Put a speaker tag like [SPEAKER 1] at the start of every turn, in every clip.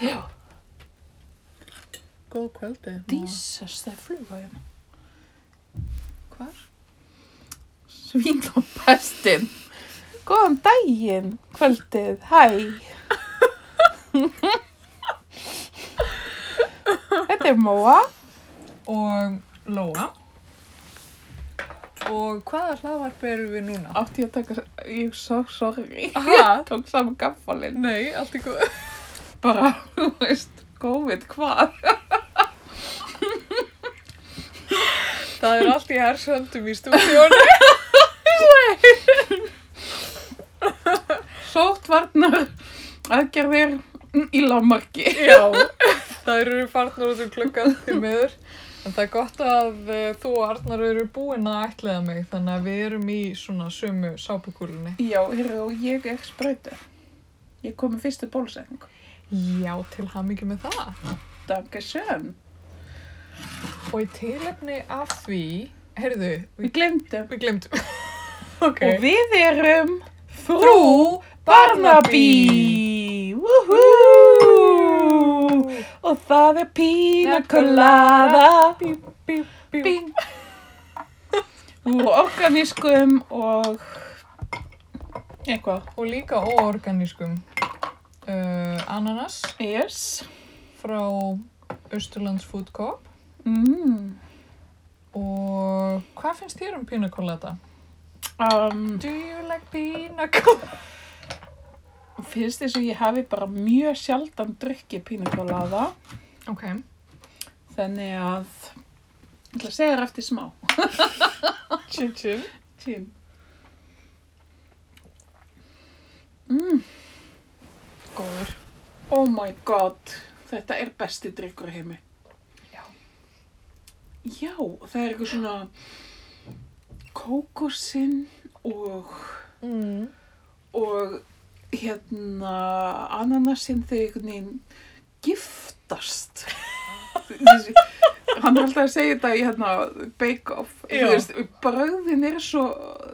[SPEAKER 1] Já,
[SPEAKER 2] Góð kvöldi.
[SPEAKER 1] dísast, það er fluga hérna. Hvar? Svínlópestin. Góðan daginn, kvöldið, hæ. Þetta er Móa.
[SPEAKER 2] Og Lóa. Og hvaða hlaðvarp eru við núna?
[SPEAKER 1] Átti ég að taka, ég svo sorgi.
[SPEAKER 2] Aha.
[SPEAKER 1] Tók saman gaffalinn.
[SPEAKER 2] Nei, allt í góð.
[SPEAKER 1] Bara, þú veist, COVID hvar.
[SPEAKER 2] Það er allt í hersöndum í stúdíónu.
[SPEAKER 1] Sóttvarnar aðgerðir í lámarki.
[SPEAKER 2] Já. Það eru farnar út um klukkan því miður. En það er gott að eh, þú og Arnar eru búin að ætlaða mig þannig að við erum í svona sömu sápukúlunni.
[SPEAKER 1] Já, heyrðu, og ég er spröytu. Ég kom með fyrstu bólusetningu.
[SPEAKER 2] Já, til hamingi með það.
[SPEAKER 1] Dankeschön.
[SPEAKER 2] Og í tilefni af því, heyrðu,
[SPEAKER 1] Við
[SPEAKER 2] við,
[SPEAKER 1] glemdum.
[SPEAKER 2] við glemdum. ok.
[SPEAKER 1] Og við erum
[SPEAKER 2] Frú
[SPEAKER 1] Barnaby. Woohoo! Og það er pina colada.
[SPEAKER 2] Bím, bím.
[SPEAKER 1] Bing. Úr organískum og eitthvað.
[SPEAKER 2] Og líka óorganískum. Uh, ananas
[SPEAKER 1] Yes.
[SPEAKER 2] frá Östurlands Food Coop.
[SPEAKER 1] Mm.
[SPEAKER 2] Og hvað finnst þér um pina colada?
[SPEAKER 1] Um,
[SPEAKER 2] Do you like pina colada?
[SPEAKER 1] finnst þess að ég hafi bara mjög sjaldan drukkið pina colada.
[SPEAKER 2] Ok.
[SPEAKER 1] Þannig að ég ætla að segja þér eftir smá.
[SPEAKER 2] Tjum, tjum.
[SPEAKER 1] Tím. Mm.
[SPEAKER 2] Góður.
[SPEAKER 1] Oh my god. Þetta er besti drikkur í heimi.
[SPEAKER 2] Já.
[SPEAKER 1] Já, það er eitthvað svona kókosinn og,
[SPEAKER 2] Mm.
[SPEAKER 1] og hérna ananasinn þau einhvern veginn giftast. Þessi, hann er alltaf að segja þetta í hérna Bake Off. Þú
[SPEAKER 2] Já.
[SPEAKER 1] veist, Brögðin er svo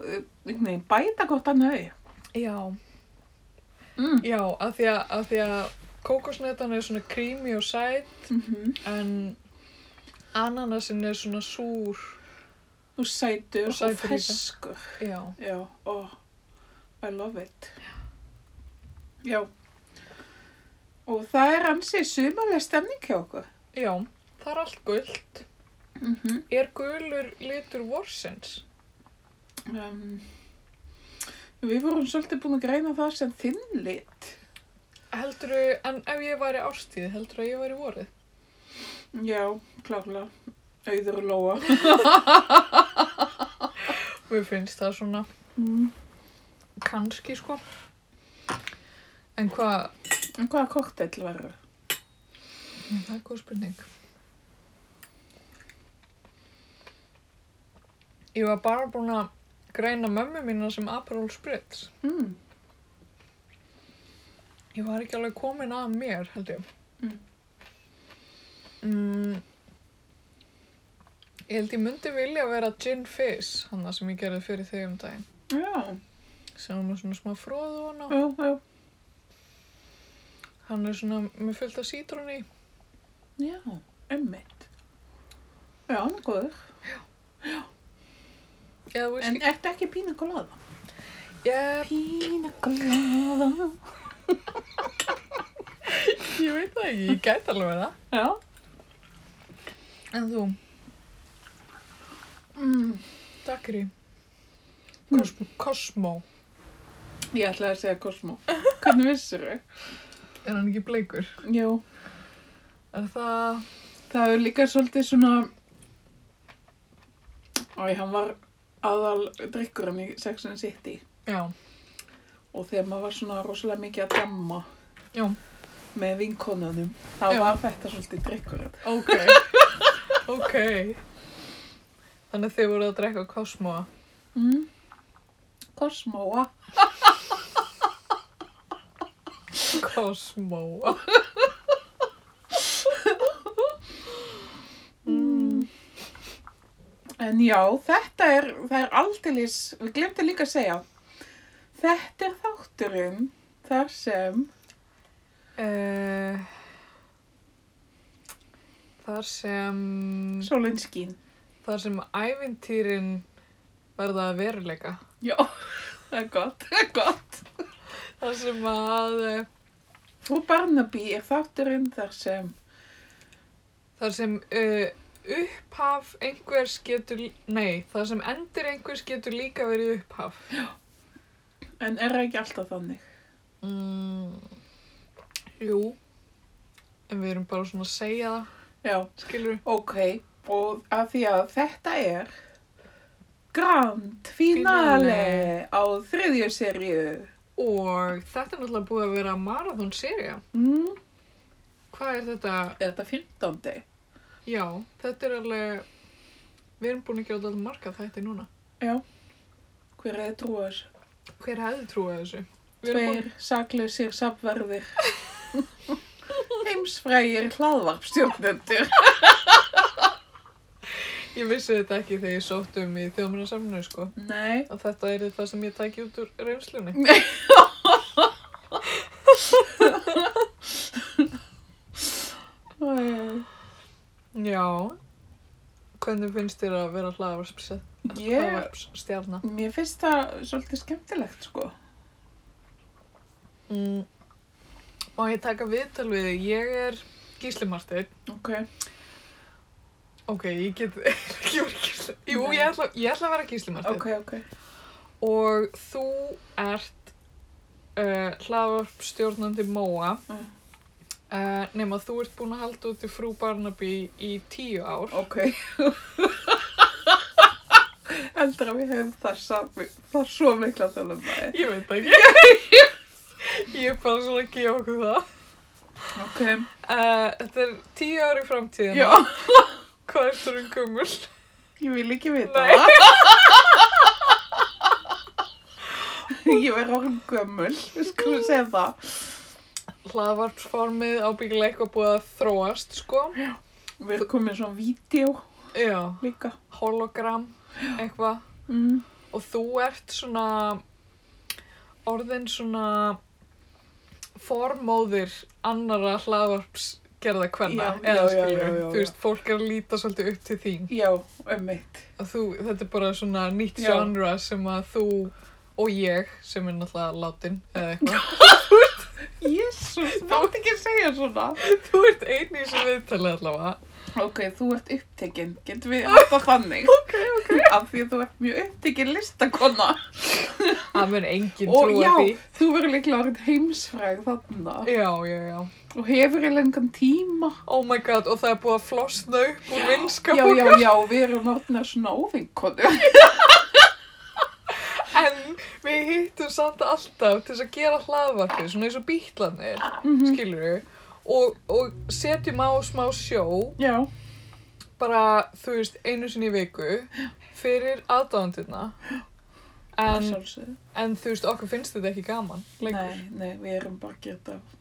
[SPEAKER 1] eh, einhvern veginn bæta gott annað í.
[SPEAKER 2] Já.
[SPEAKER 1] Mm.
[SPEAKER 2] Já, af því að, af því að kókosnetan er svona creamy og sæt
[SPEAKER 1] Mhm.
[SPEAKER 2] en ananasin er svona súr.
[SPEAKER 1] Og sætur
[SPEAKER 2] Og
[SPEAKER 1] og,
[SPEAKER 2] sætur líka.
[SPEAKER 1] ferskur.
[SPEAKER 2] Já.
[SPEAKER 1] Já, og I love it. Já. Og það er ansi sumarlega stemning hjá okkur.
[SPEAKER 2] Já, það er allt gullt.
[SPEAKER 1] Mm -hmm.
[SPEAKER 2] Er gulur litur vorsins?
[SPEAKER 1] um, við vorum svolítið búin að greina það sem þinn lit.
[SPEAKER 2] Heldur en ef ég væri ástíð, heldur að ég væri vorið?
[SPEAKER 1] Já, klála. Auður og lóa.
[SPEAKER 2] Mér finnst það svona
[SPEAKER 1] Mm.
[SPEAKER 2] kannski sko. En hvað?
[SPEAKER 1] En hvaða kokteill verður?
[SPEAKER 2] Mm, Það er góð spurning. Ég var bara búin að greina mömmu mína sem Aperol Spritz.
[SPEAKER 1] Mm.
[SPEAKER 2] Ég var ekki alveg komin að mér, held ég.
[SPEAKER 1] Mm.
[SPEAKER 2] Mm. Ég held ég myndi vilja vera gin fizz, hann sem ég gerði fyrir þig um daginn.
[SPEAKER 1] Já,
[SPEAKER 2] Sem hann er svona smá fróðu hann á.
[SPEAKER 1] já, já.
[SPEAKER 2] Hann er svona með fullt af sítrónu í.
[SPEAKER 1] Já, ummitt. Já, hann er góður.
[SPEAKER 2] Eða
[SPEAKER 1] En
[SPEAKER 2] whisky.
[SPEAKER 1] ertu ekki pína kolaða?
[SPEAKER 2] Ég,
[SPEAKER 1] Pína kolaða.
[SPEAKER 2] ég veit það ekki, ég gæti alveg verið það.
[SPEAKER 1] Já.
[SPEAKER 2] En þú,
[SPEAKER 1] Mm.
[SPEAKER 2] takkir í.
[SPEAKER 1] Mm.
[SPEAKER 2] Cosmo. Cosmo.
[SPEAKER 1] Ég ætlaði að segja Cosmo. Hvernig vissir þau?
[SPEAKER 2] Er hann ekki bleikur?
[SPEAKER 1] Jú,
[SPEAKER 2] Er það...
[SPEAKER 1] það er líka svolítið svona... Æ, hann var aðal drikkurinn í Sex and the City
[SPEAKER 2] Já.
[SPEAKER 1] og þegar maður var svona rosalega mikið að damma
[SPEAKER 2] Já.
[SPEAKER 1] með vinkonunum, þá
[SPEAKER 2] Já.
[SPEAKER 1] var þetta svolítið drikkurinn.
[SPEAKER 2] Ok, ok. Þannig að þið voru að drekka kosmóa.
[SPEAKER 1] Mm. Cosmoa.
[SPEAKER 2] Kosmóa.
[SPEAKER 1] En já, þetta er, það er aldeilis, við glemtum líka að segja, þetta er þátturinn þar sem
[SPEAKER 2] Uh, Þar sem,
[SPEAKER 1] Sólinn skín.
[SPEAKER 2] þar sem ævintýrin verða að veruleika.
[SPEAKER 1] Já, það er gott, það er gott.
[SPEAKER 2] Þar sem að, eh,
[SPEAKER 1] Frú Barnaby er þátturinn þar sem,
[SPEAKER 2] þar sem uh, upphaf einhvers getur, lí- nei, þar sem endur einhvers getur líka verið upphaf.
[SPEAKER 1] en er það ekki alltaf þannig.
[SPEAKER 2] Mm, jú, en við erum bara svona að segja það,
[SPEAKER 1] Já,
[SPEAKER 2] skilur
[SPEAKER 1] ok, og af því að þetta er grand finale
[SPEAKER 2] Finale.
[SPEAKER 1] á þriðju seríu.
[SPEAKER 2] Og þetta er náttúrulega búið að vera marathon seria.
[SPEAKER 1] Mm,
[SPEAKER 2] Hvað er þetta?
[SPEAKER 1] er þetta 15.
[SPEAKER 2] Já, þetta er alveg, við erum búin að gera alltaf marga þætti núna.
[SPEAKER 1] Já, hver er trú að þessu?
[SPEAKER 2] Hver hefði trúið þessu? Við erum
[SPEAKER 1] Tveir saklausir safverðir. Heimsfrægir hlaðvarpstjórnendur.
[SPEAKER 2] búin- Ég vissi þetta ekki þegar ég sótt um í þjóðmennarsamnu, sko.
[SPEAKER 1] Nei.
[SPEAKER 2] Að þetta er það sem ég tæki út úr reynslunni.
[SPEAKER 1] Æ,
[SPEAKER 2] Já. Hvernig finnst þér að vera
[SPEAKER 1] Ég,
[SPEAKER 2] hlaðvarpsstjarna?
[SPEAKER 1] mér finnst það svolítið skemmtilegt, sko.
[SPEAKER 2] Mm. Má ég taka viðtal við þig? Ég er Gísli Marteinn.
[SPEAKER 1] Ok.
[SPEAKER 2] Ok, ég get ekki verið Gísli. Jú,
[SPEAKER 1] Nei.
[SPEAKER 2] ég ætla, ég ætla að vera Gísli Marteinn.
[SPEAKER 1] Ok, ok.
[SPEAKER 2] Og þú ert uh, hlaðvarpstjórnandi Móa.
[SPEAKER 1] Mm.
[SPEAKER 2] Uh, nema þú ert búin að halda út í frú Barnaby í tíu ár.
[SPEAKER 1] Ok. Heldur að við hefum þar, sami, þar svo mikla tölum bæði.
[SPEAKER 2] Ég veit það ekki. ég er bara svona að gefa okkur það.
[SPEAKER 1] Ok.
[SPEAKER 2] Uh, þetta er tíu ár í framtíðina.
[SPEAKER 1] Já,
[SPEAKER 2] Hvað er þú um gömul?
[SPEAKER 1] ég vil ekki vita
[SPEAKER 2] Nei.
[SPEAKER 1] það. ég er orðin gömul, við skulum segja það.
[SPEAKER 2] Hlaðvarpsformið ábyggilega eitthvað búið að þróast, sko.
[SPEAKER 1] Við erum komin svona vídeo
[SPEAKER 2] Já.
[SPEAKER 1] líka.
[SPEAKER 2] hologram, eitthvað.
[SPEAKER 1] Mm.
[SPEAKER 2] Og þú ert svona orðin svona formóðir annara hlaðvarpsgerða kvenna.
[SPEAKER 1] Já, já, já,
[SPEAKER 2] skilur,
[SPEAKER 1] já, já,
[SPEAKER 2] Þú
[SPEAKER 1] já.
[SPEAKER 2] veist, fólk er að líta svolítið upp til þín.
[SPEAKER 1] Já, um mitt.
[SPEAKER 2] Að þú, þetta er bara svona nýtt
[SPEAKER 1] Já.
[SPEAKER 2] genre sem að þú og ég, sem er náttúrulega látin eða eitthvað.
[SPEAKER 1] Jésús, mátt ekki segja svona.
[SPEAKER 2] þú ert einn í þessu viðtalið allavega.
[SPEAKER 1] Ok, þú ert upptekinn, getum við alltaf þannig. ok, ok. Af því að þú ert mjög upptekinn listakonna.
[SPEAKER 2] Það mun enginn
[SPEAKER 1] Og
[SPEAKER 2] trúa
[SPEAKER 1] já,
[SPEAKER 2] því.
[SPEAKER 1] þú verður líklega orðin heimsfræg þarna.
[SPEAKER 2] Já, já, já.
[SPEAKER 1] Og hefur eiginlega engan tíma.
[SPEAKER 2] Oh my god, og það er búið að flosna upp úr vinskap
[SPEAKER 1] Já,
[SPEAKER 2] okkar.
[SPEAKER 1] já, já, við erum orðin svona óvinkonu.
[SPEAKER 2] En við hittum samt alltaf til þess að gera hlaðvarpið, svona eins og bítlanir, mm
[SPEAKER 1] Mhm.
[SPEAKER 2] og, og setjum á smá sjó,
[SPEAKER 1] já,
[SPEAKER 2] bara, þú veist, einu sinni í viku, fyrir aðdáðandina.
[SPEAKER 1] það
[SPEAKER 2] En,
[SPEAKER 1] sjálfsögðu.
[SPEAKER 2] en þú veist, okkur finnst þetta ekki gaman lengur.
[SPEAKER 1] Nei, nei, við erum bara að gera þetta.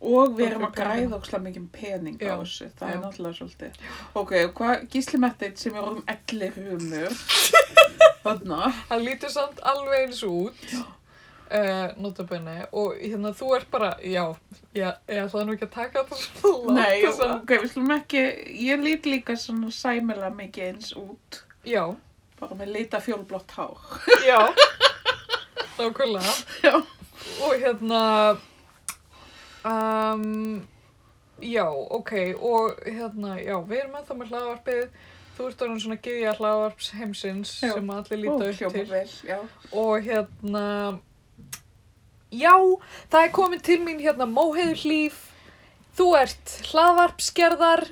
[SPEAKER 1] Og við
[SPEAKER 2] Og
[SPEAKER 1] erum
[SPEAKER 2] fyrir
[SPEAKER 1] að
[SPEAKER 2] pening.
[SPEAKER 1] græða ókslega mikið pening
[SPEAKER 2] Já,
[SPEAKER 1] á þessu. Það
[SPEAKER 2] já.
[SPEAKER 1] er náttúrulega svolítið. Ok, og hvað Gísli Mettit sem er orðin ellir humur. Þarna.
[SPEAKER 2] Hann lítur samt alveg eins út, uh, notabenni, og hérna þú ert bara, já, ég, ég ætlaði nú ekki að taka þetta svona langt.
[SPEAKER 1] Nei,
[SPEAKER 2] þess að-
[SPEAKER 1] ok, við slum ekki, ég lít líka svona sæmilega mikið eins út,
[SPEAKER 2] Já,
[SPEAKER 1] bara með lita fjólblott hár.
[SPEAKER 2] já, nákvæmlega.
[SPEAKER 1] Já.
[SPEAKER 2] Og hérna, um, já, ok, og hérna, já, við erum ennþá með hlaðvarpið, þú ert orðin svona gyðja hlaðvarps heimsins
[SPEAKER 1] Já.
[SPEAKER 2] sem allir
[SPEAKER 1] Ó,
[SPEAKER 2] líta upp
[SPEAKER 1] hljóma
[SPEAKER 2] til
[SPEAKER 1] vel, já.
[SPEAKER 2] og hérna, já, það er komin til mín hérna móheiður hlýf, þú ert hlaðvarpsgerðar,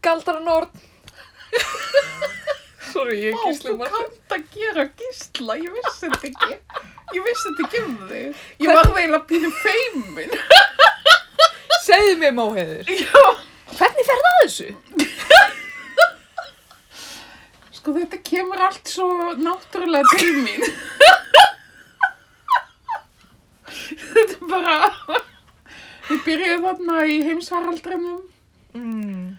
[SPEAKER 2] galdranord, sorry, ég
[SPEAKER 1] Ó, þú
[SPEAKER 2] gísli maður.
[SPEAKER 1] kannt að gera gísla, ég vissi þetta ekki. Ég vissi þetta ekki um þig. Ég var eiginlega pínu feimin.
[SPEAKER 2] Segðu mér móheiður,
[SPEAKER 1] Já.
[SPEAKER 2] hvernig fer það að þessu?
[SPEAKER 1] Sko þetta kemur allt svo náttúrulega til mín. þetta er bara, við byrjuðum þarna í heimsvaraldrinum
[SPEAKER 2] Mm.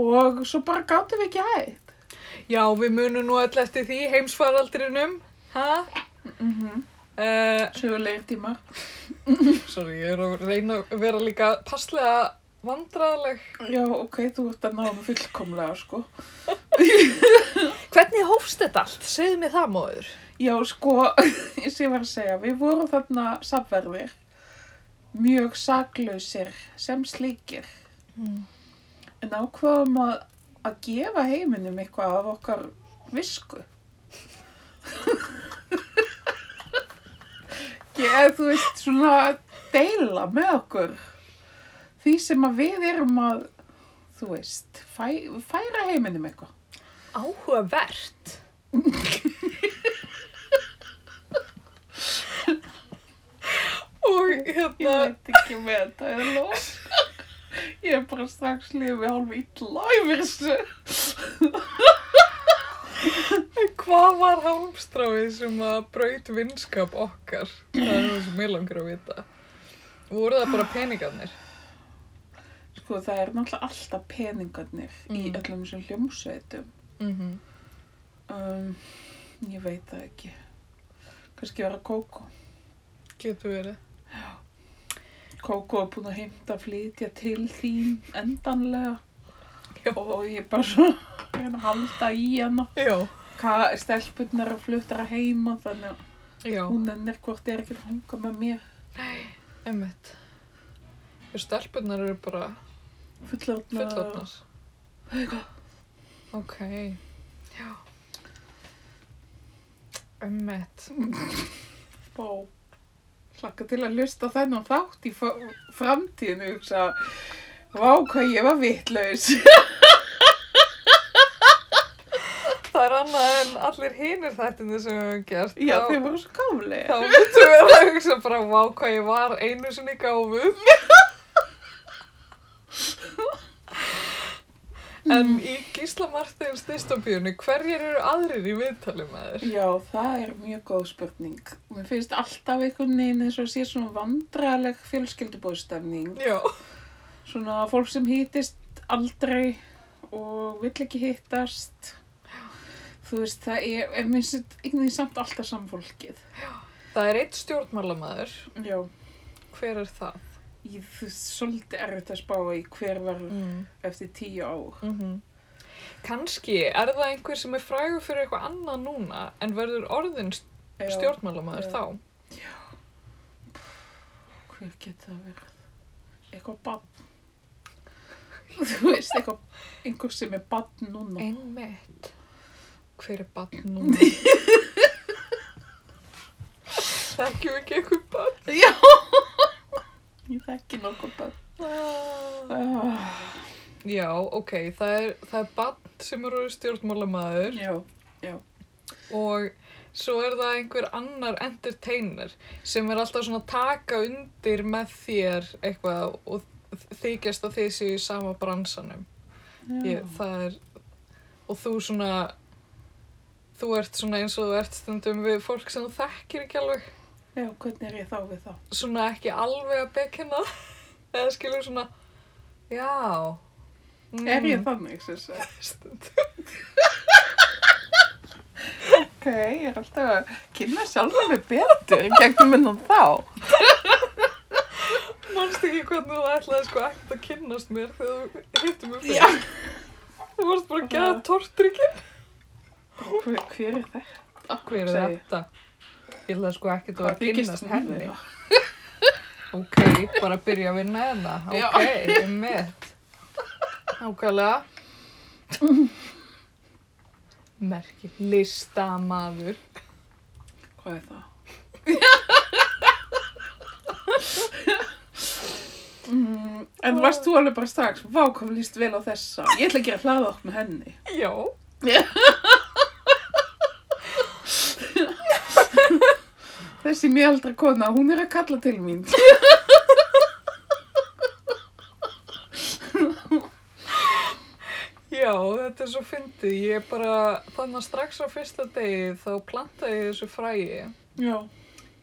[SPEAKER 1] og svo bara gáttum við ekki hægt.
[SPEAKER 2] Já, við munum nú öll eftir því heimsfaraldrinum. Eh, Hæ? Uh,
[SPEAKER 1] Sögulegir tímar.
[SPEAKER 2] sorry, ég er að reyna að vera líka passlega vandræðaleg.
[SPEAKER 1] Já, ok, þú ert að náðu fullkomlega, sko.
[SPEAKER 2] Hvernig hófst þetta allt? Segðu mér það, móður.
[SPEAKER 1] Já, sko, eins og ég var að segja, við vorum þarna samverðir, mjög saklausir sem slíkir,
[SPEAKER 2] Mm.
[SPEAKER 1] en ákvaðum að, að gefa heiminum eitthvað af okkar visku. Ég, eh, þú veist, svona deila með okkur því sem að við erum að, þú veist, fæ, færa heiminum eitthvað.
[SPEAKER 2] Áhugavert. Og
[SPEAKER 1] Ég
[SPEAKER 2] hérna,
[SPEAKER 1] veit ekki með þetta, er lóð. Ég er bara strax lífið hálf illa yfir þessu.
[SPEAKER 2] hvað var hálmstráið sem að braut vinskap okkar? Það er það sem ég langar að vita. Voru það bara peningarnir?
[SPEAKER 1] Sko það er náttúrulega alltaf peningarnir í
[SPEAKER 2] Mm.
[SPEAKER 1] öllum þessum hljómsveitum.
[SPEAKER 2] Mm
[SPEAKER 1] Um, ég veit það ekki. Kannski vera Kókó.
[SPEAKER 2] Getur verið.
[SPEAKER 1] Kókó er búin að heimta að flytja til þín endanlega.
[SPEAKER 2] Já.
[SPEAKER 1] Og ég er bara svo að reyna að halda í hana.
[SPEAKER 2] Já.
[SPEAKER 1] Hvað stelpunnar að fluttra heima þannig að
[SPEAKER 2] Já,
[SPEAKER 1] hún ennir hvort er ekki að hanga með mér.
[SPEAKER 2] einmitt. Þegar stelpunar eru bara
[SPEAKER 1] Fullorðna.
[SPEAKER 2] fullotnar. Ok. Já. Einmitt.
[SPEAKER 1] Bá. Hlakka til að hlusta á þennan þátt í fa- framtíðinu, hugsa, vá hvað ég var vitlaus.
[SPEAKER 2] Það er annað en allir hinir þættinni sem við höfum gert.
[SPEAKER 1] Já,
[SPEAKER 2] Þá-
[SPEAKER 1] þeir voru svo
[SPEAKER 2] Þá
[SPEAKER 1] gamlega.
[SPEAKER 2] myndum við að hugsa bara, vá, hvað ég var einu sinni gáfuð. en í Gísla Martins dystopíunni, hverjir eru aðrir í viðtali með þér?
[SPEAKER 1] Já, það er mjög góð spurning. Mér finnst alltaf einhvern veginn eins og sé svona vandræðaleg fjölskyldubóðstemning.
[SPEAKER 2] Já.
[SPEAKER 1] Svona fólk sem hýtist aldrei og vill ekki hýtast. Þú veist, það er, en mér finnst einhvern veginn samt alltaf samfólkið.
[SPEAKER 2] Það er eitt stjórnmálamæður.
[SPEAKER 1] Já,
[SPEAKER 2] Hver er það?
[SPEAKER 1] ég þú veist, svolítið erfitt að spá í hver verður
[SPEAKER 2] Mm.
[SPEAKER 1] eftir tíu ár.
[SPEAKER 2] Mm Kanski er það einhver sem er frægur fyrir eitthvað annað núna en verður orðin
[SPEAKER 1] Já,
[SPEAKER 2] stjórnmálamæður
[SPEAKER 1] Já.
[SPEAKER 2] þá.
[SPEAKER 1] Hver getur það verið? Eitthvað bann. Þú veist, eitthvað, einhver sem er bann núna.
[SPEAKER 2] Einmitt. Hver er bann núna? Þekkjum við ekki eitthvað bann?
[SPEAKER 1] Já Ég þekki nokkuð börn uh,
[SPEAKER 2] Já, ok, það er, það er bann sem er orðin stjórnmálamæður
[SPEAKER 1] Já,
[SPEAKER 2] og svo er það einhver annar entertainer sem er alltaf svona að taka undir með þér eitthvað og þykjast að þið séu í sama bransanum.
[SPEAKER 1] já.
[SPEAKER 2] Ég, það er, og þú svona, þú ert svona eins og þú ert stundum við fólk sem þú þekkir ekki alveg,
[SPEAKER 1] já, hvernig er ég þá við þá?
[SPEAKER 2] svona ekki alveg að bekina, eða skilur svona, já, mm,
[SPEAKER 1] Er ég þannig, sem sagt?
[SPEAKER 2] stundum.
[SPEAKER 1] Ok, ég er alltaf að kynna sjálfa mig betur gegnum innan þá
[SPEAKER 2] Manst ekki hvernig þú ætlaði sko ekkert að kynnast mér þegar þú hittum mig
[SPEAKER 1] Já
[SPEAKER 2] fyrir, þú vorst bara að geða tortrykkin.
[SPEAKER 1] Hver, hver er þetta?
[SPEAKER 2] Hver er
[SPEAKER 1] Segðu.
[SPEAKER 2] þetta? Ég ætlaði sko ekkert að vera að
[SPEAKER 1] byggist
[SPEAKER 2] kynnast
[SPEAKER 1] hún á?
[SPEAKER 2] henni. Ok, bara byrja að vinna hérna.
[SPEAKER 1] Já.
[SPEAKER 2] Ok, ég mitt. Nákvæmlega. Merki, listamaður.
[SPEAKER 1] Hvað er það? mm, en varst þú alveg bara strax Vá, hvað mér líst vel á þessa Ég ætla að gera hlaða okkur með henni
[SPEAKER 2] Já.
[SPEAKER 1] Þessi mjöldra kona, hún er að kalla til mín
[SPEAKER 2] Já, þetta er svo fyndið. Ég bara, þannig að strax á fyrsta degi þá plantaði ég þessu fræi
[SPEAKER 1] Já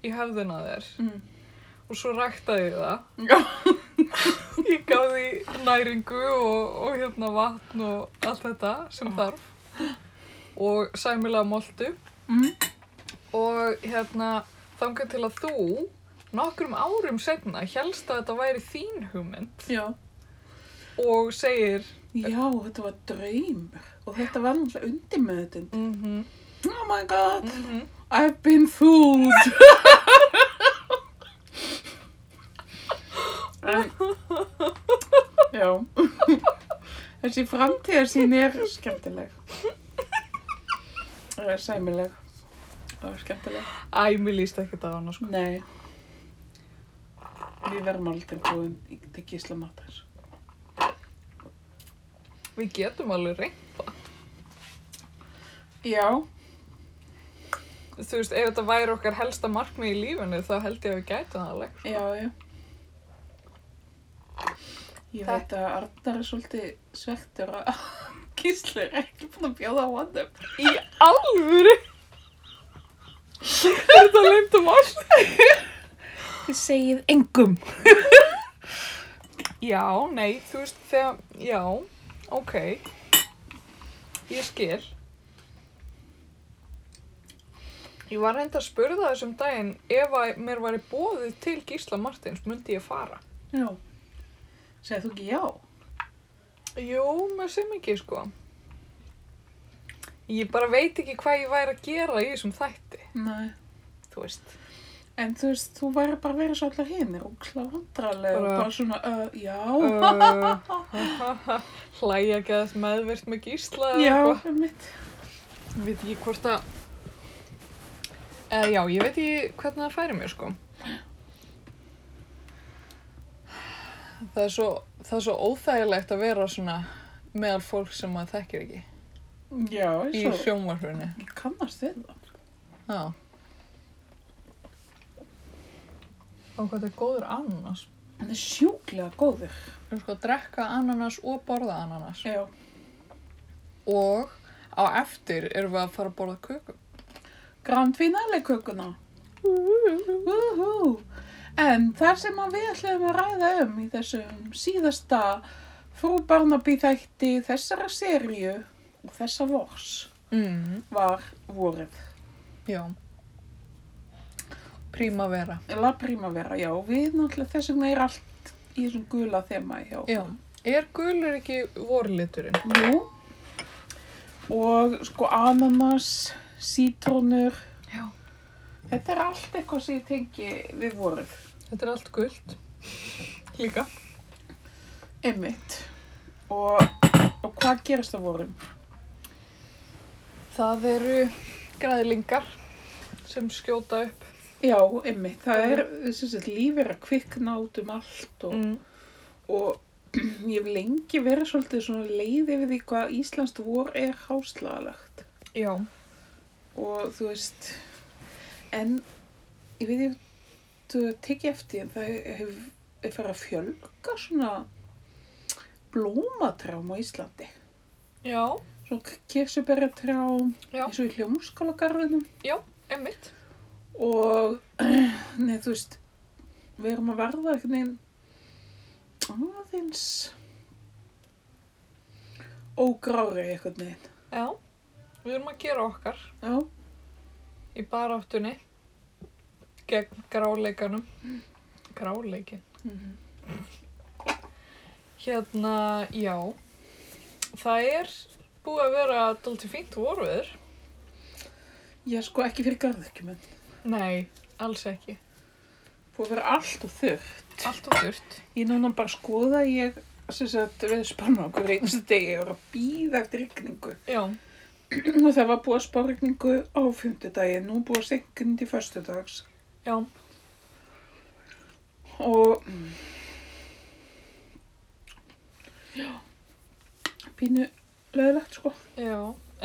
[SPEAKER 2] í höfðina þér
[SPEAKER 1] mm.
[SPEAKER 2] og svo ræktaði ég það.
[SPEAKER 1] Já
[SPEAKER 2] Ég gaf því næringu og, og hérna vatn og allt þetta sem þarf og sæmilega moltu.
[SPEAKER 1] mm.
[SPEAKER 2] og hérna þangað til að þú nokkrum árum setna helst að þetta væri þín hugmynd
[SPEAKER 1] Já
[SPEAKER 2] og segir
[SPEAKER 1] Já, þetta var draumur og þetta var náttúrulega undir með þetta.
[SPEAKER 2] mm -hmm,
[SPEAKER 1] Oh my god, I've been fooled. en, já, þessi framtíðarsýn er skemmtileg. Það er sæmileg. Það er skemmtileg.
[SPEAKER 2] Æ, mér líst ekkert á hana sko.
[SPEAKER 1] Nei, við verðum aldrei búin í- til gísla matar.
[SPEAKER 2] Við getum alveg reynd.
[SPEAKER 1] Já,
[SPEAKER 2] Þú veist, ef þetta væri okkar helsta markmið í lífinu þá held ég að við gætum það alveg.
[SPEAKER 1] Já, já. Ég
[SPEAKER 2] Það-
[SPEAKER 1] veit að Arnar er svolítið svektur að Gísli er ekki búin að bjóða á honum.
[SPEAKER 2] Í alvöru? er þetta leimt um allt?
[SPEAKER 1] Þið segið engum.
[SPEAKER 2] Já, nei, þú veist, þegar, já, ok, ég skil. Ég var reynd að spurða þessum daginn, ef að mér væri bóðið til Gísla Martins, myndi ég fara?
[SPEAKER 1] Já. Segðu þú ekki já?
[SPEAKER 2] Jú, með sem ekki, sko. Ég bara veit ekki hvað ég væri að gera í þessum þætti,
[SPEAKER 1] Nei.
[SPEAKER 2] þú veist.
[SPEAKER 1] En þú veist, þú væri bara verið svo allar hinn og klandraleg og
[SPEAKER 2] Bara-
[SPEAKER 1] bara svona, uh, já,
[SPEAKER 2] Uh, hlæja ekki að þess meðvirt með Gísla eða
[SPEAKER 1] já,
[SPEAKER 2] eitthvað.
[SPEAKER 1] mitt.
[SPEAKER 2] Veit ekki hvort að... Eða já, ég veit ekki hvernig það færi mér, sko. Það er svo, það er svo óþægilegt að vera svona meðal fólk sem maður þekkir ekki
[SPEAKER 1] Já,
[SPEAKER 2] í
[SPEAKER 1] eins og
[SPEAKER 2] sjónvarpinu.
[SPEAKER 1] ég kannast við það.
[SPEAKER 2] Já. Og hvað þetta er góður ananas.
[SPEAKER 1] Hann er sjúklega góður.
[SPEAKER 2] Þú sko að drekka ananas og borða ananas.
[SPEAKER 1] Já.
[SPEAKER 2] Og á eftir erum við að fara að borða köku.
[SPEAKER 1] Grand Finale kökuna. Woohoo! En þar sem að við ætlum að ræða um í þessum síðasta frú Barnaby þætti þessara seríu og þessa vors
[SPEAKER 2] Mm,
[SPEAKER 1] var vorið.
[SPEAKER 2] já. Prímavera.
[SPEAKER 1] La Primavera, já, við náttúrulega þess vegna er allt í þessum gula þema hjá.
[SPEAKER 2] Já, er gulur ekki vorliturinn?
[SPEAKER 1] Jú. Og sko ananas, sítrónur,
[SPEAKER 2] Já.
[SPEAKER 1] þetta er allt eitthvað sem ég tengi við vorið.
[SPEAKER 2] Þetta er allt gult. Líka.
[SPEAKER 1] Einmitt. Og, og hvað gerist á vorum?
[SPEAKER 2] Það eru græðlingar sem skjóta upp.
[SPEAKER 1] Já, einmitt. Það er, sem sagt, lífið er að kvikna út um allt og,
[SPEAKER 2] Mm.
[SPEAKER 1] og ég hef lengi verið svolítið svona leið yfir því hvað Íslandskt vor er háslagalegt.
[SPEAKER 2] Já.
[SPEAKER 1] Og þú veist, en ég veit ég, þú tekið eftir, en það hefur hef farið að fjölga svona blómatrjám á Íslandi.
[SPEAKER 2] Já,
[SPEAKER 1] Svona kirsuberjatrjám,
[SPEAKER 2] Já.
[SPEAKER 1] eins og í hljómskálagarðinum.
[SPEAKER 2] emmitt.
[SPEAKER 1] og nei, þú veist við erum að verða einhvern veginn aðeins ógrári einhvern veginn
[SPEAKER 2] Já. Við erum að gera okkar
[SPEAKER 1] já,
[SPEAKER 2] í baráttunni gegn gráleikanum. Gráleikin.
[SPEAKER 1] Mhm.
[SPEAKER 2] Hérna, já. Það er búið að vera dalti fínt vorveður.
[SPEAKER 1] ég sko ekki fyrir garðekjumenn
[SPEAKER 2] Nei, alls ekki.
[SPEAKER 1] búið að vera allt og þurr
[SPEAKER 2] Allt og þurrt.
[SPEAKER 1] ég núna bara skoða að ég sem sagt við spanna okkur einstu degi og er að býða eftir rigningu
[SPEAKER 2] Já.
[SPEAKER 1] og það var búið að spá rigningu á fymtudagi nú er búið að senka inn til föstudags
[SPEAKER 2] Já.
[SPEAKER 1] og já pínu löðilegt sko
[SPEAKER 2] Já,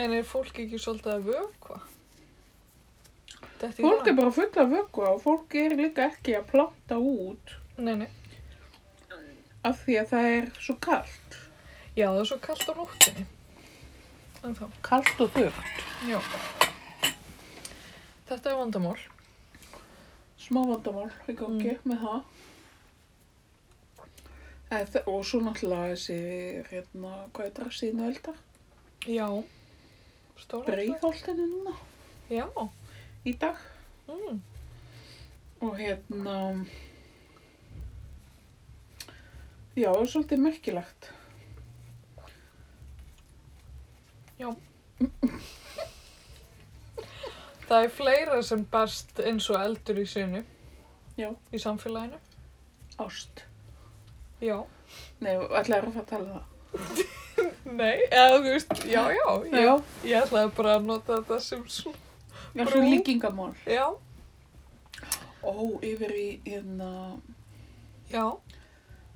[SPEAKER 2] en er fólk ekki svolítið að vökva? Þetta
[SPEAKER 1] fólk er bara fulla af vöggva og fólk er líka ekki að planta út
[SPEAKER 2] Nei, nei.
[SPEAKER 1] af því að það er svo kallt
[SPEAKER 2] Já, það er svo kallt á nóttinni. En þá,
[SPEAKER 1] kallt og þurrt
[SPEAKER 2] já. Þetta er vandamál.
[SPEAKER 1] smá vandamál í gangi með það Eð, þa- og svo náttúrulega þessi hérna, hvað er það, síðan eldar
[SPEAKER 2] Já. Stóra.
[SPEAKER 1] breyðholtinu núna
[SPEAKER 2] Já.
[SPEAKER 1] í dag
[SPEAKER 2] Mm.
[SPEAKER 1] og hérna já, svolítið merkilegt
[SPEAKER 2] Það er fleira sem berst eins og eldur í sinu
[SPEAKER 1] Já.
[SPEAKER 2] í samfélaginu.
[SPEAKER 1] Ást.
[SPEAKER 2] Já.
[SPEAKER 1] Nei, ætlaði að fara að tala um það.
[SPEAKER 2] Nei, eða þú veist, já, já, já.
[SPEAKER 1] Já,
[SPEAKER 2] Ég ætlaði bara að nota þetta sem svona.
[SPEAKER 1] eins
[SPEAKER 2] Brú.
[SPEAKER 1] og líkingamál.
[SPEAKER 2] Já,
[SPEAKER 1] Ó, yfir í hérna
[SPEAKER 2] já,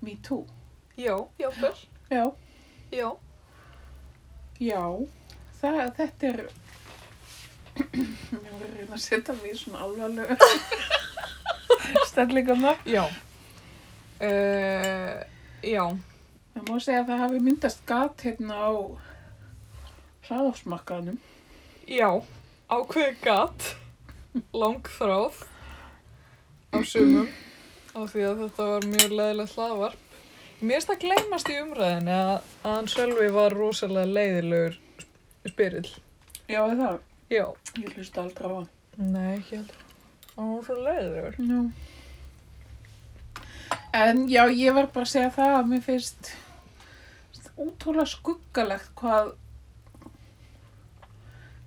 [SPEAKER 1] Me Too.
[SPEAKER 2] já, já, fyrr,
[SPEAKER 1] Já.
[SPEAKER 2] já.
[SPEAKER 1] Já. Það, þetta er... Ég var að reyna að setja mig í svona alvarlega stellingarna.
[SPEAKER 2] Já. Uh, já,
[SPEAKER 1] Það má segja að það hafi myndast gat hérna á hraðafsmakkanum.
[SPEAKER 2] já, ákveðið gat, langþráð á sumum á því að þetta var mjög leðilegt hlaðvarp. Mér finnst það gleymast í umræðinni að, að hann Sölvi var rosalega leiðilegur spyrill.
[SPEAKER 1] Já, er það.
[SPEAKER 2] Já.
[SPEAKER 1] Ég hlusta aldrei á hann.
[SPEAKER 2] Nei, ekki heldur. Hann var svo leiðilegur.
[SPEAKER 1] Já. En já, ég var bara að segja það að mér finnst útrúlega skuggalegt hvað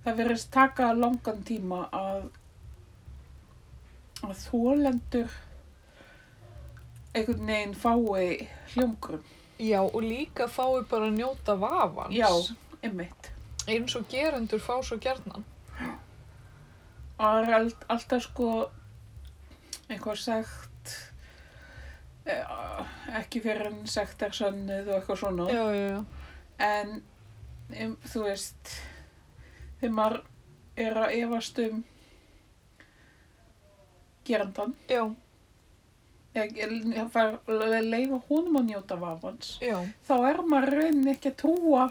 [SPEAKER 1] það verðist taka langan tíma að, að þólendur einhvern veginn fái hljómgrum.
[SPEAKER 2] Já, og líka fái bara að njóta vafans.
[SPEAKER 1] Já, einmitt.
[SPEAKER 2] Eins og gerendur fá svo gerðnan.
[SPEAKER 1] og það er all- alltaf sko einhvað sagt eh, ekki fyrir en sagt er sönnuð og eitthvað svona
[SPEAKER 2] Já, já, já.
[SPEAKER 1] en um, þú veist þegar maður er að efast um gerandan
[SPEAKER 2] Já,
[SPEAKER 1] leifa húnum að njóta vafans
[SPEAKER 2] já,
[SPEAKER 1] þá er maður raunin ekki að trúa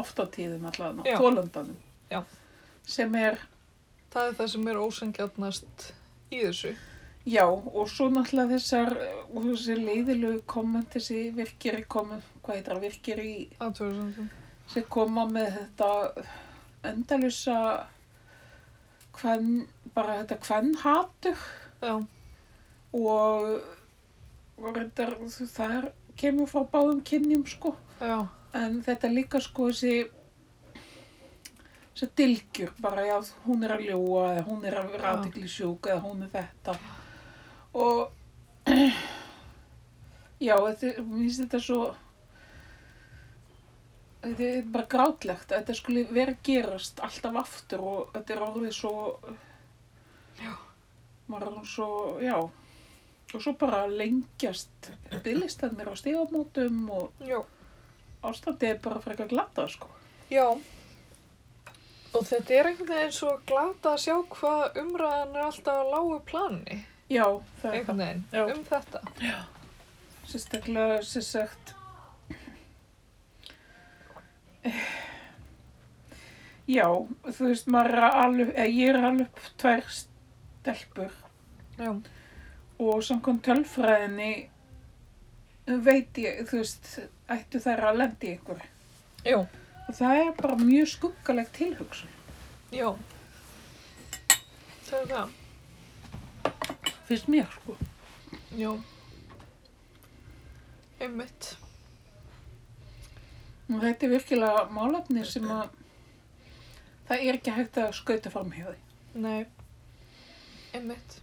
[SPEAKER 1] oft á tíðum allavega,
[SPEAKER 2] Já.
[SPEAKER 1] þólandanum
[SPEAKER 2] Já.
[SPEAKER 1] sem er
[SPEAKER 2] það er það sem er ósengjarnast í þessu.
[SPEAKER 1] Já, og svo náttúrulega þessar, og þessi leiðilegu komment, þessi virkir í komment, hvað heitir það, virkir í,
[SPEAKER 2] Aðtöðsandum.
[SPEAKER 1] sem koma með þetta endalusa, hvern, bara þetta hvern hatur
[SPEAKER 2] Já,
[SPEAKER 1] og, og reyndar, það er, kemur frá báðum kynjum sko,
[SPEAKER 2] já,
[SPEAKER 1] en þetta er líka sko þessi, þessi dylgjur, bara já, hún er að ljúa, eða hún er að vera
[SPEAKER 2] Já.
[SPEAKER 1] aðtikli sjúk, eða hún er þetta og já, þetta, er- mér finnst þetta svo þetta er bara grátlegt að þetta skuli vera að gerast alltaf aftur og þetta er orðið svo já maður er orðinn svo, já og svo bara lengjast bygglistarnir á stígamótum og
[SPEAKER 2] já.
[SPEAKER 1] ástandið er bara frekar glata sko
[SPEAKER 2] Já. Og þetta er einhvern veginn svo glata að sjá hvað umræðan er alltaf á lágu plani.
[SPEAKER 1] já, það er það
[SPEAKER 2] Einhvern veginn.
[SPEAKER 1] Já.
[SPEAKER 2] Um þetta.
[SPEAKER 1] sérstaklega sem sagt já, þú veist maður er alveg, eða ég er alveg upp tvær stelpur
[SPEAKER 2] Já,
[SPEAKER 1] og samkvæmt tölfræðinni veit ég, þú veist ættu þær að lendi ykkur
[SPEAKER 2] já,
[SPEAKER 1] og það er bara mjög skuggaleg tilhugsun
[SPEAKER 2] já. Það er það.
[SPEAKER 1] finnst mér sko
[SPEAKER 2] Já. Einmitt.
[SPEAKER 1] og þetta er virkilega málefni sem að það er ekki hægt að skauta framhjóði
[SPEAKER 2] Nei, einmitt.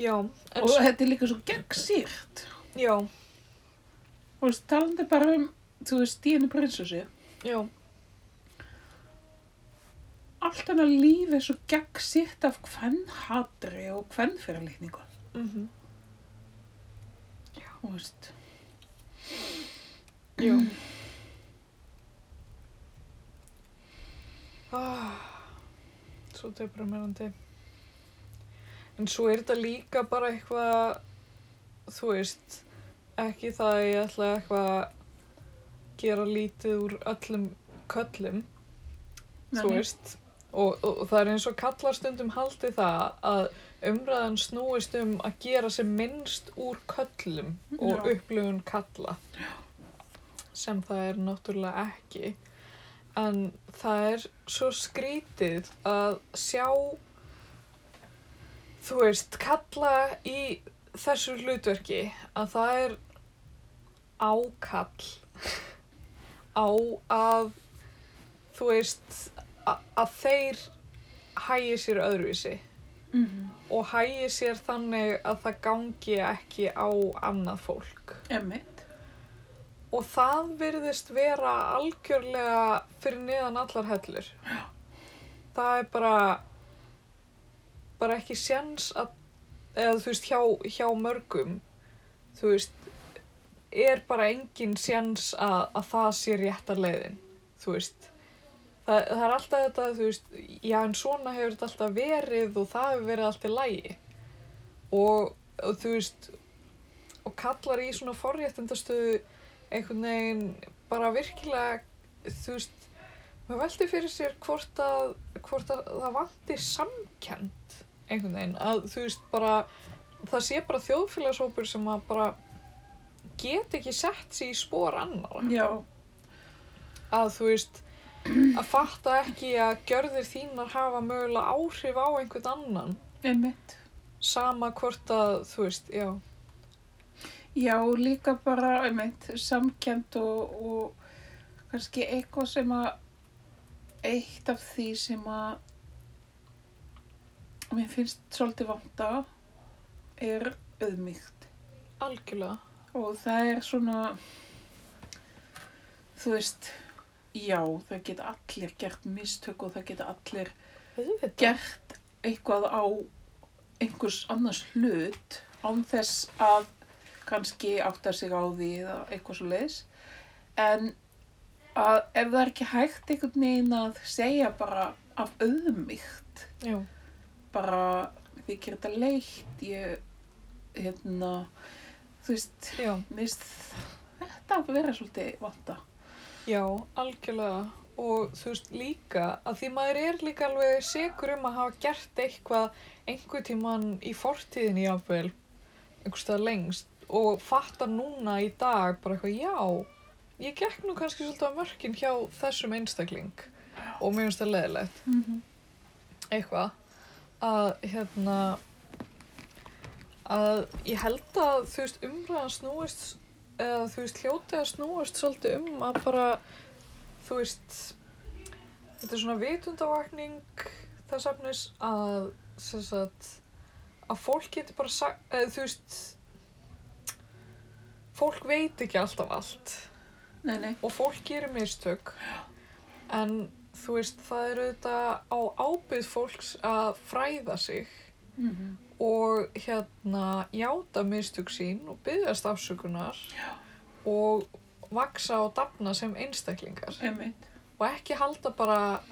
[SPEAKER 2] Já, en
[SPEAKER 1] og
[SPEAKER 2] svo,
[SPEAKER 1] þetta er líka svo gegnsýrt
[SPEAKER 2] já,
[SPEAKER 1] Þú veist, talandi bara um, þú veist, Dínu prinsessu,
[SPEAKER 2] já,
[SPEAKER 1] allt hennar líf er svo gegn sitt af hvern hatri og hvern fyrirlitningu,
[SPEAKER 2] mhm,
[SPEAKER 1] þú veist.
[SPEAKER 2] já. Ah, svo deprimerandi. En svo er þetta líka bara eitthvað, þú veist, ekki það að ég ætla eitthvað að gera lítið úr öllum köllum, þú
[SPEAKER 1] Þannig-
[SPEAKER 2] veist og, og, og það er eins og kallar stundum haldið það að umræðan snúist um að gera sem minnst úr köllum og
[SPEAKER 1] Já.
[SPEAKER 2] upplöfun kalla sem það er náttúrulega ekki en það er svo skrítið að sjá þú veist, kalla í þessu hlutverki að það er ákall á að þú veist a- að þeir hægi sér öðruvísi
[SPEAKER 1] Mm
[SPEAKER 2] og hægi sér þannig að það gangi ekki á annað fólk
[SPEAKER 1] Emmitt.
[SPEAKER 2] og það virðist vera algjörlega fyrir neðan allar hellur það er bara bara ekki séns að eða þú veist hjá, hjá mörgum þú veist er bara engin séns að, að það sé rétta leiðin þú veist það, það er alltaf þetta þú veist já en svona hefur þetta alltaf verið og það hefur verið allt í lægi og, og þú veist og kallar í svona forréttindastöðu einhvern veginn bara virkilega þú veist maður veldi fyrir sér hvort að, hvort að það vanti samkjönd einhvern veginn að þú veist bara það sé bara þjóðfélagshópur sem að bara get ekki sett sér í spór annara
[SPEAKER 1] Já.
[SPEAKER 2] að þú veist að fatta ekki að gjörðir þínar hafa mögulega áhrif á einhvern annan
[SPEAKER 1] Emmitt.
[SPEAKER 2] sama hvort að þú veist, já
[SPEAKER 1] Já, líka bara, einmitt, samkjönd og, og kannski eitthvað sem að, eitt af því sem að mér finnst svolítið vanta er auðmygt.
[SPEAKER 2] algjörlega
[SPEAKER 1] Og það er svona, þú veist, já, það geta allir gert mistök og það geta allir
[SPEAKER 2] auðvitað,
[SPEAKER 1] gert eitthvað á einhvers annars hlut án þess að kannski átta sig á því eða eitthvað svo leiðis. En að ef það er ekki hægt einhvern veginn að segja bara af auðmygt,
[SPEAKER 2] já,
[SPEAKER 1] bara því þetta leitt, ég, hérna, þú veist,
[SPEAKER 2] já
[SPEAKER 1] Mér finnst þetta að vera svolítið vanda.
[SPEAKER 2] Já, algjörlega og þú veist líka að því maður er líka alveg segur um að hafa gert eitthvað einhver tíman í fortíðinni jáfnvel einhvers það lengst og fattar núna í dag bara eitthvað já ég gekk nú kannski svolítið á mörkin hjá þessum einstakling og mér finnst það leðilegt
[SPEAKER 1] Mm -hmm.
[SPEAKER 2] eitthvað að hérna að ég held að þú veist umræðan snúist eða þú veist hljótið að snúist svolítið um að bara þú veist þetta er svona vitundavakning þess efnis að sem sagt að fólk getur bara sagt, eða þú veist fólk veit ekki alltaf allt
[SPEAKER 1] Nei, nei.
[SPEAKER 2] og fólk gerir mistök en þú veist það er auðvitað á ábyrð fólks að fræða sig
[SPEAKER 1] Mm
[SPEAKER 2] og hérna játa mistök sín og byggjast afsökunar Já. og vaksa og dafna sem einstaklingar
[SPEAKER 1] Einmitt.
[SPEAKER 2] og ekki halda bara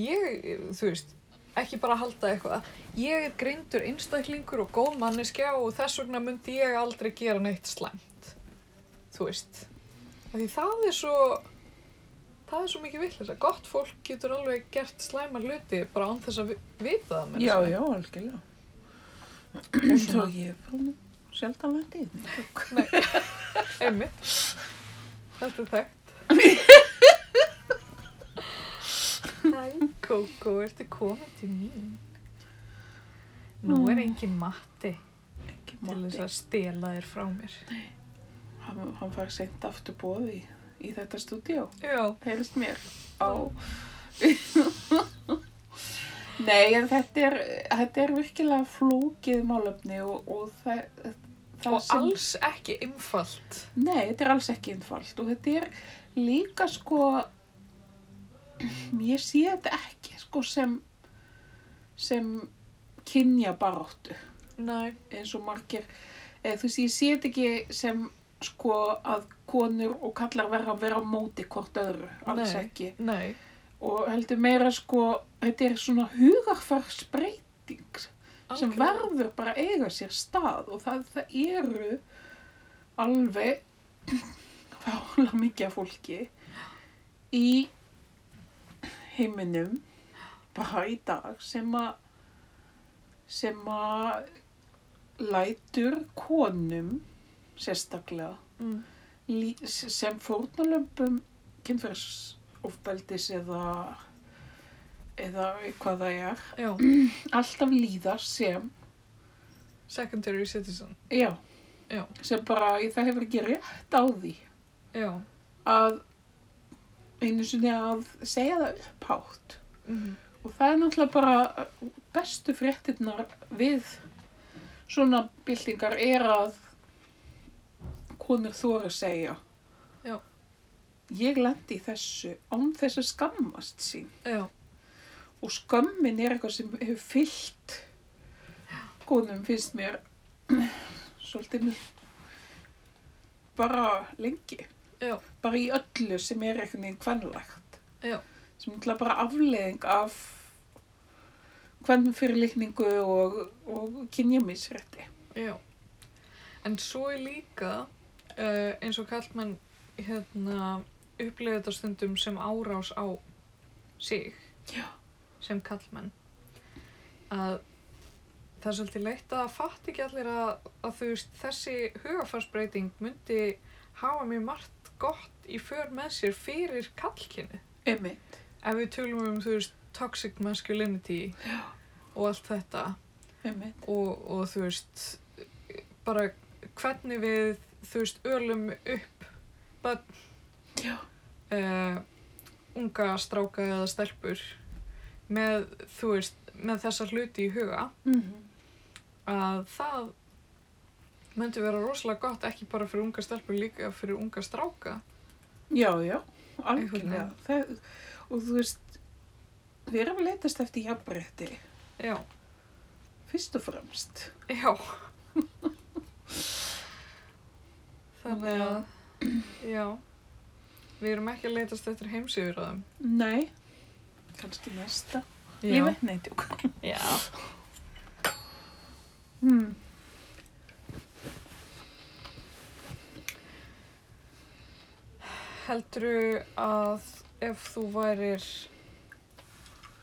[SPEAKER 2] ég, þú veist ekki bara halda eitthvað ég er greindur einstaklingur og góð manneskja og þess vegna myndi ég aldrei gera neitt slæmt þú veist af því það er svo það er svo mikið villið að gott fólk getur alveg gert slæma hluti bara án þess að vi- vita það meira
[SPEAKER 1] Já,
[SPEAKER 2] að segja.
[SPEAKER 1] já, algjörlega. Svo ég er bara nú sjaldan vendið.
[SPEAKER 2] Einmitt. Þetta er þekkt. Hæ, Kókó, ertu komin til mín? Nú er engin matti
[SPEAKER 1] Ekki
[SPEAKER 2] til þess
[SPEAKER 1] mátti.
[SPEAKER 2] að stela þér frá mér.
[SPEAKER 1] Hann, hann fær sent aftur bóði í, í þetta stúdíó.
[SPEAKER 2] Já.
[SPEAKER 1] Helst mér á... Nei, en þetta er, þetta er virkilega flókið málefni og, og það, það
[SPEAKER 2] Og alls ekki einfalt.
[SPEAKER 1] Nei, þetta er alls ekki einfalt og þetta er líka sko, ég sé þetta ekki sko sem, sem kynja baráttu
[SPEAKER 2] Næ,
[SPEAKER 1] eins og margir, eða þú veist, ég sé þetta ekki sem sko að konur og kallar verða að vera á móti hvort öðru, alls
[SPEAKER 2] Nei.
[SPEAKER 1] ekki.
[SPEAKER 2] nei,
[SPEAKER 1] Og heldur meira sko, þetta er svona hugarfarsbreyting sem
[SPEAKER 2] algjörlega.
[SPEAKER 1] verður bara að eiga sér stað og það, það eru alveg fála mikið af fólki í heiminum bara í dag sem að sem að lætur konum sérstaklega
[SPEAKER 2] Mm,
[SPEAKER 1] lí- sem fórnalömpum kynferðsofbeldis eða eða hvað það er
[SPEAKER 2] já,
[SPEAKER 1] alltaf líða sem
[SPEAKER 2] secondary citizen.
[SPEAKER 1] Já.
[SPEAKER 2] Já.
[SPEAKER 1] Sem bara, það hefur ekki rétt á því
[SPEAKER 2] Já,
[SPEAKER 1] að einu sinni að segja það upphátt
[SPEAKER 2] Mhm.
[SPEAKER 1] og það er náttúrulega bara uh, bestu fréttirnar við svona byltingar er að konur þóra segja
[SPEAKER 2] Já.
[SPEAKER 1] ég lendi í þessu án þess að skammast sín
[SPEAKER 2] Já,
[SPEAKER 1] og skömmin er eitthvað sem hefur fyllt konum finnst mér svolítið mjög bara lengi
[SPEAKER 2] Já.
[SPEAKER 1] bara í öllu sem er eitthvað neginn kvennlegt
[SPEAKER 2] Já.
[SPEAKER 1] sem er bara afleðing af kvennfyrirlikningu og, og kynjamisrætti
[SPEAKER 2] já. En svo er líka, uh, eins og kallmenn hérna, upplifið þetta stundum sem árás á sig,
[SPEAKER 1] Já.
[SPEAKER 2] sem kallmenn, að það er svolítið leitt að það fatt ekki allir að, að þú veist, þessi hugafarsbreyting myndi hafa mjög margt gott í för með sér fyrir kallkynni.
[SPEAKER 1] einmitt
[SPEAKER 2] Ef við tölum um, þú veist, toxic masculinity já. og allt þetta.
[SPEAKER 1] einmitt
[SPEAKER 2] og, og þú veist bara hvernig við þú veist ölum upp bönn
[SPEAKER 1] Já.
[SPEAKER 2] eh, unga stráka eða stelpur með þú veist með þessa hluti í huga
[SPEAKER 1] mm
[SPEAKER 2] Mhm. að það myndi vera rosalega gott ekki bara fyrir unga stelpur líka fyrir unga stráka
[SPEAKER 1] já, já,
[SPEAKER 2] Einhvern
[SPEAKER 1] algjörlega
[SPEAKER 2] veginn.
[SPEAKER 1] það, og þú veist við erum að letast eftir jafnbretti
[SPEAKER 2] já,
[SPEAKER 1] fyrst og fremst
[SPEAKER 2] já þannig að já við erum ekki að leitast eftir heimsýður að þeim
[SPEAKER 1] Nei, kannski næsta.
[SPEAKER 2] Já.
[SPEAKER 1] Lífi? Nei, tjók.
[SPEAKER 2] Já.
[SPEAKER 1] Mm.
[SPEAKER 2] Heldurðu að ef þú værir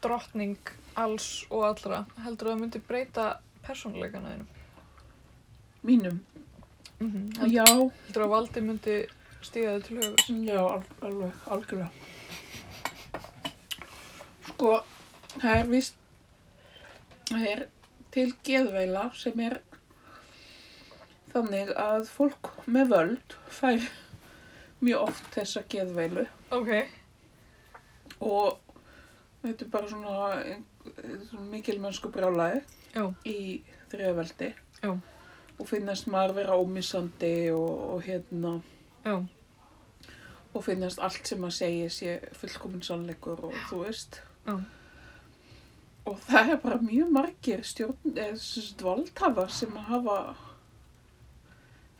[SPEAKER 2] drottning alls og allra, heldurðu að það myndi breyta persónuleikana þínum?
[SPEAKER 1] Mínum.
[SPEAKER 2] Mm -hmm.
[SPEAKER 1] Já,
[SPEAKER 2] Heldurðu að valdi myndi stíða þau til höfus?
[SPEAKER 1] já, al alveg, algjörlega. Sko, það er vist, það er til geðveila sem er þannig að fólk með völd fær mjög oft þessa geðveilu
[SPEAKER 2] Ok.
[SPEAKER 1] og þetta er bara svona, ein- svona mikilmennsku brjálæði.
[SPEAKER 2] Já.
[SPEAKER 1] í þriðaveldi
[SPEAKER 2] Já.
[SPEAKER 1] og finnast maður vera ómissandi og, og hérna
[SPEAKER 2] Já.
[SPEAKER 1] og finnast allt sem maður segi sé fullkominn sannleikur og þú veist
[SPEAKER 2] Já.
[SPEAKER 1] og það er bara mjög margir stjórn eða sem sagt valdhafar sem að hafa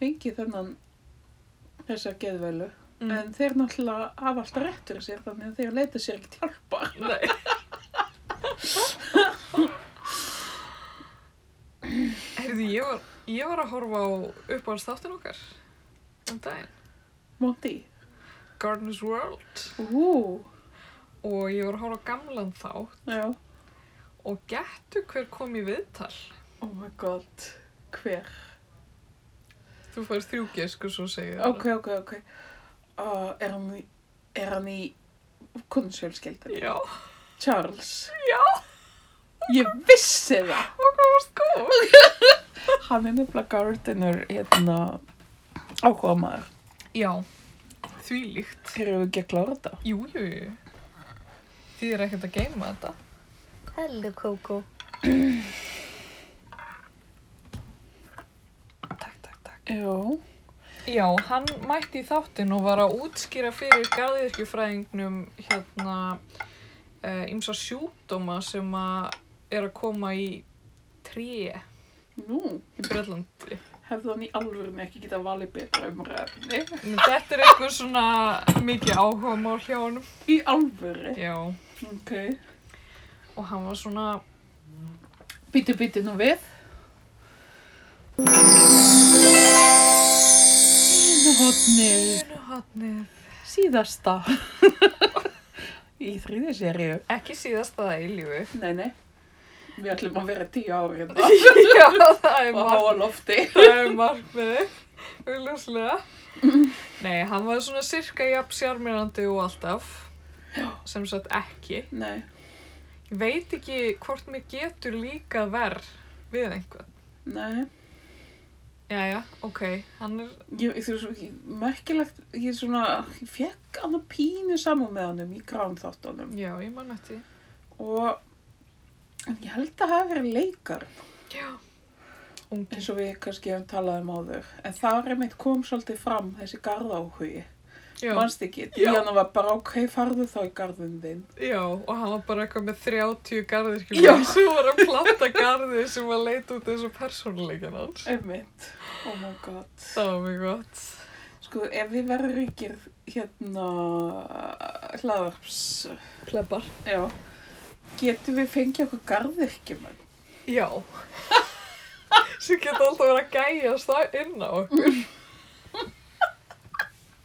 [SPEAKER 1] fengið þennan þessa geðveilu
[SPEAKER 2] Mm.
[SPEAKER 1] en þeir náttúrulega hafa alltaf réttur sér þannig að þeir leita sér ekkert hjálpar
[SPEAKER 2] Nei. Heyrðu, ég var, ég var að horfa á uppáhaldsþáttin okkar um daginn.
[SPEAKER 1] móti
[SPEAKER 2] Garden's World.
[SPEAKER 1] Ú,
[SPEAKER 2] Og ég var að horfa á gamlan þátt.
[SPEAKER 1] já,
[SPEAKER 2] Og gettu hver kom í viðtal?
[SPEAKER 1] oh my god hver
[SPEAKER 2] Þú færst þrjú gesku svo segir það.
[SPEAKER 1] Ok, ok, ok. Uh, er, hann, í- er hann í kunnsfjölskeldinu?
[SPEAKER 2] Já,
[SPEAKER 1] Charles.
[SPEAKER 2] já,
[SPEAKER 1] Ég vissi það.
[SPEAKER 2] og hvað varst góð.
[SPEAKER 1] Hann er nefnilega gardener hérna áhuga maður.
[SPEAKER 2] Já, því líkt.
[SPEAKER 1] Þeir eru ekki að klára þetta.
[SPEAKER 2] Jú, jú, jú. Þið er ekkert að geyma þetta.
[SPEAKER 3] Hello, Coco.
[SPEAKER 2] Takk, takk, takk.
[SPEAKER 1] Já.
[SPEAKER 2] Já, hann mætti í þáttinn og var að útskýra fyrir garðirkjufræðingnum hérna ímsa sjúkdóma sem að er að koma í tré í
[SPEAKER 1] Nú,
[SPEAKER 2] Brellandi.
[SPEAKER 1] hefði hann í alvörinu ekki getað valið betra umræðinni.
[SPEAKER 2] Þetta er eitthvað svona mikið áhuga mál hjá honum.
[SPEAKER 1] Í alvöru.
[SPEAKER 2] Já,
[SPEAKER 1] Ok.
[SPEAKER 2] og hann var svona
[SPEAKER 1] Býtu, býtu nú við. Einu hotnið.
[SPEAKER 2] Unuhotnið.
[SPEAKER 1] Síðasta. í þriði seríu.
[SPEAKER 2] Ekki síðasta það í lífi.
[SPEAKER 1] Nei, nei. Við ætlum að vera tíu ári hérna
[SPEAKER 2] Já, það er,
[SPEAKER 1] og
[SPEAKER 2] mark,
[SPEAKER 1] háa lofti.
[SPEAKER 2] það er markmiði, auðljóslega. Nei, hann var svona sirka jafn sjarmirandi og alltaf. Sem sagt ekki.
[SPEAKER 1] Nei,
[SPEAKER 2] Ég veit ekki hvort mér getur líka verð við einhvern.
[SPEAKER 1] nei.
[SPEAKER 2] Jæja, ok, hann er,
[SPEAKER 1] Ég, ég, þú veist, ég, merkilegt, ég svona, ég fekk hann að pínu saman með honum í gránþáttunum
[SPEAKER 2] já, ég man eftir. því.
[SPEAKER 1] og en ég held að það hafi verið leikar
[SPEAKER 2] Já. Ungi.
[SPEAKER 1] eins og við kannski hefum talað um áður en þar einmitt kom svolítið fram þessi garðáhugi,
[SPEAKER 2] Já,
[SPEAKER 1] mannst ekki
[SPEAKER 2] Já.
[SPEAKER 1] því hann var bara ok, farðu þá í garðin þinn
[SPEAKER 2] já, og hann var bara eitthvað með 30 garðir,
[SPEAKER 1] Já.
[SPEAKER 2] skiljum, sem var að planta garðir sem var að leita út þessu persónuleikin hans.
[SPEAKER 1] einmitt, oh my god
[SPEAKER 2] Það var mjög gott.
[SPEAKER 1] sko, ef við verðum ríkir hérna hlaðarps,
[SPEAKER 2] Plebar.
[SPEAKER 1] já getum við fengið okkur garðirkjumenn
[SPEAKER 2] Já. sem geta alltaf verið að gæjast það inn á okkur.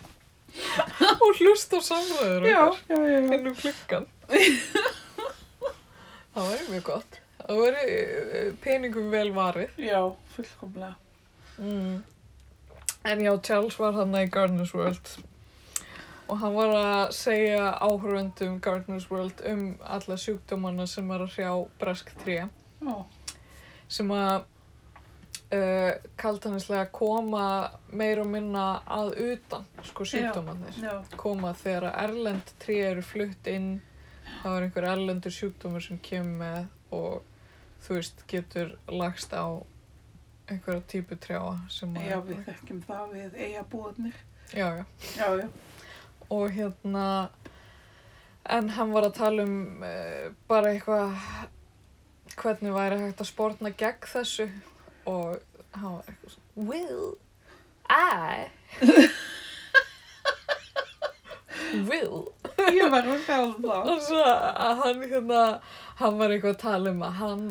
[SPEAKER 2] og hlusta á samræður
[SPEAKER 1] já, já, já, já.
[SPEAKER 2] inn um klukkan. það væri mjög gott. Það væri eh, peningum vel varið.
[SPEAKER 1] Já, fullkomlega.
[SPEAKER 2] Mm. En já, Charles var hann í Gardeners World og hann var að segja áhörundum Gardeners World um alla sjúkdómana sem er að hrjá bresk 3
[SPEAKER 1] Já,
[SPEAKER 2] sem að uh, kaldanislega koma meir og minna að utan sko sjúkdómanir
[SPEAKER 1] já,
[SPEAKER 2] koma þegar að erlend tré eru flutt inn það er einhver erlendur sjúkdómur sem kemur með og þú veist getur lagst á einhverja típu trjáa sem að
[SPEAKER 1] já, við þekkjum það við eigabúðnir.
[SPEAKER 2] já, já.
[SPEAKER 1] Já, já,
[SPEAKER 2] og hérna en hann var að tala um uh, bara eitthvað hvernig væri hægt að spórna gegn þessu og hann var eitthvað svona will I will
[SPEAKER 1] ég var að fæla það.
[SPEAKER 2] og svo að hann hérna, hann var eitthvað að tala um að hann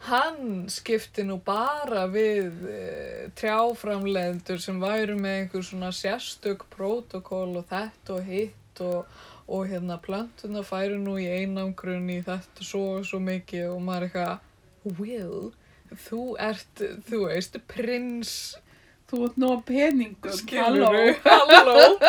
[SPEAKER 2] hann skipti nú bara við e, trjáframlegendur sem væru með einhver svona sérstök prótokól og þetta og hitt og, og hérna plöntuna færu nú í einangrun í þetta svo og svo mikið og maður eitthvað Will, þú ert, þú veist, prins
[SPEAKER 1] Þú ert nóg peningum, halló.
[SPEAKER 2] Skilurðu? Halló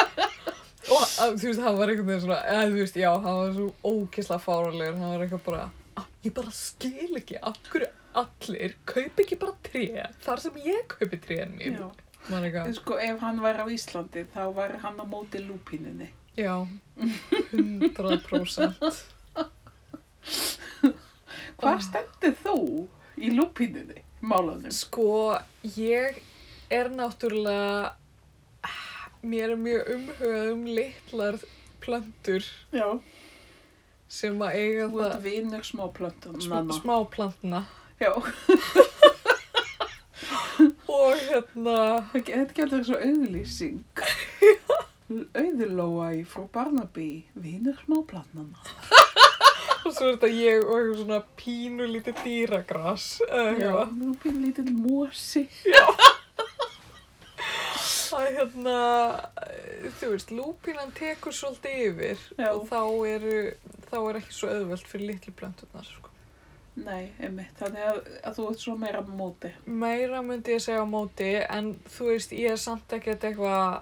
[SPEAKER 2] Og að, þú veist, hann var einhvern veginn svona eða, Þú veist, já, hann var svo ókislega fáralegur Hann var eitthvað bara "Ah, Ég bara skil ekki af hverju allir Kaup ekki bara tré Þar sem ég kaupi trén mín
[SPEAKER 1] Já,
[SPEAKER 2] Man
[SPEAKER 1] en
[SPEAKER 2] eitthvað,
[SPEAKER 1] sko ef hann var á Íslandi þá var hann á móti lúpínunni.
[SPEAKER 2] já 100%
[SPEAKER 1] Hvað
[SPEAKER 2] Ah.
[SPEAKER 1] stendur þú í lúpínunni, málanum?
[SPEAKER 2] Sko, ég er náttúrulega Mér er mjög umhugað um litlar plöntur
[SPEAKER 1] Já,
[SPEAKER 2] sem að eiga
[SPEAKER 1] þú ert
[SPEAKER 2] það
[SPEAKER 1] vinur smáplöntan,
[SPEAKER 2] smá,
[SPEAKER 1] nanna.
[SPEAKER 2] smá plantna
[SPEAKER 1] Já,
[SPEAKER 2] og hérna
[SPEAKER 1] það ge- þetta getur svo auðlýsing. Auðurlóa í frú Barnaby, vinur smáplantnanna.
[SPEAKER 2] og svo er þetta ég og eitthvað svona pínu lítið dýragras eða eitthvað.
[SPEAKER 1] lúpín lítill mosi.
[SPEAKER 2] það er hérna eh, þú veist, lúpínan tekur svolítið yfir
[SPEAKER 1] Já.
[SPEAKER 2] og þá eru þá er ekki svo auðvelt fyrir litlu blöndurnar sko.
[SPEAKER 1] Nei, einmitt, þannig að, að þú ert svo meira á móti.
[SPEAKER 2] meira myndi ég segja á móti en þú veist, ég er samt ekkert eitthvað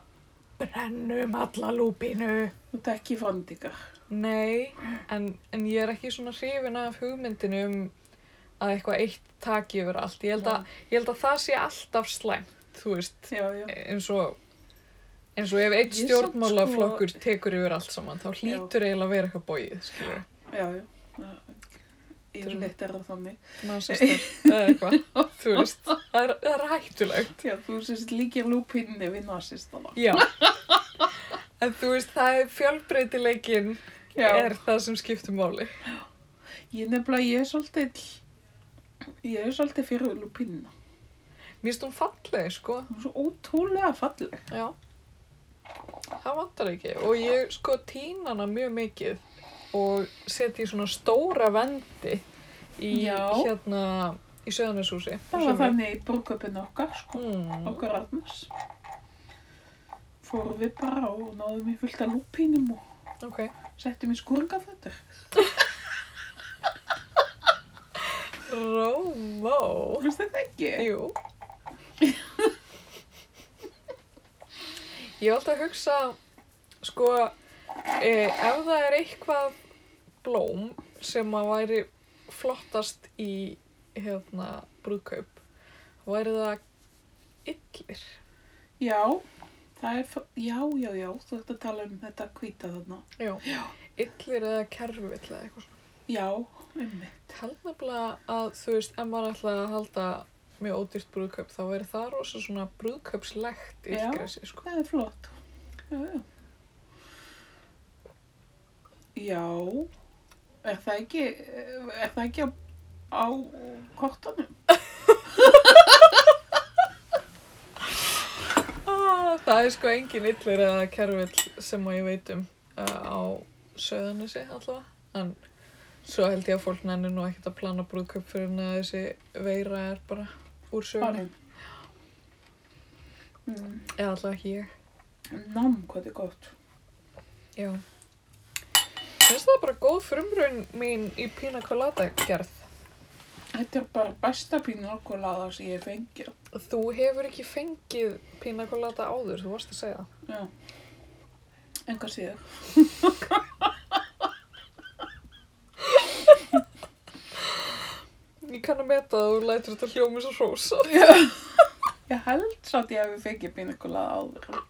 [SPEAKER 2] brennum alla lúpínu
[SPEAKER 1] Þú ert ekki fandingar.
[SPEAKER 2] Nei, en, en ég er ekki svona hrifin af hugmyndinu um að eitthvað eitt taki yfir allt. Ég held, að, ég held að það sé alltaf slæmt, þú veist,
[SPEAKER 1] Já, já.
[SPEAKER 2] eins og, eins og ef eitt
[SPEAKER 1] Ég samt sko-
[SPEAKER 2] stjórnmálaflokkur tekur yfir allt saman, þá hlýtur eiginlega að vera eitthvað bóið, skilur.
[SPEAKER 1] Já, já. Það- Yfirleitt er það þannig.
[SPEAKER 2] Nasistar, eða eitthvað, þú veist, það er, það er hættulegt.
[SPEAKER 1] Já, þú sérst líkir lúpinni við nazistana.
[SPEAKER 2] Já. En þú veist, það er fjölbreytileikin er það sem skiptir máli.
[SPEAKER 1] Ég nefnilega, ég er svolítið, ég er svolítið fyrir lúpinna.
[SPEAKER 2] Mér finnst hún falleg, sko.
[SPEAKER 1] Hún er svo ótrúlega falleg.
[SPEAKER 2] Já, það vantar ekki og ég sko týn hana mjög mikið og setja í svona stóra vendi í
[SPEAKER 1] Já.
[SPEAKER 2] hérna í Söðanessúsi.
[SPEAKER 1] Það var þannig í brúköpun okkar, sko.
[SPEAKER 2] Mm,
[SPEAKER 1] Okkar Arnars. Fórum við bara og náðum í fullt af lúpinum og
[SPEAKER 2] ok,
[SPEAKER 1] settum í skúringafötur.
[SPEAKER 2] Rómó,
[SPEAKER 1] Þú veist þetta ekki?
[SPEAKER 2] jú. Ég var alltaf að hugsa, sko, e, ef það er eitthvað blóm sem að væri flottast í hérna brúðkaup væri það illir.
[SPEAKER 1] Já, það er, fa- já, já, já, þú ert að tala um þetta hvíta þarna.
[SPEAKER 2] Já.
[SPEAKER 1] Já.
[SPEAKER 2] Illir eða kerfill eða eitthvað svona.
[SPEAKER 1] Já, einmitt.
[SPEAKER 2] Ég held nefnilega að þú veist, ef maður ætlaði að halda mjög ódýrt brúðkaup, þá er það rosa svona brúðkaupslegt
[SPEAKER 1] Já.
[SPEAKER 2] illgresi, sko.
[SPEAKER 1] Það er flott. Já, já. Já, er það ekki, er það ekki á, á kortanum?
[SPEAKER 2] Ah, það er sko engin illir eða kerfill sem að ég veit um uh, á söðanessi allavega. En svo held ég að fólk nenni nú ekkert að plana brúðkaup fyrir en að þessi veira er bara úr sögunni.
[SPEAKER 1] Farin. Mm.
[SPEAKER 2] Eða allavega ekki ég.
[SPEAKER 1] Nám, hvað þetta er gott.
[SPEAKER 2] Já. Finnst það bara góð frumraun mín í pina colada gerð.
[SPEAKER 1] Þetta er bara besta pínorkulada sem ég hef fengið.
[SPEAKER 2] Þú hefur ekki fengið pina colada áður, þú varst að segja. það.
[SPEAKER 1] Já. Enga síður.
[SPEAKER 2] Ég kann að meta það og lætur þetta hljómi svo rosa.
[SPEAKER 1] Ég held satt ég hefði fengið pínorkulada áður.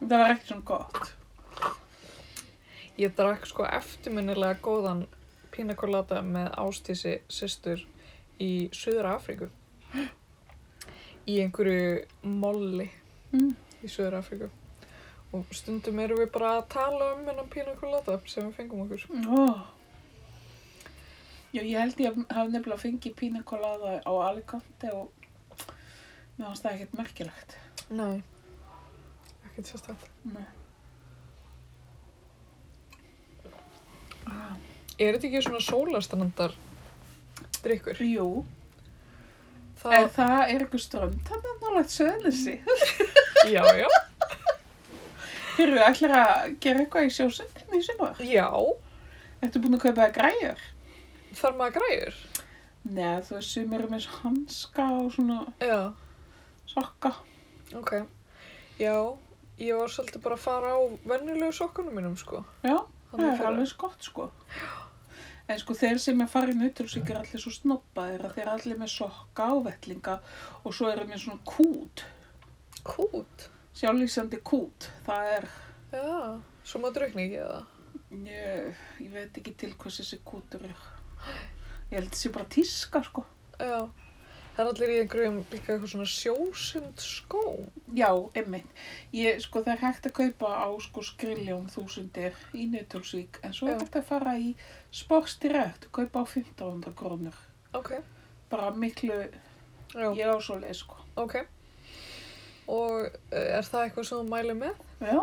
[SPEAKER 1] Það var ekkert svona gott.
[SPEAKER 2] Ég drakk sko eftirminnilega góðan pina colada með ástísi systur í Suður Afríku. Í einhverju molli
[SPEAKER 1] Mm.
[SPEAKER 2] í Suður Afríku. Og stundum erum við bara að tala um hennan pina colada sem við fengum okkur.
[SPEAKER 1] Oh. Já, ég held ég hafði nefnilega fengið pína kolaða á Alicante og mér fannst það ekkert merkilegt.
[SPEAKER 2] Nei. Ekkert sérstætt.
[SPEAKER 1] Nei. Ah,
[SPEAKER 2] Er þetta ekki svona sólastrandar drikkur?
[SPEAKER 1] Jú, en
[SPEAKER 2] Það,
[SPEAKER 1] það er eitthvað strönd, þannig að nálega söðlisi.
[SPEAKER 2] já, já.
[SPEAKER 1] Þeir eru allir að gera eitthvað í sjósöndinni í sumar.
[SPEAKER 2] Já,
[SPEAKER 1] Ertu búin að kaupa það græjur?
[SPEAKER 2] þarf maður græjur.
[SPEAKER 1] Nei, þú veist, sumir eru með svo hanska og svona
[SPEAKER 2] Já,
[SPEAKER 1] sokka.
[SPEAKER 2] ok. Já, ég var svolítið bara að fara á vennilegu sokkunum mínum, sko.
[SPEAKER 1] Já,
[SPEAKER 2] Þannig
[SPEAKER 1] Það
[SPEAKER 2] að
[SPEAKER 1] er
[SPEAKER 2] fara-
[SPEAKER 1] alveg skott sko. En sko þeir sem er farin nautilsvík er allir svo snoppaðir að þeir eru allir með sokka og vellinga og svo eru með svona kút,
[SPEAKER 2] Kút.
[SPEAKER 1] sjálflýsandi kút. Það er,
[SPEAKER 2] Já, svo maður drukni ekki eða.
[SPEAKER 1] ég, ég veit ekki til hvers þessi kútur er. Ég held þessi bara tíska sko.
[SPEAKER 2] Já. Það er allir í einhverjum líka eitthvað svona sjósund skóm.
[SPEAKER 1] Já, einmitt. Ég, sko það er hægt að kaupa á sko skriljón þúsundir í nautilsvík en svo
[SPEAKER 2] Já.
[SPEAKER 1] er hægt að fara í sportsdirekt og kaupa á 1500 krónur.
[SPEAKER 2] Ok.
[SPEAKER 1] Bara miklu,
[SPEAKER 2] Já,
[SPEAKER 1] ég á svo leið sko.
[SPEAKER 2] ok. Og eh, er það eitthvað sem þú mælið með?
[SPEAKER 1] Já.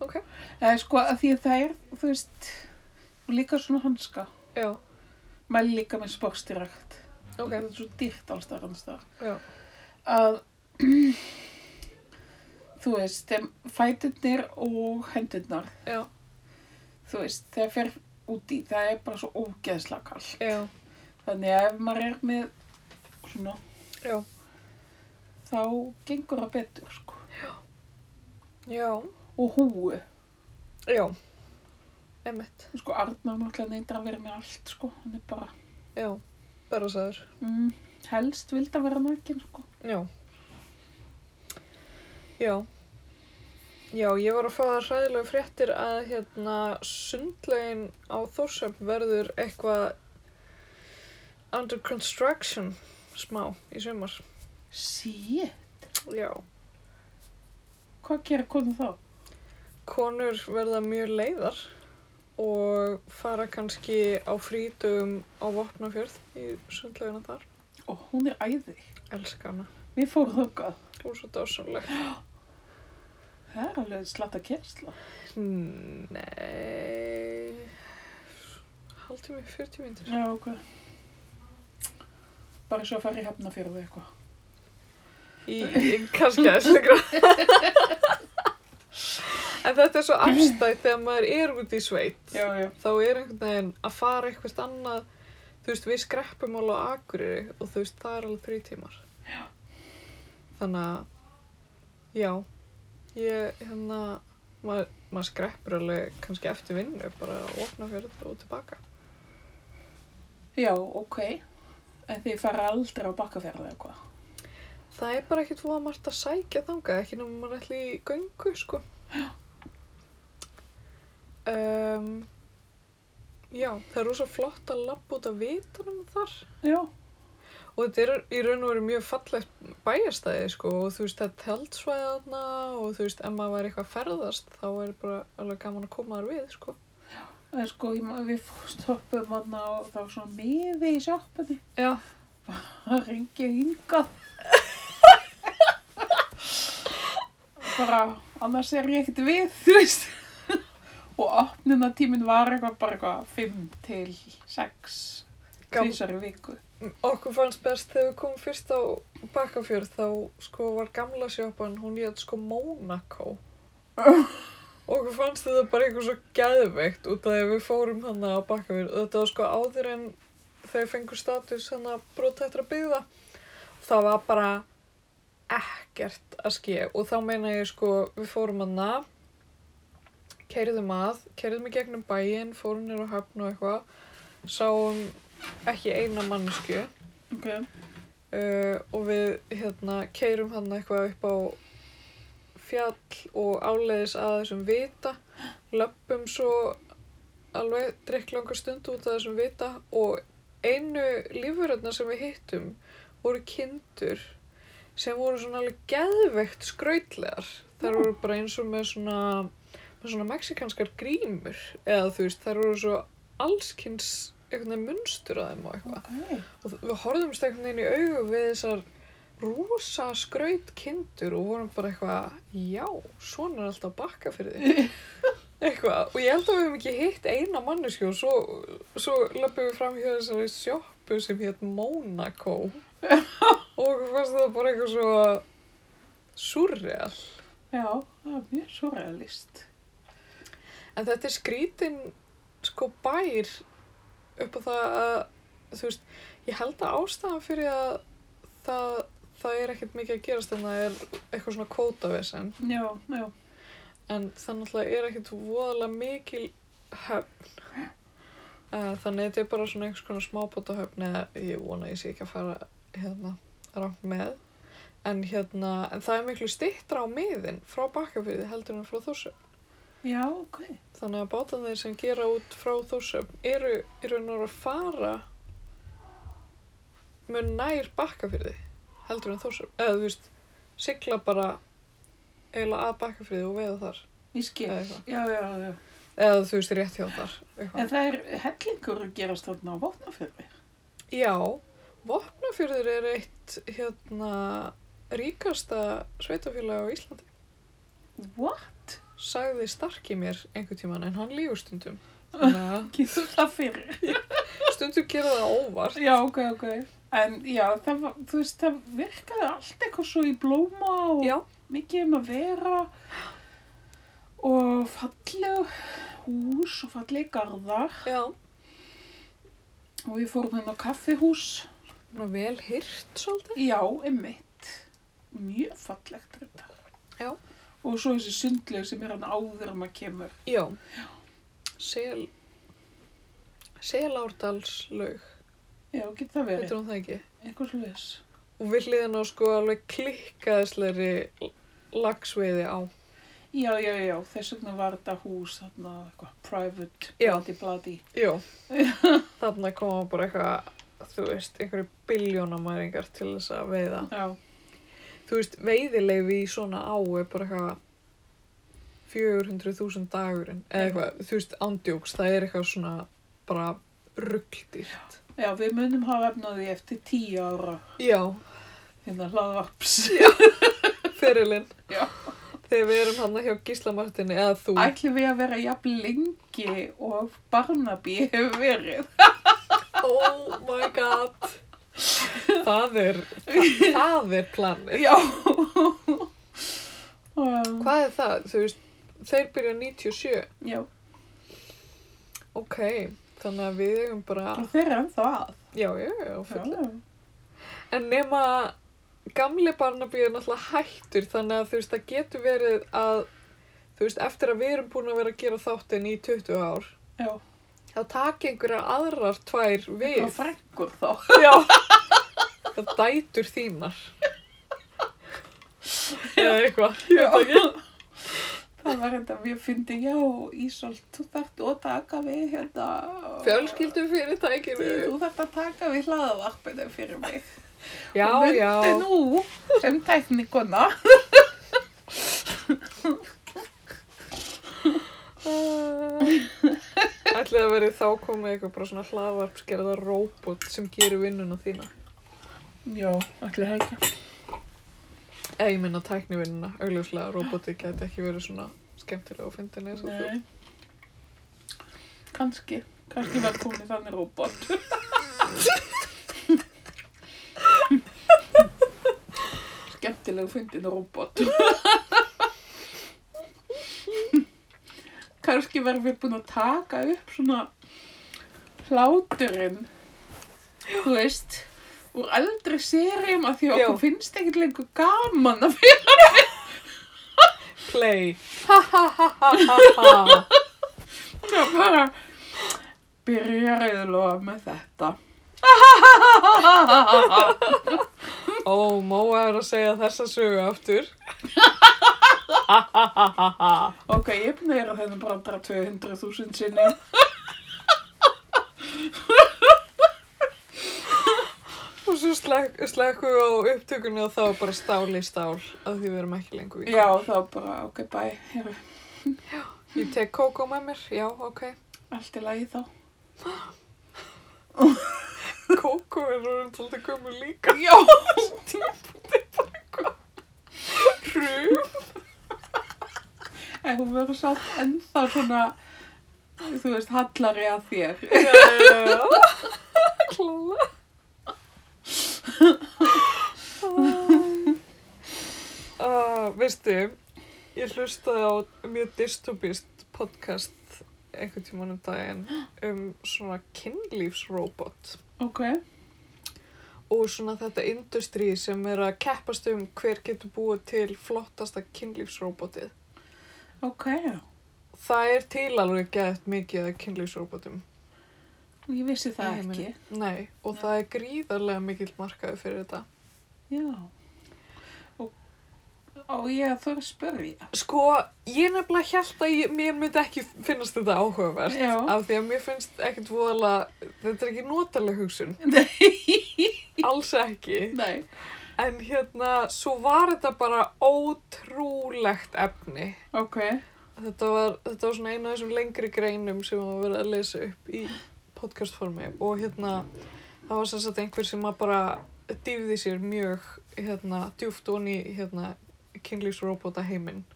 [SPEAKER 2] Ok.
[SPEAKER 1] Það er sko að því að það er, þú veist, og líka svona hanska.
[SPEAKER 2] Já,
[SPEAKER 1] Mæli líka með sporkstirakt.
[SPEAKER 2] ok.
[SPEAKER 1] Það er svo dýrt alls þar hans þar.
[SPEAKER 2] Já.
[SPEAKER 1] Að, þú veist, þeim fæturnir og hendurnar,
[SPEAKER 2] Já,
[SPEAKER 1] þú veist, þegar fer út í, það er bara svo ógeðslega kall.
[SPEAKER 2] já,
[SPEAKER 1] Þannig að ef maður er með svona,
[SPEAKER 2] já.
[SPEAKER 1] þá gengur það betur, sko.
[SPEAKER 2] Já,
[SPEAKER 1] Og húu,
[SPEAKER 2] já. Emmett.
[SPEAKER 1] sko, Arnar náttúrulega neyndar að vera með allt, sko. Hann er bara,
[SPEAKER 2] Já, bara sæður.
[SPEAKER 1] mm, helst vild að vera nakin, sko.
[SPEAKER 2] Já. Já. Já, ég var að fá það hræðilega fréttir að hérna sundlegin á Þórsöfn verður eitthvað under construction smá í sumar.
[SPEAKER 1] Sýtt.
[SPEAKER 2] Já.
[SPEAKER 1] Hvað gera konur þá?
[SPEAKER 2] Konur verða mjög leiðar og fara kannski á frítum á Vopnafjörð í sundlegina þar.
[SPEAKER 1] Og hún er æði.
[SPEAKER 2] Elska hana.
[SPEAKER 1] Við fórum þangað.
[SPEAKER 2] Hún er svo dásamleg.
[SPEAKER 1] Það er alveg slatta kjærsla.
[SPEAKER 2] Nei Haldtími, 40 mínútur
[SPEAKER 1] Já, ok. Bara svo að fara í hefnafjörðu eitthvað.
[SPEAKER 2] Í, í kannski aðeins lengra En þetta er svo afstætt þegar maður er út í sveit
[SPEAKER 1] Já, já.
[SPEAKER 2] þá er einhvern veginn að fara eitthvað annað þú veist, við skreppum alveg á Akureyri og þú veist, það er alveg þrjú tímar já. þannig að já ég, hérna maður, maður skreppur alveg kannski eftir vinnu bara að opna fyrir þetta og tilbaka
[SPEAKER 1] Já, ok. En þið fara aldrei á bakkafjörðu eitthvað.
[SPEAKER 2] Það er bara ekkert fóða margt að sækja þangað, ekki nema maður ætli í göngu, sko. Um, já, það er rosa flott að labba út af vitunum þar.
[SPEAKER 1] Já,
[SPEAKER 2] Og þetta er í raun og veru mjög fallegt bæjastæði, sko, og þú veist, það er tjaldsvæðana og þú veist, ef maður væri eitthvað að ferðast, þá er bara alveg gaman að koma þar við, sko.
[SPEAKER 1] en sko ég, man- við stoppum hana og það var svona miði í sjoppunni.
[SPEAKER 2] Já.
[SPEAKER 1] Það ringir hingað. bara, annars er ég ekkert við, þú veist. Og opnunartíminn var eitthvað bara eitthvað 5 til 6
[SPEAKER 2] Gaman,
[SPEAKER 1] þrísari viku.
[SPEAKER 2] okkur fannst best þegar við komum fyrst á Bakkafjörð þá sko var gamla sjópan, hún hétt sko Mónakó okkur fannst þetta bara eitthvað svo geðveikt út af því að við fórum hana á Bakkafjörð þetta var sko áður en þau fengur status hana brotættra byggða það var bara ekkert að ske og þá meina ég sko við fórum hana keiriðum að, keiriðum í gegnum bæinn fórum nýra á höfn og eitthvað sáum ekki eina mannsku
[SPEAKER 1] Ok,
[SPEAKER 2] uh, og við hérna keirum hann eitthvað upp á fjall og áleiðis að þessum vita löppum svo alveg drikk langa stund út að þessum vita og einu lífuröðna sem við hittum voru kindur sem voru svona alveg geðveikt skrautlegar þær voru bara eins og með svona með svona mexikanskar grímur eða þú veist, þær voru svo allskins einhvern veginn munstur að þeim og eitthvað
[SPEAKER 1] ok.
[SPEAKER 2] og við horfðumst einhvern veginn í augu við þessar rosa skraut kindur og vorum bara eitthvað, já, svona er alltaf bakka fyrir því. Eitthvað, og ég held að við hefum ekki hitt eina mannesku og svo, svo löpum við fram hjá þessari sjoppu sem hétt Monaco og okkur fannst það bara eitthvað svo surreal.
[SPEAKER 1] Já, það er mjög svo realist.
[SPEAKER 2] En þetta er skrítin sko bær upp á það að, þú veist, ég held að ástæðan fyrir að það, það er ekkert mikið að gerast en það er eitthvað svona kvótavesen.
[SPEAKER 1] Já, já.
[SPEAKER 2] En það náttúrulega er ekkert voðalega mikil höfn. Uh, þannig að þetta er bara svona einhvers konar smábóta höfn eða ég vona að ég sé ekki að fara hérna rangt með. En hérna, en það er miklu stittra á miðin frá bakkafyrði heldur en frá þossum.
[SPEAKER 1] Já, ok.
[SPEAKER 2] Þannig að bátarnir sem gera út frá þórsöfn eru í raun og veru að fara mun nær bakkafyrði heldur en þórsöfn. Eða þú veist, sigla bara eiginlega að bakkafyrði og veiða þar.
[SPEAKER 1] Ég skil.
[SPEAKER 2] Eða eitthvað.
[SPEAKER 1] Já, já, já.
[SPEAKER 2] Eða þú veist, rétt hjá þar.
[SPEAKER 1] En
[SPEAKER 2] Eitthvað.
[SPEAKER 1] það er hellingur að gerast þarna á vopnafjörði.
[SPEAKER 2] Já, Vopnafjörður er eitt hérna ríkasta sveitafélag á Íslandi.
[SPEAKER 1] What?
[SPEAKER 2] Sagði Starki mér einhvern tíman en hann lífur stundum. Þannig að
[SPEAKER 1] Getur það fyrir?
[SPEAKER 2] stundum gera það óvart.
[SPEAKER 1] Já, ok, ok. En já, það var, þú veist, það virkaði allt eitthvað svo í blóma og
[SPEAKER 2] Já,
[SPEAKER 1] mikið um að vera og falleg hús og falleg garðar
[SPEAKER 2] já.
[SPEAKER 1] og við fórum hérna á kaffihús.
[SPEAKER 2] Svona vel hirt svolítið.
[SPEAKER 1] Já, einmitt. Mjög fallegt þetta.
[SPEAKER 2] Já.
[SPEAKER 1] Og svo þessi sundlegu sem er hann áður en maður kemur.
[SPEAKER 2] Já. Sel... Selárdalslaug.
[SPEAKER 1] Já, getur það verið.
[SPEAKER 2] Heitir hún það ekki?
[SPEAKER 1] Eitthvað slúðis.
[SPEAKER 2] Og við hliðin á sko alveg klikkaðisleiri lagsveiði á.
[SPEAKER 1] Já, já, já, þess vegna var þetta hús þarna eitthvað private,
[SPEAKER 2] Já.
[SPEAKER 1] bladi, bladi.
[SPEAKER 2] Já. Þarna koma bara eitthvað, þú veist, einhverju biljónamæringar til þess að veiða.
[SPEAKER 1] Já,
[SPEAKER 2] Þú veist, veiðileifi í svona á er bara eitthvað 400.000 dagurinn. Eða eitthvað, þú veist, ándjóks, það er eitthvað svona bara rugldýrt.
[SPEAKER 1] já, við munum hafa efnaði eftir tíu ára
[SPEAKER 2] Já,
[SPEAKER 1] hérna hlaðvarps.
[SPEAKER 2] ferilinn
[SPEAKER 1] Já.
[SPEAKER 2] þegar við erum hann hjá Gísla Martini eða þú
[SPEAKER 1] Ætlum við að vera jafn lengi og Barnaby hefur verið.
[SPEAKER 2] oh my god það er það, það er planið
[SPEAKER 1] Já. Um,
[SPEAKER 2] hvað er það, þú veist þeir byrja 97,
[SPEAKER 1] já,
[SPEAKER 2] ok þannig að við eigum bara
[SPEAKER 1] og þeir eru ennþá að.
[SPEAKER 2] já, já, já, fullt
[SPEAKER 1] Já,
[SPEAKER 2] en nema gamli Barnaby er náttúrulega hættur þannig að þú veist, það getur verið að þú veist, eftir að við erum búin að vera að gera þáttinn í 20 ár
[SPEAKER 1] já.
[SPEAKER 2] þá taki einhverjar aðrar tvær við
[SPEAKER 1] Og frekkur þá.
[SPEAKER 2] Já. Það dætur þínar. eða eitthvað.
[SPEAKER 1] Já. Það var hérna, ég fyndi, já, Ísolt, þú þarft að taka við hérna.
[SPEAKER 2] Fjölskyldu
[SPEAKER 1] Þú
[SPEAKER 2] fyrirtækinu.
[SPEAKER 1] þarft að taka við hlaðavarpinu fyrir mig.
[SPEAKER 2] Já,
[SPEAKER 1] Og
[SPEAKER 2] já.
[SPEAKER 1] mundu nú sem tæknikona.
[SPEAKER 2] Ætlaði að verið þá komið eitthvað bara svona hlaðvarpsgerða róbot sem gerir vinnuna þína.
[SPEAKER 1] Já, allir hægja.
[SPEAKER 2] Eða ég minna tæknivinnuna, augljóslega róboti geti ekki verið svona skemmtilega og fyndin eins og þú.
[SPEAKER 1] Nei. Kanski, kannski var komið þannig robot. Skemmtilega fyndin robot. kannski verðum við búin að taka upp svona hláturinn, þú veist, úr aldrei sérjum að því að
[SPEAKER 2] Já.
[SPEAKER 1] okkur finnst ekkert lengur gaman að
[SPEAKER 2] Play. Ha ha ha ha ha ha.
[SPEAKER 1] Það bara byrjar auðvitað með þetta.
[SPEAKER 2] Ó, Móa er að segja þessa sögu aftur.
[SPEAKER 1] Ok, ég er búin að gera þennan brandara 200.000 sinni.
[SPEAKER 2] Og svo slekk, slekkum við á upptökunni og þá er bara stál í stál að því við erum ekki lengur í.
[SPEAKER 1] Já, þá bara, ok, bæ, heru,
[SPEAKER 2] Ég tek kókó með mér, já, ok.
[SPEAKER 1] allt í lagi þá.
[SPEAKER 2] Kókó er orðin svolítið gömur líka.
[SPEAKER 1] Já!
[SPEAKER 2] Hrjú.
[SPEAKER 1] En hún verður sátt ennþá svona, þú veist, hallari að þér.
[SPEAKER 2] Já, klála. Uh, veistu, ég hlustaði á mjög dystopist podcast einhvern tímann um daginn um svona kynlífsrobot
[SPEAKER 1] Ok,
[SPEAKER 2] og svona þetta industrí sem er að keppast um hver getur búið til flottasta kynlífsrobotið.
[SPEAKER 1] ok,
[SPEAKER 2] Það er til alveg gett mikið af kynlífsrobotum.
[SPEAKER 1] ég vissi það
[SPEAKER 2] Nei, ég
[SPEAKER 1] ekki.
[SPEAKER 2] Nei, og það er gríðarlega mikill markaði fyrir þetta.
[SPEAKER 1] Já. Og, og ég að þurfa að spyrja.
[SPEAKER 2] Sko, ég nefnilega held að ég, mér myndi ekki finnast þetta áhugavert.
[SPEAKER 1] Já.
[SPEAKER 2] Af því að mér finnst ekkert voðalega, þetta er ekki notaleg hugsun,
[SPEAKER 1] Nei.
[SPEAKER 2] alls ekki.
[SPEAKER 1] Nei.
[SPEAKER 2] En hérna, svo var þetta bara ótrúlegt efni.
[SPEAKER 1] Ok,
[SPEAKER 2] Þetta var, þetta var svona einu af þessum lengri greinum sem var verið að lesa upp í podcastformi og hérna það var sem sagt einhver sem að bara dýfði sér mjög hérna djúft onni hérna kynlífsrobota heiminn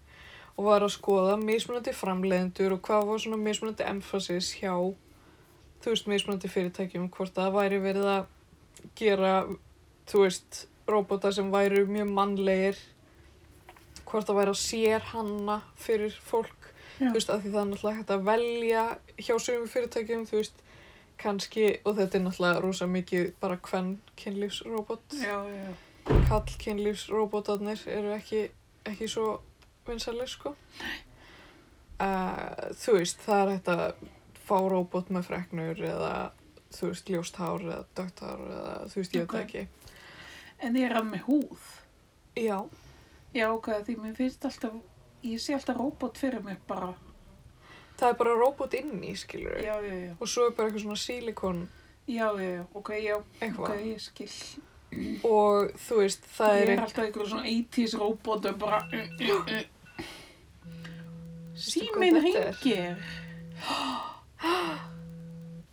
[SPEAKER 2] og var að skoða mismunandi framleiðendur og hvað var svona mismunandi emphasis hjá þú veist mismunandi fyrirtækjum hvort það væri verið að gera þú veist robota sem væru mjög mannlegir hvort það væri að sér hanna fyrir fólk
[SPEAKER 1] Já.
[SPEAKER 2] þú veist, af því það er náttúrulega hægt að velja hjá sögum fyrirtækjum, þú veist kannski, og þetta er náttúrulega rosa mikið bara hvern kynlífsrobot
[SPEAKER 1] já, já.
[SPEAKER 2] kall kynlífsrobotarnir eru ekki, ekki svo vinsalir sko uh, þú veist, það er hægt að fá robot með freknur eða þú veist, ljóst hár eða dögt hár eða þú veist, ég veit
[SPEAKER 1] Ok.
[SPEAKER 2] það ekki
[SPEAKER 1] En ég er að með húð.
[SPEAKER 2] Já,
[SPEAKER 1] Já, ok, því mér finnst alltaf, ég sé alltaf róbót fyrir mér bara.
[SPEAKER 2] það er bara robot inni, skilur
[SPEAKER 1] Já, já, já.
[SPEAKER 2] og svo er bara eitthvað svona silikon
[SPEAKER 1] Já, já, já, ok, já,
[SPEAKER 2] eitthvað
[SPEAKER 1] ok, ég skil.
[SPEAKER 2] og þú veist, það
[SPEAKER 1] ég
[SPEAKER 2] er
[SPEAKER 1] er alltaf einhver svona 80s róbót og bara... Uh, uh, uh.
[SPEAKER 2] Veistu hvað
[SPEAKER 1] Síminn
[SPEAKER 2] þetta er?
[SPEAKER 1] hengir.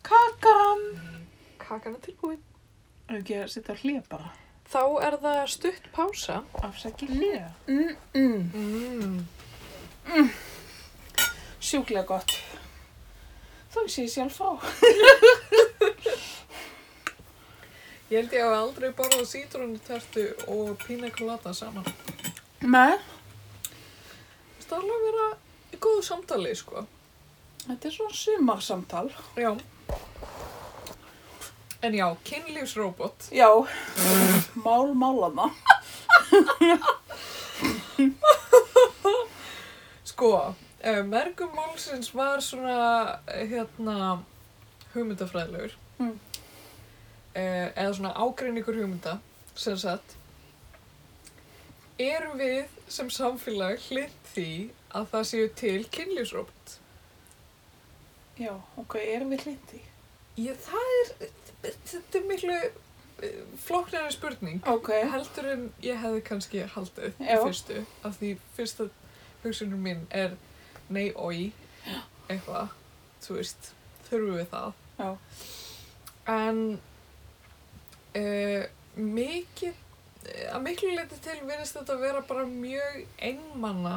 [SPEAKER 1] Kakan!
[SPEAKER 2] kakan er tilbúin
[SPEAKER 1] Ef ekki að setja hlið bara.
[SPEAKER 2] þá er það stutt pása
[SPEAKER 1] Afsækki hlið. Mm, mm.
[SPEAKER 2] mm.
[SPEAKER 1] Sjúklega gott. Þú sé ég sjálf frá.
[SPEAKER 2] ég held ég hafa aldrei borðað sítrónutertu og pina colada saman
[SPEAKER 1] Nei,
[SPEAKER 2] það er alveg að vera í góðu samtali sko
[SPEAKER 1] þetta er svona sumarsamtal.
[SPEAKER 2] já en já, kynlífsrobot
[SPEAKER 1] Já, mál málana.
[SPEAKER 2] sko, eh, mergum málsins var svona eh, hérna hugmyndafræðilegur
[SPEAKER 1] Mm.
[SPEAKER 2] eh, eða svona ágreiningur hugmynda sem sagt erum við sem samfélag hlind því að það séu til kynlífsróbot?
[SPEAKER 1] Já, ok, erum við hlindi?
[SPEAKER 2] Ég, það er, þetta er miklu flokknari spurning
[SPEAKER 1] Ok,
[SPEAKER 2] heldur en ég hefði kannski haldið í
[SPEAKER 1] Já.
[SPEAKER 2] fyrstu af því fyrsta hugsunum mín er nei, oi, eitthvað, þú veist, þurfum við það
[SPEAKER 1] já,
[SPEAKER 2] en uh, mikið eh, að miklu leiti til verðist þetta að vera bara mjög einmanna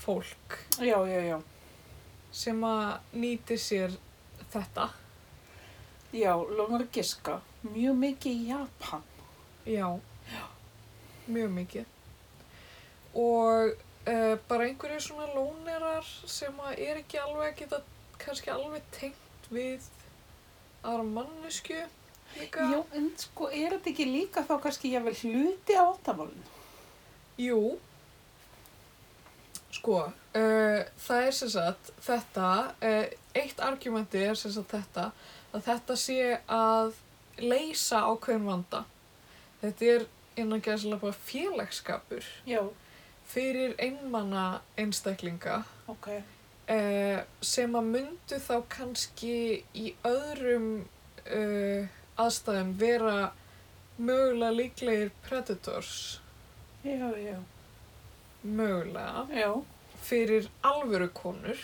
[SPEAKER 2] fólk
[SPEAKER 1] já, já, já.
[SPEAKER 2] sem að nýti sér þetta
[SPEAKER 1] Já, lóðum að giska. Mjög mikið í Japan.
[SPEAKER 2] já, mjög mikið og uh, bara einhverju svona lónerar sem að er ekki alveg að geta kannski alveg tengt við aðra mannesku líka
[SPEAKER 1] Já, en sko, er þetta ekki líka þá kannski ég vel hluti á vandamálinu?
[SPEAKER 2] Jú, sko, uh, það er sem sagt þetta, uh, eitt argumenti er sem sagt þetta, að þetta sé að leysa ákveðin vanda. Þetta er innan gæðslega bara félagsskapur
[SPEAKER 1] Já,
[SPEAKER 2] fyrir einmanna einstaklinga
[SPEAKER 1] ok,
[SPEAKER 2] uh, sem að myndu þá kannski í öðrum uh, aðstæðum vera mögulega líklegir predators,
[SPEAKER 1] já, já,
[SPEAKER 2] mögulega.
[SPEAKER 1] já,
[SPEAKER 2] fyrir alvöru konur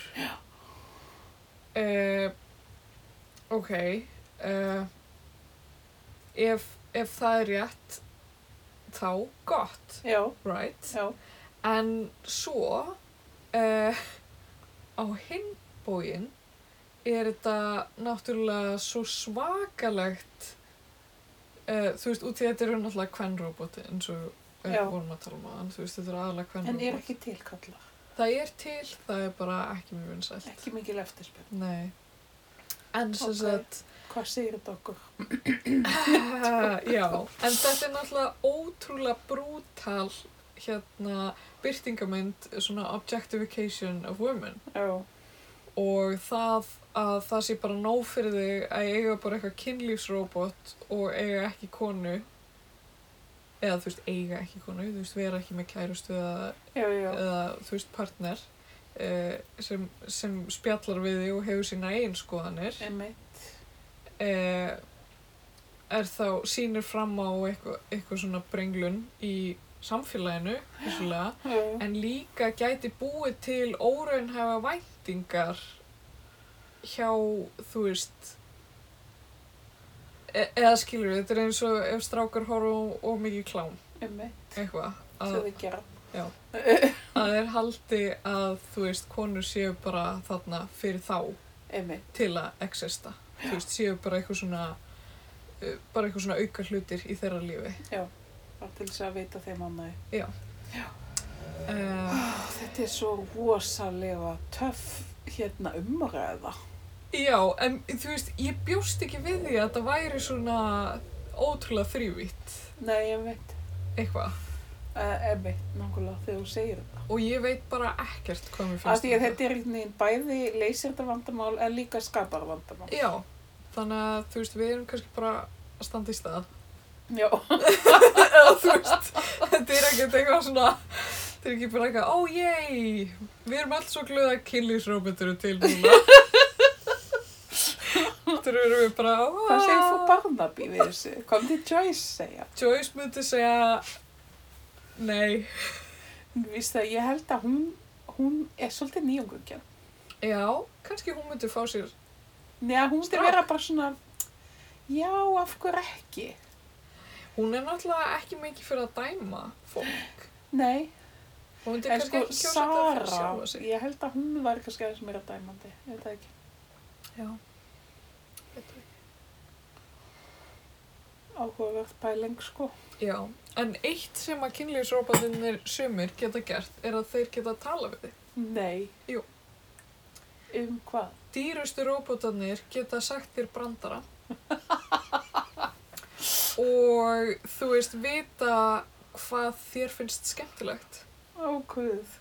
[SPEAKER 2] uh, ok uh, ef, ef það er rétt þá gott
[SPEAKER 1] já,
[SPEAKER 2] right
[SPEAKER 1] já,
[SPEAKER 2] en svo uh, á hinn bóginn er þetta náttúrulega svo svakalegt uh, þú veist, út í þetta eru náttúrulega kvenrobot eins og við
[SPEAKER 1] Já.
[SPEAKER 2] vorum að tala um að þú veist, þetta eru aðalega
[SPEAKER 1] en
[SPEAKER 2] kvenrobot
[SPEAKER 1] er ekki tilkalla,
[SPEAKER 2] Það er til, það er bara ekki mjög vinsælt.
[SPEAKER 1] ekki mikil eftirspil.
[SPEAKER 2] Nei. En sem
[SPEAKER 1] Ok.
[SPEAKER 2] sagt,
[SPEAKER 1] Hvað segir þetta okkur?
[SPEAKER 2] já, en þetta er náttúrulega ótrúlega brútal hérna byrtingamynd, svona objectification of women
[SPEAKER 1] Já,
[SPEAKER 2] og það að það sé bara nóg fyrir þig að eiga bara eitthvað kynlífsrobot og eiga ekki konu eða þú veist, eiga ekki konu, þú veist, vera ekki með kærustu eða
[SPEAKER 1] já, já,
[SPEAKER 2] eða þú veist partner uh, sem, sem spjallar við þig og hefur sína eigin skoðanir
[SPEAKER 1] einmitt,
[SPEAKER 2] uh, er þá sýnir fram á eitthvað, eitthvað svona brenglun í samfélaginu vissulega,
[SPEAKER 1] já, já,
[SPEAKER 2] en líka gæti búið til óraunhæfa væntingar hjá þú veist e eða skilur við, þetta er eins og ef strákar horfa og mikið klám
[SPEAKER 1] einmitt,
[SPEAKER 2] eitthvað
[SPEAKER 1] þau
[SPEAKER 2] að-
[SPEAKER 1] þau gera.
[SPEAKER 2] að þeir haldi að þú veist konur séu bara þarna fyrir þá
[SPEAKER 1] Einmitt,
[SPEAKER 2] til að exista þú veist séu bara eitthvað svona uh, bara eitthvað svona auka hlutir í þeirra lífi
[SPEAKER 1] bara til þess að veita þeim annaði.
[SPEAKER 2] uh,
[SPEAKER 1] Þetta er svo rosalega töff hérna umræða.
[SPEAKER 2] Eh, já en þú veist ég bjóst ekki við því að það væri svona ótrúlega þrývitt
[SPEAKER 1] Nei, einmitt,
[SPEAKER 2] eitthvað
[SPEAKER 1] uh, einmitt, nákvæmlega þegar þú segir þetta.
[SPEAKER 2] og ég veit bara ekkert hvað mér
[SPEAKER 1] Af
[SPEAKER 2] finnst
[SPEAKER 1] því að
[SPEAKER 2] um
[SPEAKER 1] þetta er einhvern veginn bæði leysir þetta vandamál en líka skapar vandamál.
[SPEAKER 2] það. já þannig að þú veist við erum kannski bara að standa í stað
[SPEAKER 1] Já,
[SPEAKER 2] eða þú veist, þetta er ekkert eitthvað svona, þetta er ekki bara eitthvað, ó jæj, við erum alls svo glöð að kynlífsróbetur eru til núna. Þetta eru við bara, ó,
[SPEAKER 1] hvað segir þú Barnaby við þessu? Hvað myndi Joyce segja?
[SPEAKER 2] Joyce myndi segja, nei,
[SPEAKER 1] Hún víst að ég held að hún, hún er svolítið nýjungugjarn.
[SPEAKER 2] já, kannski hún myndi fá sér,
[SPEAKER 1] Nei, að hún myndi
[SPEAKER 2] Strák.
[SPEAKER 1] vera bara svona, já, af hverju ekki?
[SPEAKER 2] hún er náttúrulega ekki mikið fyrir að dæma fólk.
[SPEAKER 1] Nei,
[SPEAKER 2] Hún myndi
[SPEAKER 1] en
[SPEAKER 2] kannski
[SPEAKER 1] sko
[SPEAKER 2] ekki kjósa þetta fyrir
[SPEAKER 1] Sara,
[SPEAKER 2] sjálfa sig.
[SPEAKER 1] ég held að hún var kannski aðeins meira dæmandi, ég veit það ekki.
[SPEAKER 2] Já,
[SPEAKER 1] Áhugaverð pæling, sko.
[SPEAKER 2] já, en eitt sem að kynlífsróbetinnir sumir geta gert er að þeir geta að tala við þig.
[SPEAKER 1] Nei.
[SPEAKER 2] Jú.
[SPEAKER 1] Um hvað?
[SPEAKER 2] dýrustu róbótarnir geta sagt þér brandara og þú veist vita hvað þér finnst skemmtilegt
[SPEAKER 1] Ó, guð.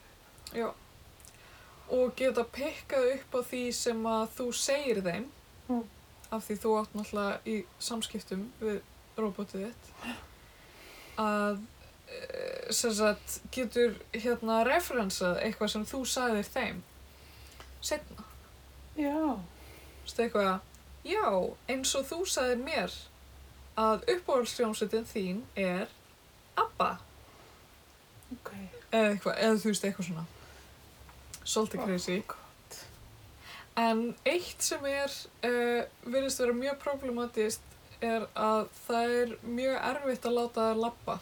[SPEAKER 2] og geta pikkað upp á því sem að þú segir þeim
[SPEAKER 1] Mm.
[SPEAKER 2] af því þú átt náttúrulega í samskiptum við róbótið þitt að e, sem sagt, getur hérna referensað eitthvað sem þú sagðir þeim setna,
[SPEAKER 1] Já,
[SPEAKER 2] veistu eitthvað já, eins og þú sagðir mér að uppáhaldsjónsveitin þín er ABBA
[SPEAKER 1] ok.
[SPEAKER 2] eða eitthvað, eða þú veist eitthvað svona svolítið
[SPEAKER 1] Oh,
[SPEAKER 2] crazy en eitt sem er uh, virðist vera mjög problematist er að það er mjög erfitt að láta þær lappa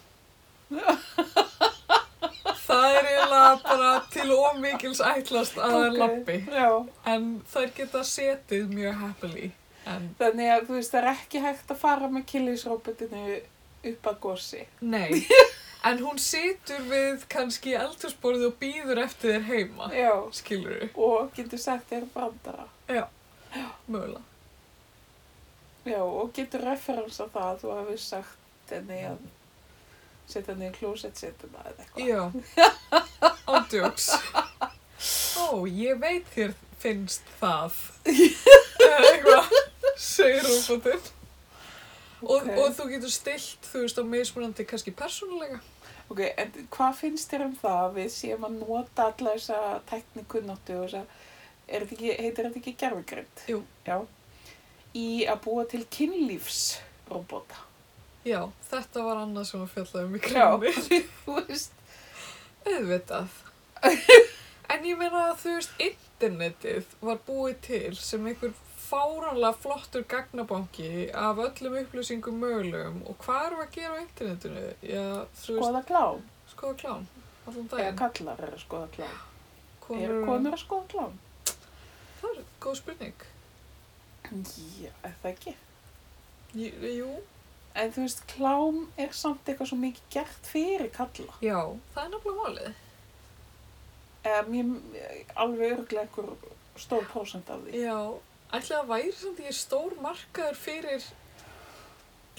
[SPEAKER 2] það er eiginlega bara til ómikils ætlast að þær
[SPEAKER 1] Ok,
[SPEAKER 2] lappi
[SPEAKER 1] Já,
[SPEAKER 2] en þær geta setið mjög happily en
[SPEAKER 1] þannig að þú veist, það er ekki hægt að fara með killisróputinu upp að gósi.
[SPEAKER 2] nei en hún situr við kannski eldursborðið og býður eftir þér heima
[SPEAKER 1] Já,
[SPEAKER 2] skilur við,
[SPEAKER 1] og getur sagt þér brandara.
[SPEAKER 2] mögulega
[SPEAKER 1] Já, og getur referensa það að þú hefur sagt henni að setja henni í klósett setuna eða eitthvað.
[SPEAKER 2] Já, ándjóks. Ó, ég veit þér finnst það. Eða eitthvað, segir robotinn. Og,
[SPEAKER 1] Ok.
[SPEAKER 2] og þú getur stilt, þú veist, á mismunandi kannski persónulega.
[SPEAKER 1] Ok, en hvað finnst þér um það að við séum að nota alla þessa teknikunnáttu og þessa, er þetta ekki, heitir þetta ekki gerfugrind?
[SPEAKER 2] Jú.
[SPEAKER 1] Já. Í að búa til kynlífsrobota.
[SPEAKER 2] Já, þetta var annað sem að fjalla um í
[SPEAKER 1] Já.
[SPEAKER 2] krinni.
[SPEAKER 1] Þú veist,
[SPEAKER 2] Auðvitað. En ég meina að þú veist, internetið var búið til sem einhver fáranlega flottur gagnabanki af öllum upplýsingum mögulegum og hvað erum við að gera á internetinu? Já, þú veist,
[SPEAKER 1] skoða klám.
[SPEAKER 2] Skoða klám, allan
[SPEAKER 1] Eða
[SPEAKER 2] daginn.
[SPEAKER 1] kallar er að skoða klám.
[SPEAKER 2] Konur,
[SPEAKER 1] Er konur að skoða klám?
[SPEAKER 2] Það er góð spurning.
[SPEAKER 1] Já, er það ekki.
[SPEAKER 2] J jú.
[SPEAKER 1] En þú veist, klám er samt eitthvað svo mikið gert fyrir kalla.
[SPEAKER 2] Já, það er nefnilega málið.
[SPEAKER 1] Eða mér alveg örglega einhver stór prósent af því.
[SPEAKER 2] Já, ætli að væri samt ég stór markaður fyrir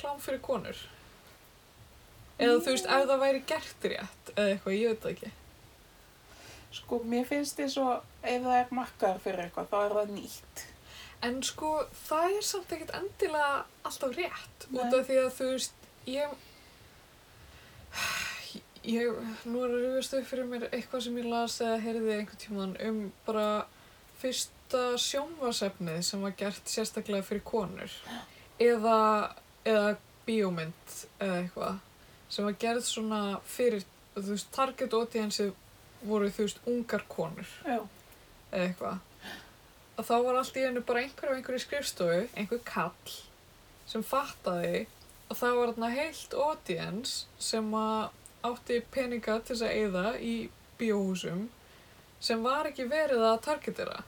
[SPEAKER 2] klám fyrir konur. Eða þú veist, ef það væri gert rétt eða eitthvað, ég veit það ekki.
[SPEAKER 1] Sko, mér finnst þið svo, ef það er markaður fyrir eitthvað, þá er það nýtt.
[SPEAKER 2] En sko, það er samt ekkert endilega alltaf rétt.
[SPEAKER 1] Nei.
[SPEAKER 2] Út af því að þú veist, ég... Ég, nú er að rifjast upp fyrir mér eitthvað sem ég las eða heyrði einhvern tímann um bara fyrsta sjónvasefnið sem var gert sérstaklega fyrir konur eða, eða bíómynd eða eitthvað sem var gerð svona fyrir, þú veist, target audience voru þú veist ungar konur
[SPEAKER 1] Já.
[SPEAKER 2] eða eitthvað að þá var allt í hennu bara einhver á einhverju skrifstofu, einhver kall sem fattaði að það var þarna heilt audience sem að átti peninga til þess að eyða í bíóhúsum sem var ekki verið að targetera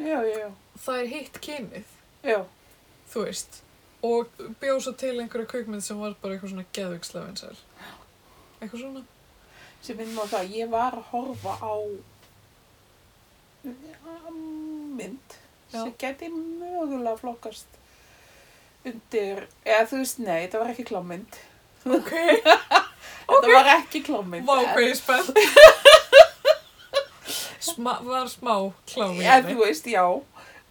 [SPEAKER 1] Já, já, já.
[SPEAKER 2] það er hitt kynið,
[SPEAKER 1] Já,
[SPEAKER 2] þú veist og bjóð svo til einhverja kvikmynd sem var bara eitthvað svona geðvikslefinsar eitthvað svona
[SPEAKER 1] sem minnum á það, ég var að horfa á ja, mynd
[SPEAKER 2] Já.
[SPEAKER 1] sem geti mögulega flokkast undir, eða þú veist, nei, þetta var ekki klámynd.
[SPEAKER 2] ok,
[SPEAKER 1] Þetta var ekki klámynd.
[SPEAKER 2] vá hvað ég er spennt Sma, var smá klámi
[SPEAKER 1] Já, þú veist, já.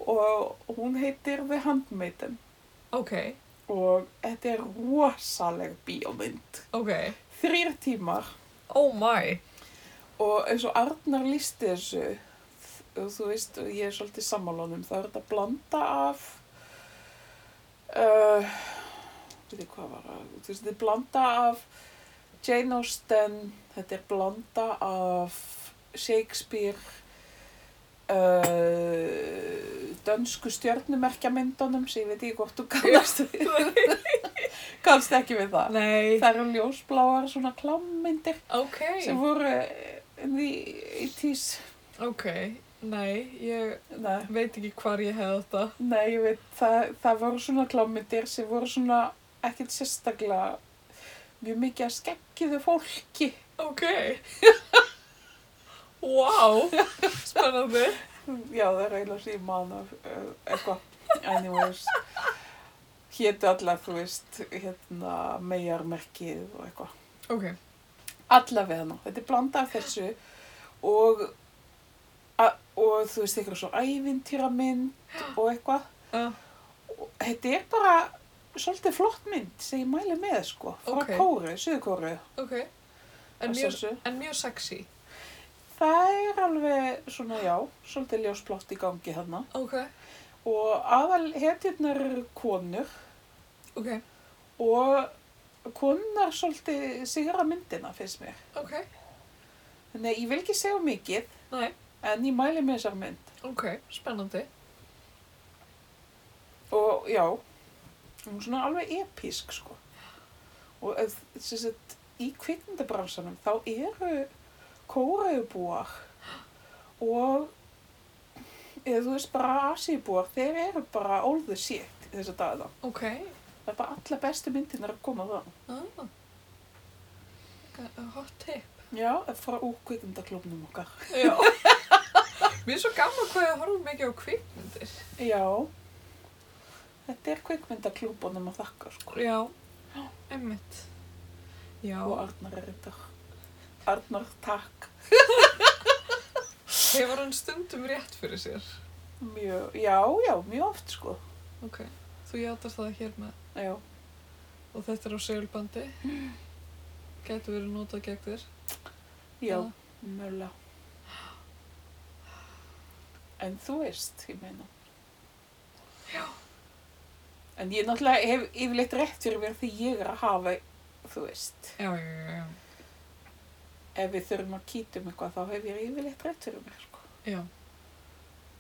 [SPEAKER 1] Og hún heitir The Handmaiden
[SPEAKER 2] Ok,
[SPEAKER 1] og þetta er rosaleg bíómynd.
[SPEAKER 2] ok.
[SPEAKER 1] Þrýr tímar
[SPEAKER 2] Oh my.
[SPEAKER 1] og eins og Arnar lísti þessu þ- og þú veist, og ég er svolítið sammálónum, það er þetta blanda af uh, veit ég hvað var að, þú veist, þetta er blanda af Jane Austen, þetta er blanda af Shakespeare uh, dönsku stjörnumerkjamyndunum sem ég veit ekki hvort þú kannast við kannast ekki við það
[SPEAKER 2] Nei.
[SPEAKER 1] það eru ljósbláar svona klámmyndir
[SPEAKER 2] Ok,
[SPEAKER 1] sem voru eh, in the 80s
[SPEAKER 2] ok. Nei, ég
[SPEAKER 1] nei,
[SPEAKER 2] veit ekki hvar ég hefði þetta.
[SPEAKER 1] nei ég veit það, það voru svona klámyndir sem voru svona ekkert sérstaklega mjög mikið að skeggiðu fólki
[SPEAKER 2] Ok. Wow, spennandi.
[SPEAKER 1] já það er eiginlega sem ég man af eh, eitthvað anyways hétu allar þú veist hérna megarmerkið og eitthvað
[SPEAKER 2] Ok,
[SPEAKER 1] allavega nú, þetta er blanda af þessu og a, og þú veist eitthvað svo ævintýramynd og eitthvað
[SPEAKER 2] uh,
[SPEAKER 1] Og þetta er bara svolítið flott mynd sem ég mæli með sko frá
[SPEAKER 2] Ok.
[SPEAKER 1] okay. Kóru, Suðkóru
[SPEAKER 2] ok. en
[SPEAKER 1] að
[SPEAKER 2] mjög,
[SPEAKER 1] sjálfsögðu.
[SPEAKER 2] en mjög sexy.
[SPEAKER 1] Það er alveg svona, já, svolítið ljósplott í gangi hérna.
[SPEAKER 2] Ok,
[SPEAKER 1] Og aðal hetjurnar eru konur
[SPEAKER 2] ok,
[SPEAKER 1] og konurnar svolítið sigra myndina, finnst mér.
[SPEAKER 2] ok,
[SPEAKER 1] Þannig að ég vil ekki segja mikið,
[SPEAKER 2] næ,
[SPEAKER 1] en ég mæli með þessar mynd.
[SPEAKER 2] ok, spennandi.
[SPEAKER 1] Og já, hún er svona alveg episk, sko. Og eh, sem sagt, í kvikmyndabransanum þá eru kóraubúar og eða þú veist bara asíbúar, þeir eru bara all the shit þess að dagina.
[SPEAKER 2] Ok,
[SPEAKER 1] Það er bara alla bestu myndirnar að koma það.
[SPEAKER 2] ah. Ok, hot tip.
[SPEAKER 1] Já, frá úr kvikmyndaklubnum okkar.
[SPEAKER 2] Já. Mér er svo gaman hvað ég horfum mikið á kvikmyndir.
[SPEAKER 1] Já, þetta er kvikmyndaklubunum að þakka, sko.
[SPEAKER 2] Já. Emmitt. Já.
[SPEAKER 1] Og Arnar er þetta. Arnar, takk.
[SPEAKER 2] Hefur hann stundum rétt fyrir sér.
[SPEAKER 1] Mjög, já, já, mjög oft sko.
[SPEAKER 2] Ok. Þú játar það hér með.
[SPEAKER 1] Já,
[SPEAKER 2] Og þetta er á segulbandi. Gætu verið notað gegn þér.
[SPEAKER 1] já,
[SPEAKER 2] Eða?
[SPEAKER 1] mjögulega. En þú veist, ég meina.
[SPEAKER 2] Já.
[SPEAKER 1] En ég náttúrulega hef yfirleitt rétt fyrir mér því ég er að hafa, þú veist.
[SPEAKER 2] Já, já, já, já.
[SPEAKER 1] Ef við þurfum að kýta um eitthvað þá hef ég yfirleitt rétt fyrir mér sko.
[SPEAKER 2] Já.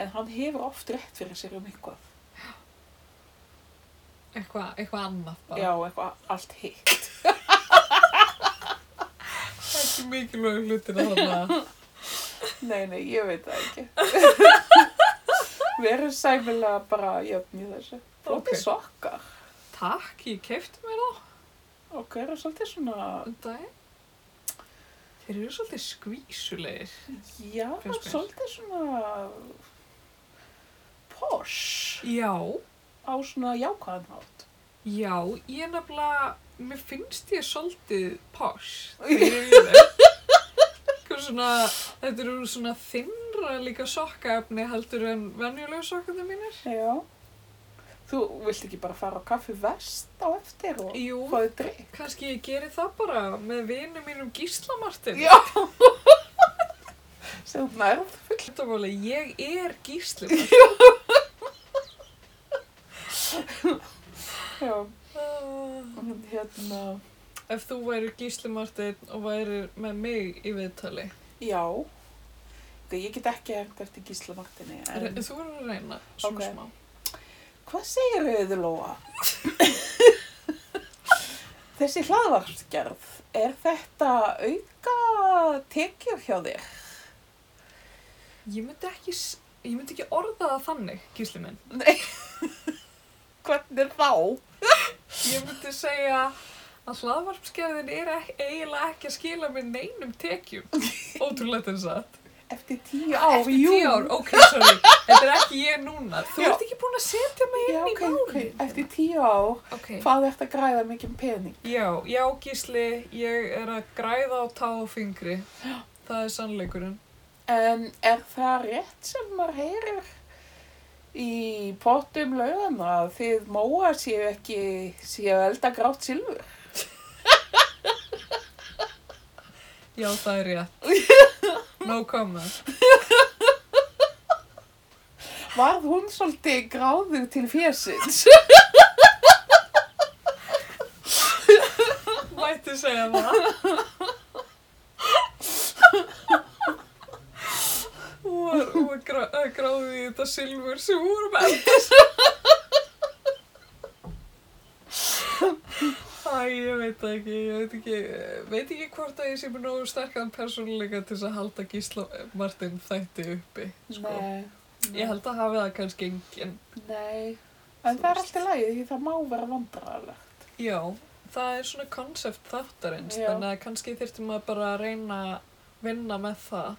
[SPEAKER 1] En hann hefur oft rétt fyrir sér um eitthvað.
[SPEAKER 2] Eitthvað, eitthvað annað bara.
[SPEAKER 1] Já, eitthvað allt hitt.
[SPEAKER 2] Það er ekki mikilvæg hlutin að hana.
[SPEAKER 1] Nei, nei, ég veit það ekki. Við erum sæmilega bara jöfn í þessu. Flóti
[SPEAKER 2] Ok.
[SPEAKER 1] okay. sokkar.
[SPEAKER 2] Takk, ég kefti mér það
[SPEAKER 1] Ok, eru svolítið svona,
[SPEAKER 2] um daginn. Þeir eru svolítið skvísulegir.
[SPEAKER 1] já,
[SPEAKER 2] Finnst mér.
[SPEAKER 1] svolítið svona posh
[SPEAKER 2] Já.
[SPEAKER 1] á svona jákvæðan hátt.
[SPEAKER 2] Já, ég er nefnilega, mér finnst ég svolítið posh þegar ég er í þeim. Eitthvað svona, þetta eru svona þinnra líka sokkaefni heldur en venjulegu sokkaefni mínir.
[SPEAKER 1] Já. Þú vilt ekki bara fara á kaffi vest á eftir og
[SPEAKER 2] Jú.
[SPEAKER 1] fáið drikk?
[SPEAKER 2] Kanski ég geri það bara með vinum mínum Gíslamartin.
[SPEAKER 1] Já. Sem nærð.
[SPEAKER 2] Þetta var alveg, ég er Gíslamartin.
[SPEAKER 1] Já.
[SPEAKER 2] Ah.
[SPEAKER 1] En Hérna,
[SPEAKER 2] Ef þú væri Gíslamartin og væri með mig í viðtali,
[SPEAKER 1] já. Ok, Ég get ekki hengt eftir Gísla Martini.
[SPEAKER 2] Re-
[SPEAKER 1] En...
[SPEAKER 2] þú verður að reyna svona
[SPEAKER 1] Ok.
[SPEAKER 2] smá.
[SPEAKER 1] Hvað segir auður Lóa? Þessi hlaðvarsgerð, er þetta auka tekjur hjá þér?
[SPEAKER 2] Ég myndi ekki, s- ég myndi ekki orða það þannig, Gísli minn.
[SPEAKER 1] Hvernig þá?
[SPEAKER 2] Ég myndi segja að hlaðvarpskeiðin er ek eiginlega ekki að skila mér neinum tekjum. Ótrúlegt en satt.
[SPEAKER 1] Eftir tíu ár,
[SPEAKER 2] Eftir tíu ár, ok, sorry. Þetta er ekki ég núna. Þú
[SPEAKER 1] Já.
[SPEAKER 2] ert ekki búin að setja mig inn
[SPEAKER 1] Já,
[SPEAKER 2] í
[SPEAKER 1] ok,
[SPEAKER 2] málin.
[SPEAKER 1] ok. Eftir tíu ár,
[SPEAKER 2] Ok.
[SPEAKER 1] hvað ert að græða mikið um pening?
[SPEAKER 2] Já, já, Gísli, ég er að græða á tá og fingri. Það er sannleikurinn.
[SPEAKER 1] En er það rétt sem maður heyrir í pottum laugana að þið móa séu ekki, séu að elda grátt silfur?
[SPEAKER 2] Já, það er rétt. No comment.
[SPEAKER 1] Varð hún svolítið gráðug til fjesins?
[SPEAKER 2] Mætti segja það. Hún var, hún var grá, eh, gráðið í þetta silfur sem hún vorum eldis. Æ, ég veit það ekki, ég veit ekki, veit ekki hvort að ég sé mér nógu sterkan persónuleika til þess að halda Gísla Martin þætti uppi, sko.
[SPEAKER 1] Nei.
[SPEAKER 2] Ég held að hafi það kannski enginn.
[SPEAKER 1] Nei, en
[SPEAKER 2] Þú
[SPEAKER 1] það er
[SPEAKER 2] veist.
[SPEAKER 1] alltaf lægið því það má vera vandræðalegt.
[SPEAKER 2] Já, það er svona konsept þáttarins,
[SPEAKER 1] Já.
[SPEAKER 2] þannig að kannski þyrftum að bara reyna að vinna með það.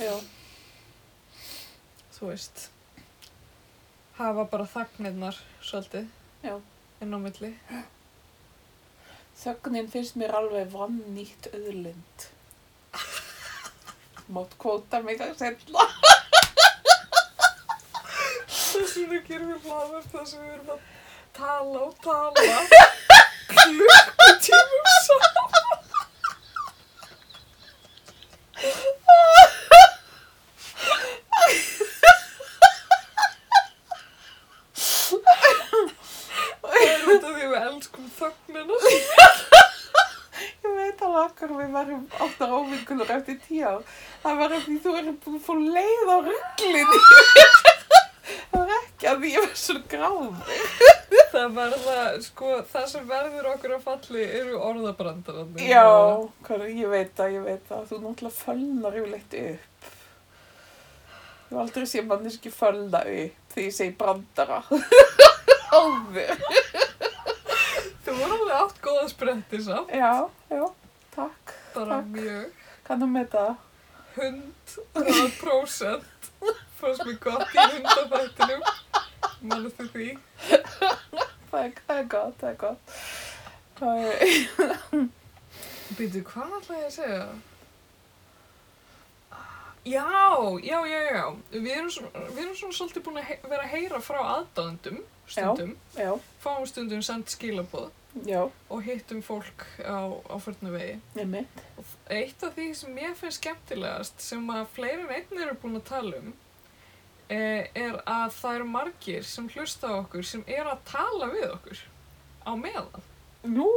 [SPEAKER 1] Já.
[SPEAKER 2] þú veist hafa bara þagnirnar svolítið
[SPEAKER 1] Já.
[SPEAKER 2] inn á milli
[SPEAKER 1] Þögnin finnst mér alveg vannýtt auðlind. Mátt kvóta mig að sella.
[SPEAKER 2] þess vegna gerum við hlaðvörf þar sem við erum að tala og tala klukkutímum saman þögnina.
[SPEAKER 1] Ég veit alveg okkur við varum ofta óvingunar eftir tíu ár. Það var eftir þú erum búin að fá leið á ruglinni. það var ekki að því ég var svo gráð.
[SPEAKER 2] Það verða, sko, það sem verður okkur að falli eru orðabrandarandi.
[SPEAKER 1] Já, hvað, ég veit það, ég veit það. Þú náttúrulega fölnar yfirleitt upp. Ég hef aldrei séð manneski fölna upp þegar ég segi brandara. Áður.
[SPEAKER 2] Þú voru alveg átt góða spretti samt,
[SPEAKER 1] Já, já, takk.
[SPEAKER 2] bara
[SPEAKER 1] Takk.
[SPEAKER 2] mjög
[SPEAKER 1] Kannum með það.
[SPEAKER 2] hund, það prósent, fannst mér gott í hundafættinum, mann eftir því.
[SPEAKER 1] Það er, það er gott, það er gott. Það er,
[SPEAKER 2] Býtu, hvað ætlaði ég að segja? Já, já, já, já, við erum svona, við erum svona svolítið búin að he vera að heyra frá aðdáðendum stundum,
[SPEAKER 1] já,
[SPEAKER 2] fáum stundum send skilaboð
[SPEAKER 1] já,
[SPEAKER 2] og hittum fólk á, á förnu vegi.
[SPEAKER 1] nemi.
[SPEAKER 2] Og þ- Eitt af því sem mér finnst skemmtilegast sem að fleiri en einn eru búin að tala um eh, er að það eru margir sem hlusta á okkur sem eru að tala við okkur á meðan.
[SPEAKER 1] Nú,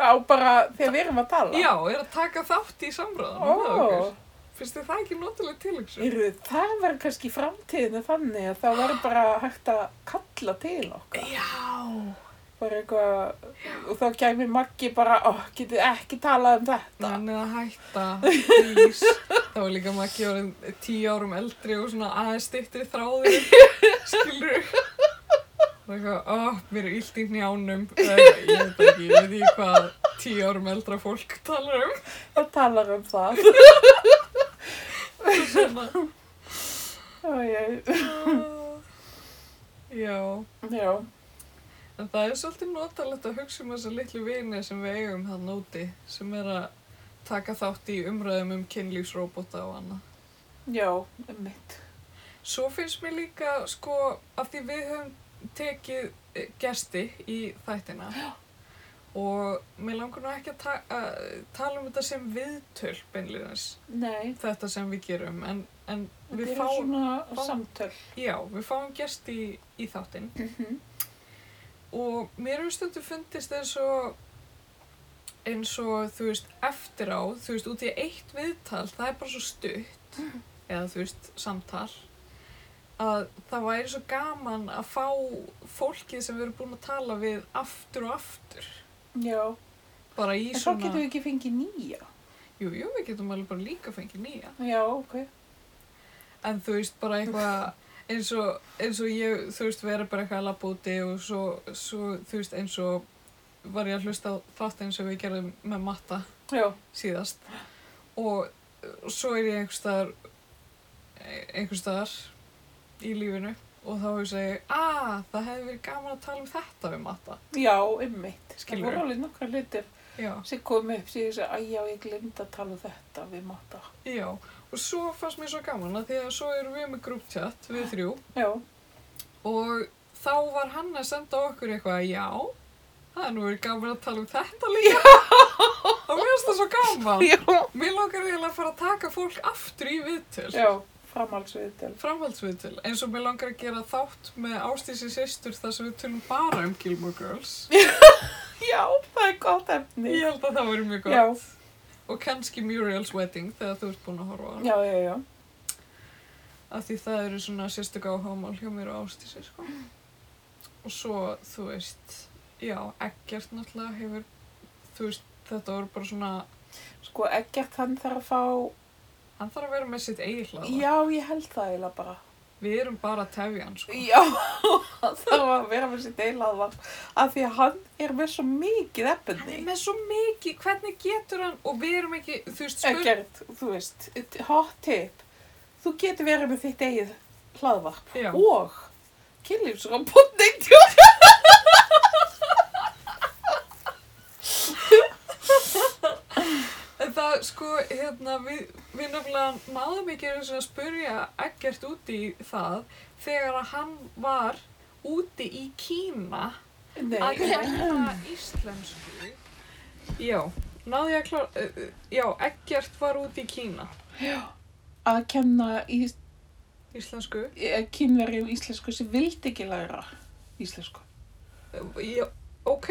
[SPEAKER 1] á bara þegar við erum að tala?
[SPEAKER 2] Já, eru að taka þátt í samræðan
[SPEAKER 1] Ó,
[SPEAKER 2] með okkur. Finnst þið það ekki notalega tilöksu?
[SPEAKER 1] heyrðu, það verður kannski í framtíðinu þannig að það verður bara hægt að kalla til okkar.
[SPEAKER 2] Já.
[SPEAKER 1] Bara eitthvað, og þá kæmi Maggi bara, ó, getið ekki talað um þetta.
[SPEAKER 2] Þannig að hætta, please. Það var líka Maggi orðin tíu árum eldri og svona aðeins styttri þráðir, skilur. Það er eitthvað, oh, mér er illt í njánum. Ég veit ekki, ég veit ekki hvað tíu árum eldra fólk talar um.
[SPEAKER 1] Það talar um það.
[SPEAKER 2] Svona,
[SPEAKER 1] Ó, ég,
[SPEAKER 2] ah, já,
[SPEAKER 1] já,
[SPEAKER 2] en það er svolítið notalegt að hugsa um þessa litlu vini sem við eigum þarna úti, sem er að taka þátt í umræðum um kynlífsróbóta og annað.
[SPEAKER 1] já, mitt.
[SPEAKER 2] Svo finnst mér líka, sko, af því við höfum tekið eh, gesti í þættina og mér langar nú ekki að, ta að tala um þetta sem viðtöl beinleginns,
[SPEAKER 1] Nei,
[SPEAKER 2] þetta sem við gerum, en, en við,
[SPEAKER 1] þetta er
[SPEAKER 2] fáum,
[SPEAKER 1] svona
[SPEAKER 2] fáum-
[SPEAKER 1] samtöl.
[SPEAKER 2] já, við fáum gesti í, í þáttinn og mér hefur stundu fundist eins og eins og þú veist eftir á, þú veist út í eitt viðtal það er bara svo stutt eða þú veist samtal að það væri svo gaman að fá fólkið sem við erum búin að tala við aftur og aftur
[SPEAKER 1] Já,
[SPEAKER 2] bara í
[SPEAKER 1] en svo
[SPEAKER 2] svona,
[SPEAKER 1] getum við ekki fengið nýja.
[SPEAKER 2] jú, jú, við getum alveg bara líka fengið nýja
[SPEAKER 1] Já, ok.
[SPEAKER 2] en þú veist bara eitthvað eins og, eins og ég, þú veist, vera bara eitthvað að labba úti og svo, svo, þú veist, eins og var ég að hlusta á þáttinn sem við gerðum með matta
[SPEAKER 1] Já,
[SPEAKER 2] síðast og uh, svo er ég einhvers staðar einhvers staðar í lífinu og þá hefur segi að það hefði verið gaman að tala um þetta við matta
[SPEAKER 1] já, einmitt. Það
[SPEAKER 2] Skilurðu?
[SPEAKER 1] voru alveg nokkra hlutir
[SPEAKER 2] já,
[SPEAKER 1] sem kom upp sem ég sagði, að já, ég glemd að tala um þetta við matta.
[SPEAKER 2] já, og svo fannst mér svo gaman að því að svo erum við með grúptjatt við þrjú
[SPEAKER 1] Já,
[SPEAKER 2] og þá var hann að senda okkur eitthvað já, það er nú verið gaman að tala um þetta líka og mér finnst það svo gaman
[SPEAKER 1] já,
[SPEAKER 2] mér langar eiginlega að fara að taka fólk aftur í viðtöl
[SPEAKER 1] já, framhaldsviðtel.
[SPEAKER 2] framhaldsviðtil eins og mér langar að gera þátt með Ástísi sýstur þar sem við tölum bara um Gilmore Girls
[SPEAKER 1] Já, það er gott efni.
[SPEAKER 2] ég held að það verið mjög gott
[SPEAKER 1] já,
[SPEAKER 2] og kannski Muriel's Wedding þegar þú ert búin að horfa á hana.
[SPEAKER 1] já, já, já.
[SPEAKER 2] af því það eru svona sérstök áhámál hjá mér og Ástísi sko. og svo þú veist já, ekkert náttúrulega hefur þú veist, þetta voru bara svona
[SPEAKER 1] Sko, ekkert hann þarf að fá,
[SPEAKER 2] hann þarf að vera með sitt eigið
[SPEAKER 1] já, ég held það eiginlega bara.
[SPEAKER 2] við erum bara að tefja hann sko.
[SPEAKER 1] Já, hann þarf að vera með sitt eiginlega af því að hann er með svo mikið
[SPEAKER 2] hann er
[SPEAKER 1] efni.
[SPEAKER 2] með svo mikið, hvernig getur hann og við erum ekki, þú veist, spurning
[SPEAKER 1] Ekkert, þú veist, hot tip, þú getur verið með þitt eigið hlaðvarp
[SPEAKER 2] Já.
[SPEAKER 1] og kynlífsrambótt neitt, já.
[SPEAKER 2] En það, sko, hérna, við, við nefnilega náðum ekki einu sinni að spurja ekkert út í það þegar að hann var úti í Kína að læra íslensku. Já, náðu ég að klára, uh, uh, já, ekkert var úti í Kína,
[SPEAKER 1] að kenna eh, í
[SPEAKER 2] íslensku.
[SPEAKER 1] kynverjum íslensku sem vildi ekki læra íslensku.
[SPEAKER 2] Uh, Já, ok,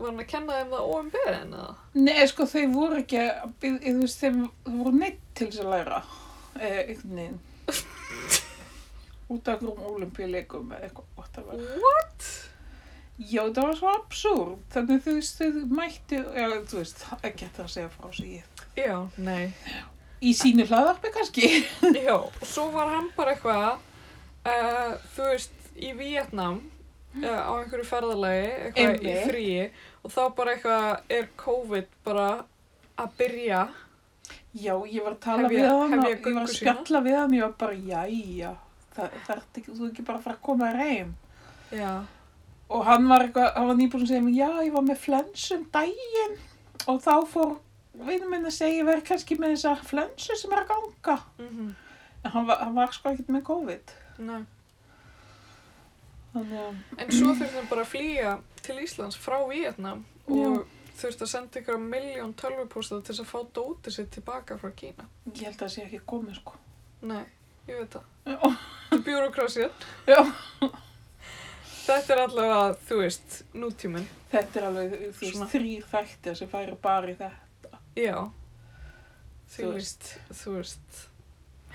[SPEAKER 2] var hann að kenna þeim það OMB en að?
[SPEAKER 1] Nei, sko, þau voru ekki, að- eh, þú veist, þeim þau voru neitt til þess að læra, eh, einhvern veginn. Út af hverjum olimpíuleikum eða eitthvað, whatever.
[SPEAKER 2] What?
[SPEAKER 1] Já, það var svo absúr. Þannig þú veist, þau mættu, já, þú veist, það er ekki hægt að segja frá sig.
[SPEAKER 2] Já, nei.
[SPEAKER 1] Í sínu hlaðarpi kannski.
[SPEAKER 2] Já, og svo var hann bara eitthvað, uh, þú veist, í Vietnam uh, á einhverju ferðalagi, eitthvað
[SPEAKER 1] Einmitt.
[SPEAKER 2] í fríi og þá bara eitthvað er COVID bara að byrja.
[SPEAKER 1] Já, ég var að tala
[SPEAKER 2] Hefja-
[SPEAKER 1] við hann,
[SPEAKER 2] hefja
[SPEAKER 1] og ég var
[SPEAKER 2] göngu
[SPEAKER 1] að
[SPEAKER 2] sína.
[SPEAKER 1] spjalla við hann, ég var bara, jæja, það, það ert ekki, þú ert ekki bara að fara að koma þér heim.
[SPEAKER 2] Já.
[SPEAKER 1] Og hann var eitthvað, hann var nýbúin að segja mér, já, ég var með flensu um daginn og þá fór vinnum minn að segja, ég verð kannski með þessa flensu sem er að ganga.
[SPEAKER 2] Mm
[SPEAKER 1] En hann var, hann var sko ekkert með COVID.
[SPEAKER 2] -hmm.
[SPEAKER 1] Þannig að,
[SPEAKER 2] En svo þurfti hann bara að flýja til Íslands frá Vietnam og þurfti að senda ykkur miljón tölvupósta til þess að fá dótið sitt tilbaka frá Kína.
[SPEAKER 1] ég held að það sé ekki komið, sko.
[SPEAKER 2] Nei, ég veit það.
[SPEAKER 1] Já.
[SPEAKER 2] Þetta er bjúrokrasið.
[SPEAKER 1] Já.
[SPEAKER 2] Þetta er allavega, þú veist, nútíminn.
[SPEAKER 1] Þetta er alveg, þú
[SPEAKER 2] Svona.
[SPEAKER 1] veist, þrýr þættir sem færi bara í þetta.
[SPEAKER 2] Já. Þú
[SPEAKER 1] Þú
[SPEAKER 2] veist, þú veist.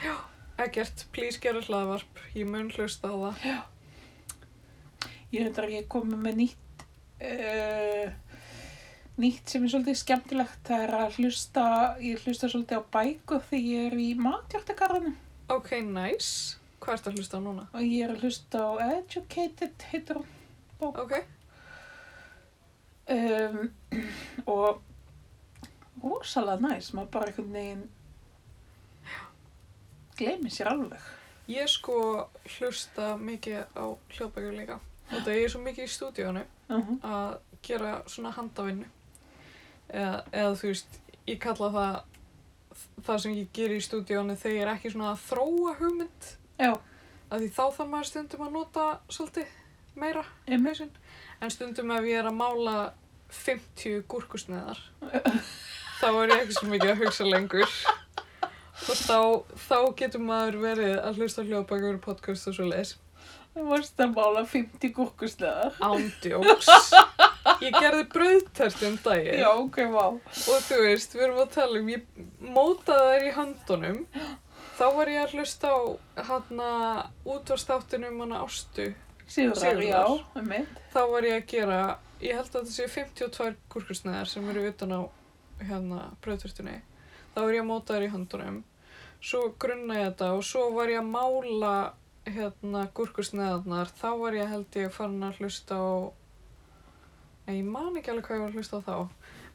[SPEAKER 2] Já, ekkert, please gera hlaðvarp. Ég mun hlusta á það.
[SPEAKER 1] Ég reyndar að ég komið með nýtt, uh, nýtt sem er svolítið skemmtilegt. Það er að hlusta, ég hlusta svolítið á bækur þegar ég er í matjórtakarðanum
[SPEAKER 2] Ok, nice. Hvað ertu að hlusta á núna?
[SPEAKER 1] og ég er að hlusta á Educated, heitur hún.
[SPEAKER 2] Ok.
[SPEAKER 1] Um, og rosalega næs, maður bara einhvern veginn gleymi sér alveg.
[SPEAKER 2] Ég sko hlusta mikið á hljóðbækur líka. Þetta ég er svo mikið í stúdíónu
[SPEAKER 1] Uh -huh.
[SPEAKER 2] að gera svona handavinnu. Eða, eða þú veist, ég kalla það það sem ég ger í stúdíónu þegar ég er ekki svona að þróa hugmynd.
[SPEAKER 1] Já,
[SPEAKER 2] Af því þá þarf maður stundum að nota svolítið meira.
[SPEAKER 1] emmi.
[SPEAKER 2] hausinn. En stundum ef ég er að mála 50 gúrkusneðar, þá er ég ekki svo mikið að hugsa lengur. Og þá, þá getur maður verið að hlusta á hljóðbækur og podcast og svo leis.
[SPEAKER 1] Það varst að mála 50 gúrkusleðar.
[SPEAKER 2] Ándjóks. Ég gerði brauðtert um daginn.
[SPEAKER 1] Já, ok, vá.
[SPEAKER 2] Og þú veist, við erum að tala um, ég mótaði þær í höndunum. Þá var ég að hlusta á hana útvarstáttunum hana ástu.
[SPEAKER 1] Sigurðar,
[SPEAKER 2] Sigurðar.
[SPEAKER 1] já, um mitt.
[SPEAKER 2] þá var ég að gera, ég held að það séu 52 gúrkusnæðar sem eru utan á hérna bröðturtunni. Þá var ég að móta þær í höndunum, svo grunna ég þetta og svo var ég að mála hérna gúrkusnæðarnar, þá var ég held ég farin að hlusta á, nei ég man ekki alveg hvað ég var að hlusta á þá,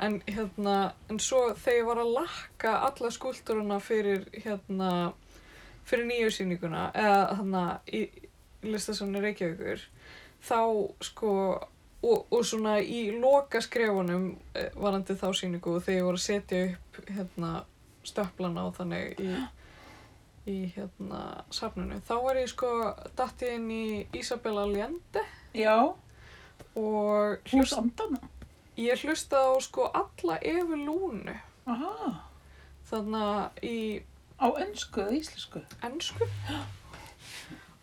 [SPEAKER 2] en hérna, en svo þegar ég var að lakka alla skúlturuna fyrir hérna, fyrir nýju sýninguna, eða hérna í í listasafni Reykjavíkur, þá sko og, og svona í loka skrefunum varandi þá síningu og þegar ég voru að setja upp hérna stöflana og þannig í, í hérna safninu þá var ég sko datt ég inn í Isabella Allende
[SPEAKER 1] Já,
[SPEAKER 2] og
[SPEAKER 1] hús
[SPEAKER 2] hlust,
[SPEAKER 1] andana.
[SPEAKER 2] ég hlustaði á sko alla Evu Lúnu
[SPEAKER 1] Aha,
[SPEAKER 2] þannig í
[SPEAKER 1] á önsku eða íslensku.
[SPEAKER 2] ennsku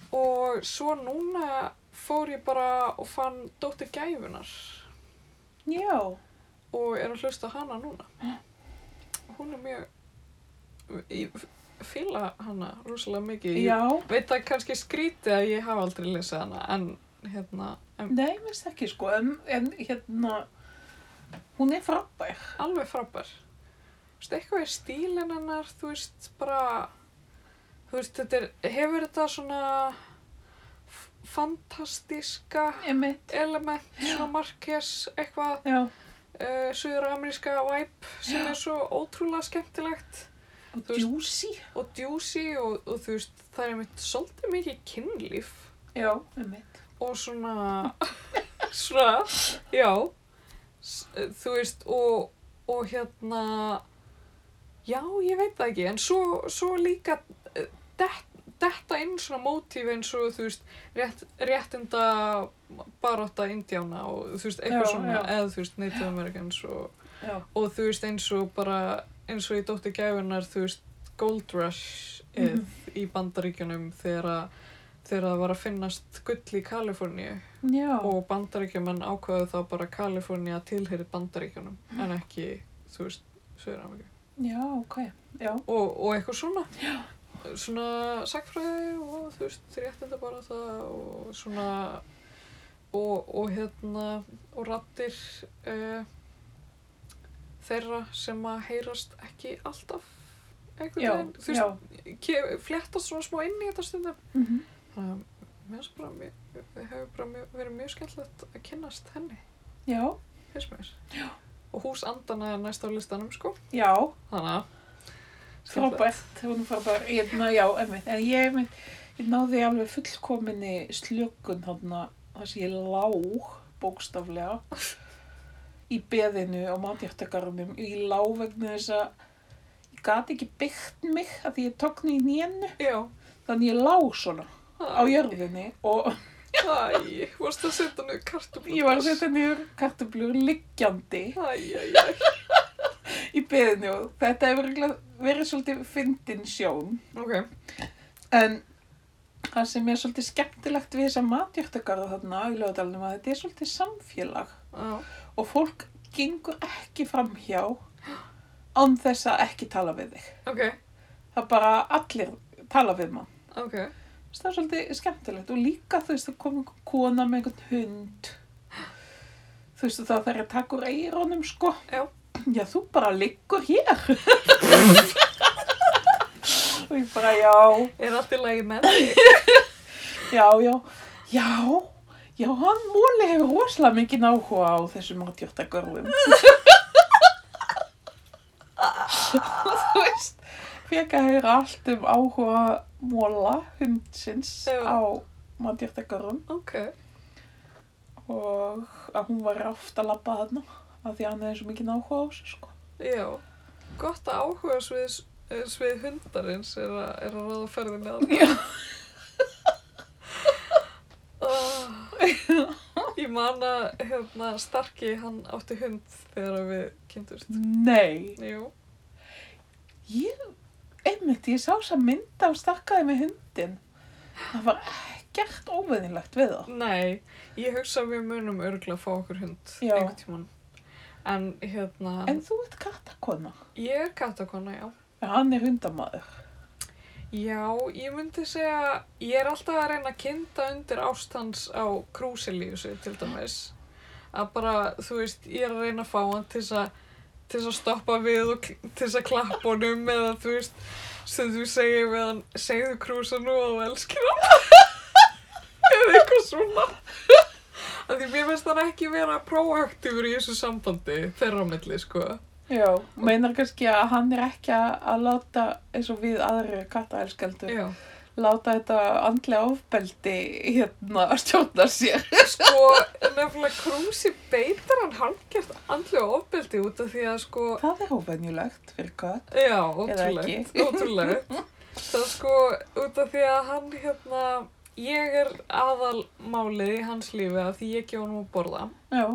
[SPEAKER 2] og svo núna fór ég bara og fann Dóttir Gæfunar
[SPEAKER 1] Já,
[SPEAKER 2] og er að hlusta á hana núna hún er mjög ég fíla hana rosalega mikið ég
[SPEAKER 1] já,
[SPEAKER 2] veit það er kannski skrítið að ég hafa aldrei lesið hana en hérna en
[SPEAKER 1] nei, minnst ekki sko, en, en hérna, hún er frábær.
[SPEAKER 2] alveg frábær Þú veist, eitthvað er stílinn hennar þú veist bara þú veist þetta er, hefur þetta svona f- fantastíska
[SPEAKER 1] Emmitt,
[SPEAKER 2] element svona Marques eitthvað
[SPEAKER 1] já,
[SPEAKER 2] uh, suður-ameríska vibe sem er svo ótrúlega skemmtilegt
[SPEAKER 1] og
[SPEAKER 2] Þú veist-
[SPEAKER 1] djúsi.
[SPEAKER 2] og djúsi og, og þú veist, það er einmitt svolítið mikið kynlíf
[SPEAKER 1] Já, emmitt.
[SPEAKER 2] og svona, svona, já, s- eh, þú veist, og, og hérna, já, ég veit það ekki, en svo, svo líka eh, det- detta inn svona mótíf eins og, þú veist, rétt, réttinda baróta indjána og, þú veist, eitthvað
[SPEAKER 1] Já,
[SPEAKER 2] svona,
[SPEAKER 1] já.
[SPEAKER 2] eða, þú veist, Native Americans og,
[SPEAKER 1] Já,
[SPEAKER 2] og þú veist eins og bara eins og í Dóttir Gæfunar þú veist Gold Rush mm
[SPEAKER 1] Mhm.
[SPEAKER 2] í bandaríkjunum þegar að þegar það var að finnast gull í Kaliforníu
[SPEAKER 1] Já,
[SPEAKER 2] og bandaríkjumenn ákvaðu þá bara að Kalifornía tilheyri bandaríkjunum en ekki, þú veist, Suður Ameríku
[SPEAKER 1] já, ok. Já,
[SPEAKER 2] og, og eitthvað svona Já. svona sagfræði og þú veist, réttinda bara það og svona og, og hérna og rattir uh, þeirra sem að heyrast ekki alltaf
[SPEAKER 1] já,
[SPEAKER 2] einhvern veginn, þú
[SPEAKER 1] já.
[SPEAKER 2] veist, ke- fléttast svona smá inn í þetta stundum
[SPEAKER 1] mhm.
[SPEAKER 2] þannig að mér finnst bara mjög, hefur bara mjög, verið mjög skemmtilegt að kynnast henni,
[SPEAKER 1] Já,
[SPEAKER 2] finnst mér. Og hús andana er næst á listanum, sko.
[SPEAKER 1] já,
[SPEAKER 2] Þannig að... skemmtilegt.
[SPEAKER 1] Sko, frábært, hún er frábær. Hérna, já, einmitt. En ég, einmitt, ég náði alveg fullkominni slökun þarna þar sem ég lá, bókstaflega, í beðinu á matjáttakarunum. Ég lá vegna þess að ég gat ekki byggt mig af því ég tóknu í nénu.
[SPEAKER 2] Já.
[SPEAKER 1] Þannig ég lá svona á jörðinni og
[SPEAKER 2] Æ, varst að setja niður kartum.
[SPEAKER 1] ég var að setja niður kartöflur liggjandi
[SPEAKER 2] Æ, æ, æ.
[SPEAKER 1] í beðinu og þetta hefur örugglega verið svolítið fyndin sjón.
[SPEAKER 2] Ok.
[SPEAKER 1] En það sem er svolítið skemmtilegt við þessa matjörtagarða þarna í lögadalunum að þetta er svolítið samfélag
[SPEAKER 2] Já.
[SPEAKER 1] og fólk gengur ekki framhjá án þess að ekki tala við þig.
[SPEAKER 2] Ok.
[SPEAKER 1] Það er bara allir tala við mann.
[SPEAKER 2] Ok.
[SPEAKER 1] Þess að Það er svolítið skemmtilegt og líka þú veist það kom einhver kona með einhvern hund. Þú veist það þarf að taka úr eirónum sko.
[SPEAKER 2] Já.
[SPEAKER 1] Já, þú bara liggur hér. og ég bara já.
[SPEAKER 2] Er allt í lagi með þig?
[SPEAKER 1] Já, já, já, já, hann múli hefur rosalega mikið náhuga á þessum matjórtagörðum. Þú veist, fekk að heyra allt um áhuga múla hundsins
[SPEAKER 2] Já.
[SPEAKER 1] á matjórtagörðum
[SPEAKER 2] Ok.
[SPEAKER 1] og að hún var ráft að labba þarna af því að hann hefði svo mikið náhuga á þessu, sko.
[SPEAKER 2] Já. Gott að áhuga svið, svið hundarins er að, er að ráða ferðinni að það. Ah. Ég man að hérna, Starki, hann átti hund þegar við kynntumst.
[SPEAKER 1] Nei,
[SPEAKER 2] Jú,
[SPEAKER 1] ég, einmitt, ég sá þess að mynda og stakkaði með hundin. Það var ekkert óveðinlegt við það.
[SPEAKER 2] nei, ég hugsa að við munum örgulega að fá okkur hund
[SPEAKER 1] Já.
[SPEAKER 2] einhvern tímann. En hérna,
[SPEAKER 1] En þú ert kattakona.
[SPEAKER 2] ég er kattakona, já.
[SPEAKER 1] En hann er hundamaður.
[SPEAKER 2] Já, ég myndi segja, ég er alltaf að reyna að kynda undir ástans á krúsilíusi til dæmis. Að bara, þú veist, ég er að reyna að fá hann til þess að, til þess að stoppa við og kl- til þess að klappa honum eða þú veist, sem þú segir við hann, segðu krúsa nú að þú elskir hann. eða eitthvað svona. Af því mér finnst hann ekki vera proaktífur í þessu sambandi þeirra á milli, sko.
[SPEAKER 1] Já. Meinar kannski að hann er ekki að að láta, eins og við aðri kattaelskeldur,
[SPEAKER 2] Já.
[SPEAKER 1] láta þetta andlega ofbeldi hérna að stjórna sér.
[SPEAKER 2] sko, nefnilega Krúsi beitar hann halgjart andlega ofbeldi út af því að sko,
[SPEAKER 1] Það er óvenjulegt fyrir kött.
[SPEAKER 2] já,
[SPEAKER 1] Eða
[SPEAKER 2] ótrúlegt,
[SPEAKER 1] ekki.
[SPEAKER 2] ótrúlegt. Það sko, út af því að hann hérna, ég er aðalmálið í hans lífi að því ég gef honum að borða
[SPEAKER 1] Já.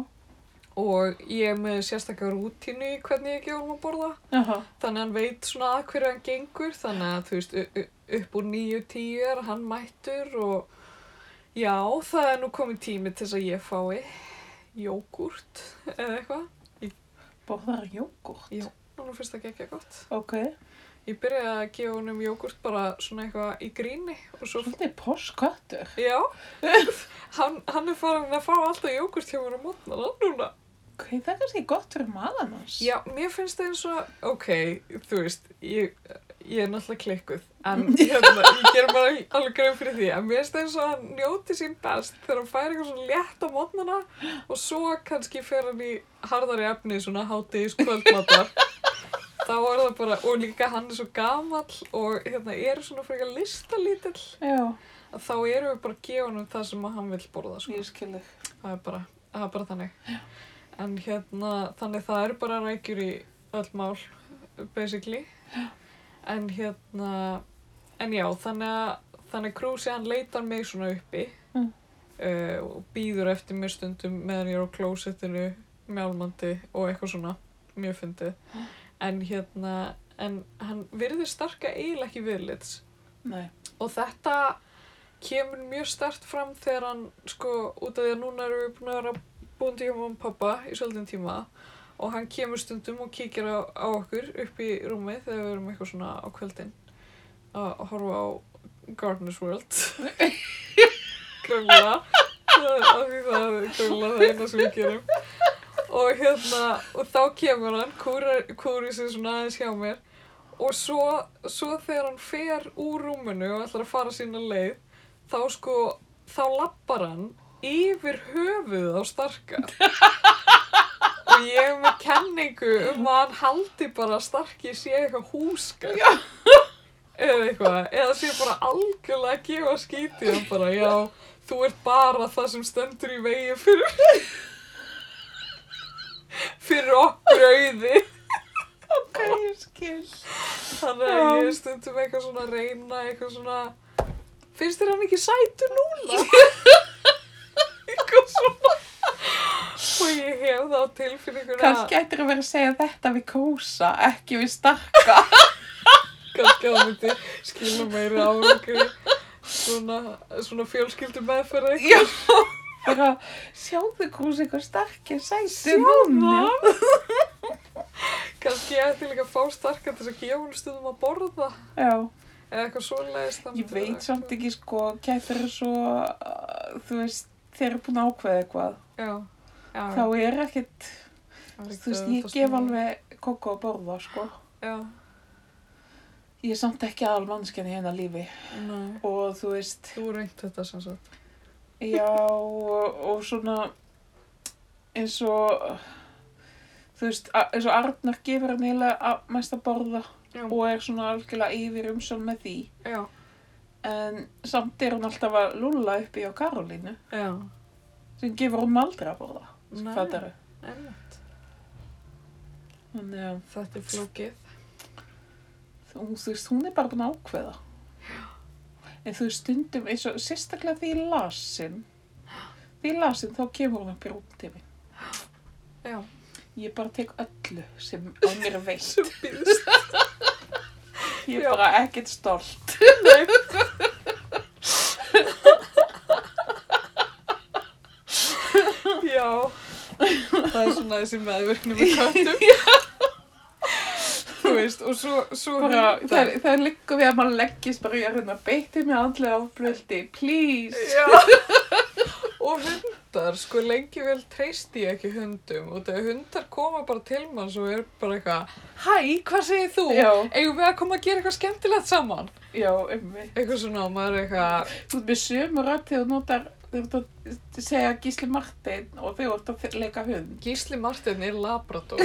[SPEAKER 2] og ég er með sérstakar rútínu í hvernig ég gef honum að borða.
[SPEAKER 1] Jaha.
[SPEAKER 2] Þannig að hann veit svona að hverju hann gengur, þannig að þú veist, u- u- upp úr nýju tíu er hann mættur og já, það er nú komið tími til þess að ég fái jógurt eða eitthvað.
[SPEAKER 1] Borðar jógurt.
[SPEAKER 2] Já. Núna finnst það ekki ekki gott.
[SPEAKER 1] Ok.
[SPEAKER 2] Ég byrjaði að gefa honum jógurt bara svona eitthvað í gríni og svo,
[SPEAKER 1] Svolítið posköttur.
[SPEAKER 2] já, hann, hann er farin að fá alltaf jógurt hjá mér á mótnana núna.
[SPEAKER 1] Ok, það er kannski gott fyrir maðan hans.
[SPEAKER 2] Já, mér finnst það eins og, ok, þú veist, ég, ég er náttúrulega klikkuð, en hérna, ég ger bara alveg greið fyrir því, en mér finnst það eins og hann njóti sín best þegar hann fær eitthvað svona létt á mótnana og svo kannski fer hann í harðari efni, svona hátíðis kvöldmatar. Þá er það bara, og líka hann er svo gamall og hérna er svona frekar listalítill,
[SPEAKER 1] Já,
[SPEAKER 2] að þá erum við bara að gefa hann það sem að hann vil borða, sko
[SPEAKER 1] ég skil þig.
[SPEAKER 2] það er bara, það er bara þannig en hérna, þannig það eru bara rækjur í öll mál basically en hérna, en já þannig að þannig Krúsi hann leitar mig svona uppi
[SPEAKER 1] Mm.
[SPEAKER 2] eh, og býður eftir mér stundum meðan ég er á klósettinu mjálmandi og eitthvað svona mjög fyndið en hérna, en hann virðir starka eiginlega ekki viðlits
[SPEAKER 1] Nei.
[SPEAKER 2] og þetta kemur mjög stert fram þegar hann sko út af því að núna erum við búin að vera búin til hjá mamma og pappa í svolítinn tíma og hann kemur stundum og kíkir á, á okkur upp í rúmið þegar við erum eitthvað svona á kvöldin að að horfa á Gardener's World gröngla af því það er gröngla það er eina sem við gerum og hérna og þá kemur hann kúrar, kúri sig svona aðeins hjá mér og svo, svo þegar hann fer úr rúminu og ætlar að fara sína leið þá sko þá lappar hann yfir höfuð á starka og ég hef með kenningu um að hann haldi bara að starki sé eitthvað húskar eða eitthvað, eða sé bara algjörlega að gefa skítið og bara, já, þú ert bara það sem stendur í vegi fyrir fyrir okkur auði
[SPEAKER 1] Ok, ég skil.
[SPEAKER 2] þannig að ég er stundum eitthvað svona að reyna eitthvað svona finnst þér hann ekki sætu núna? eitthvað svona og ég hef það á tilfinninguna
[SPEAKER 1] Kannski ættir að vera að segja þetta við kósa, ekki við starka.
[SPEAKER 2] kannski að það myndi skilja meiri árangri svona, svona fjölskyldu meðferð
[SPEAKER 1] Já. Bara sjáðu kósi hvað starki er sættu núna.
[SPEAKER 2] Kannski ég ætti líka að fá starka til þess að gefa hún stundum að borða
[SPEAKER 1] Já,
[SPEAKER 2] eða eitthvað svoleiðis. það
[SPEAKER 1] ég
[SPEAKER 2] myndi vera
[SPEAKER 1] veit samt ekki sko, kættir er svo, uh, þú veist, þeir eru búin að ákveða eitthvað.
[SPEAKER 2] Já, já.
[SPEAKER 1] Þá er ekkit,
[SPEAKER 2] það er
[SPEAKER 1] þú veist,
[SPEAKER 2] ekki auðvelt að
[SPEAKER 1] ég gef
[SPEAKER 2] skilja.
[SPEAKER 1] alveg kókó að borða sko.
[SPEAKER 2] Já,
[SPEAKER 1] Ég er samt ekki aðal mannskjarni hérna lífi
[SPEAKER 2] nei.
[SPEAKER 1] og þú veist,
[SPEAKER 2] Þú reynt þetta sem sagt.
[SPEAKER 1] Já, og, og svona eins og þú veist, a- eins og Arnar gefur hann eiginlega að mest að borða
[SPEAKER 2] Já,
[SPEAKER 1] og er svona algjörlega yfir umsjón með því
[SPEAKER 2] já,
[SPEAKER 1] en samt er hún alltaf að lulla uppi á Karolínu
[SPEAKER 2] já.
[SPEAKER 1] sem gefur hún aldrei að borða
[SPEAKER 2] Sko,
[SPEAKER 1] sko, fattaru
[SPEAKER 2] einmitt.
[SPEAKER 1] þannig að
[SPEAKER 2] Þetta er flókið.
[SPEAKER 1] hún, þú veist, hún er bara búin að ákveða en þú veist, stundum eins og sérstaklega því ég lasin því ég lasin þá kemur hún upp í rúmtími
[SPEAKER 2] Já.
[SPEAKER 1] ég bara tek öllu sem á mér er veitt
[SPEAKER 2] Sem býðst.
[SPEAKER 1] Ég
[SPEAKER 2] Já.
[SPEAKER 1] er bara ekkert stolt.
[SPEAKER 2] Já. Það er svona þessi meðvirkni með köttum. Þú veist, og svo, svo
[SPEAKER 1] Bara,
[SPEAKER 2] hundar.
[SPEAKER 1] það, það liggur við að maður leggist bara í að reyna að beitti mig andlega ofblöldi, please.
[SPEAKER 2] Já. og hundar, sko lengi vel treysti ég ekki hundum og þegar hundar koma bara til manns og er bara eitthvað Hæ, hvað segir þú?
[SPEAKER 1] Já.
[SPEAKER 2] Eigum við að koma að gera eitthvað skemmtilegt saman?
[SPEAKER 1] Já, ummi.
[SPEAKER 2] Eitthvað svona, maður er eitthvað
[SPEAKER 1] Þú ert með sömu rödd þegar þú notar, þegar þú ert að segja Gísli Martin og þegar þú ert að leika hund.
[SPEAKER 2] Gísli Martin er labrador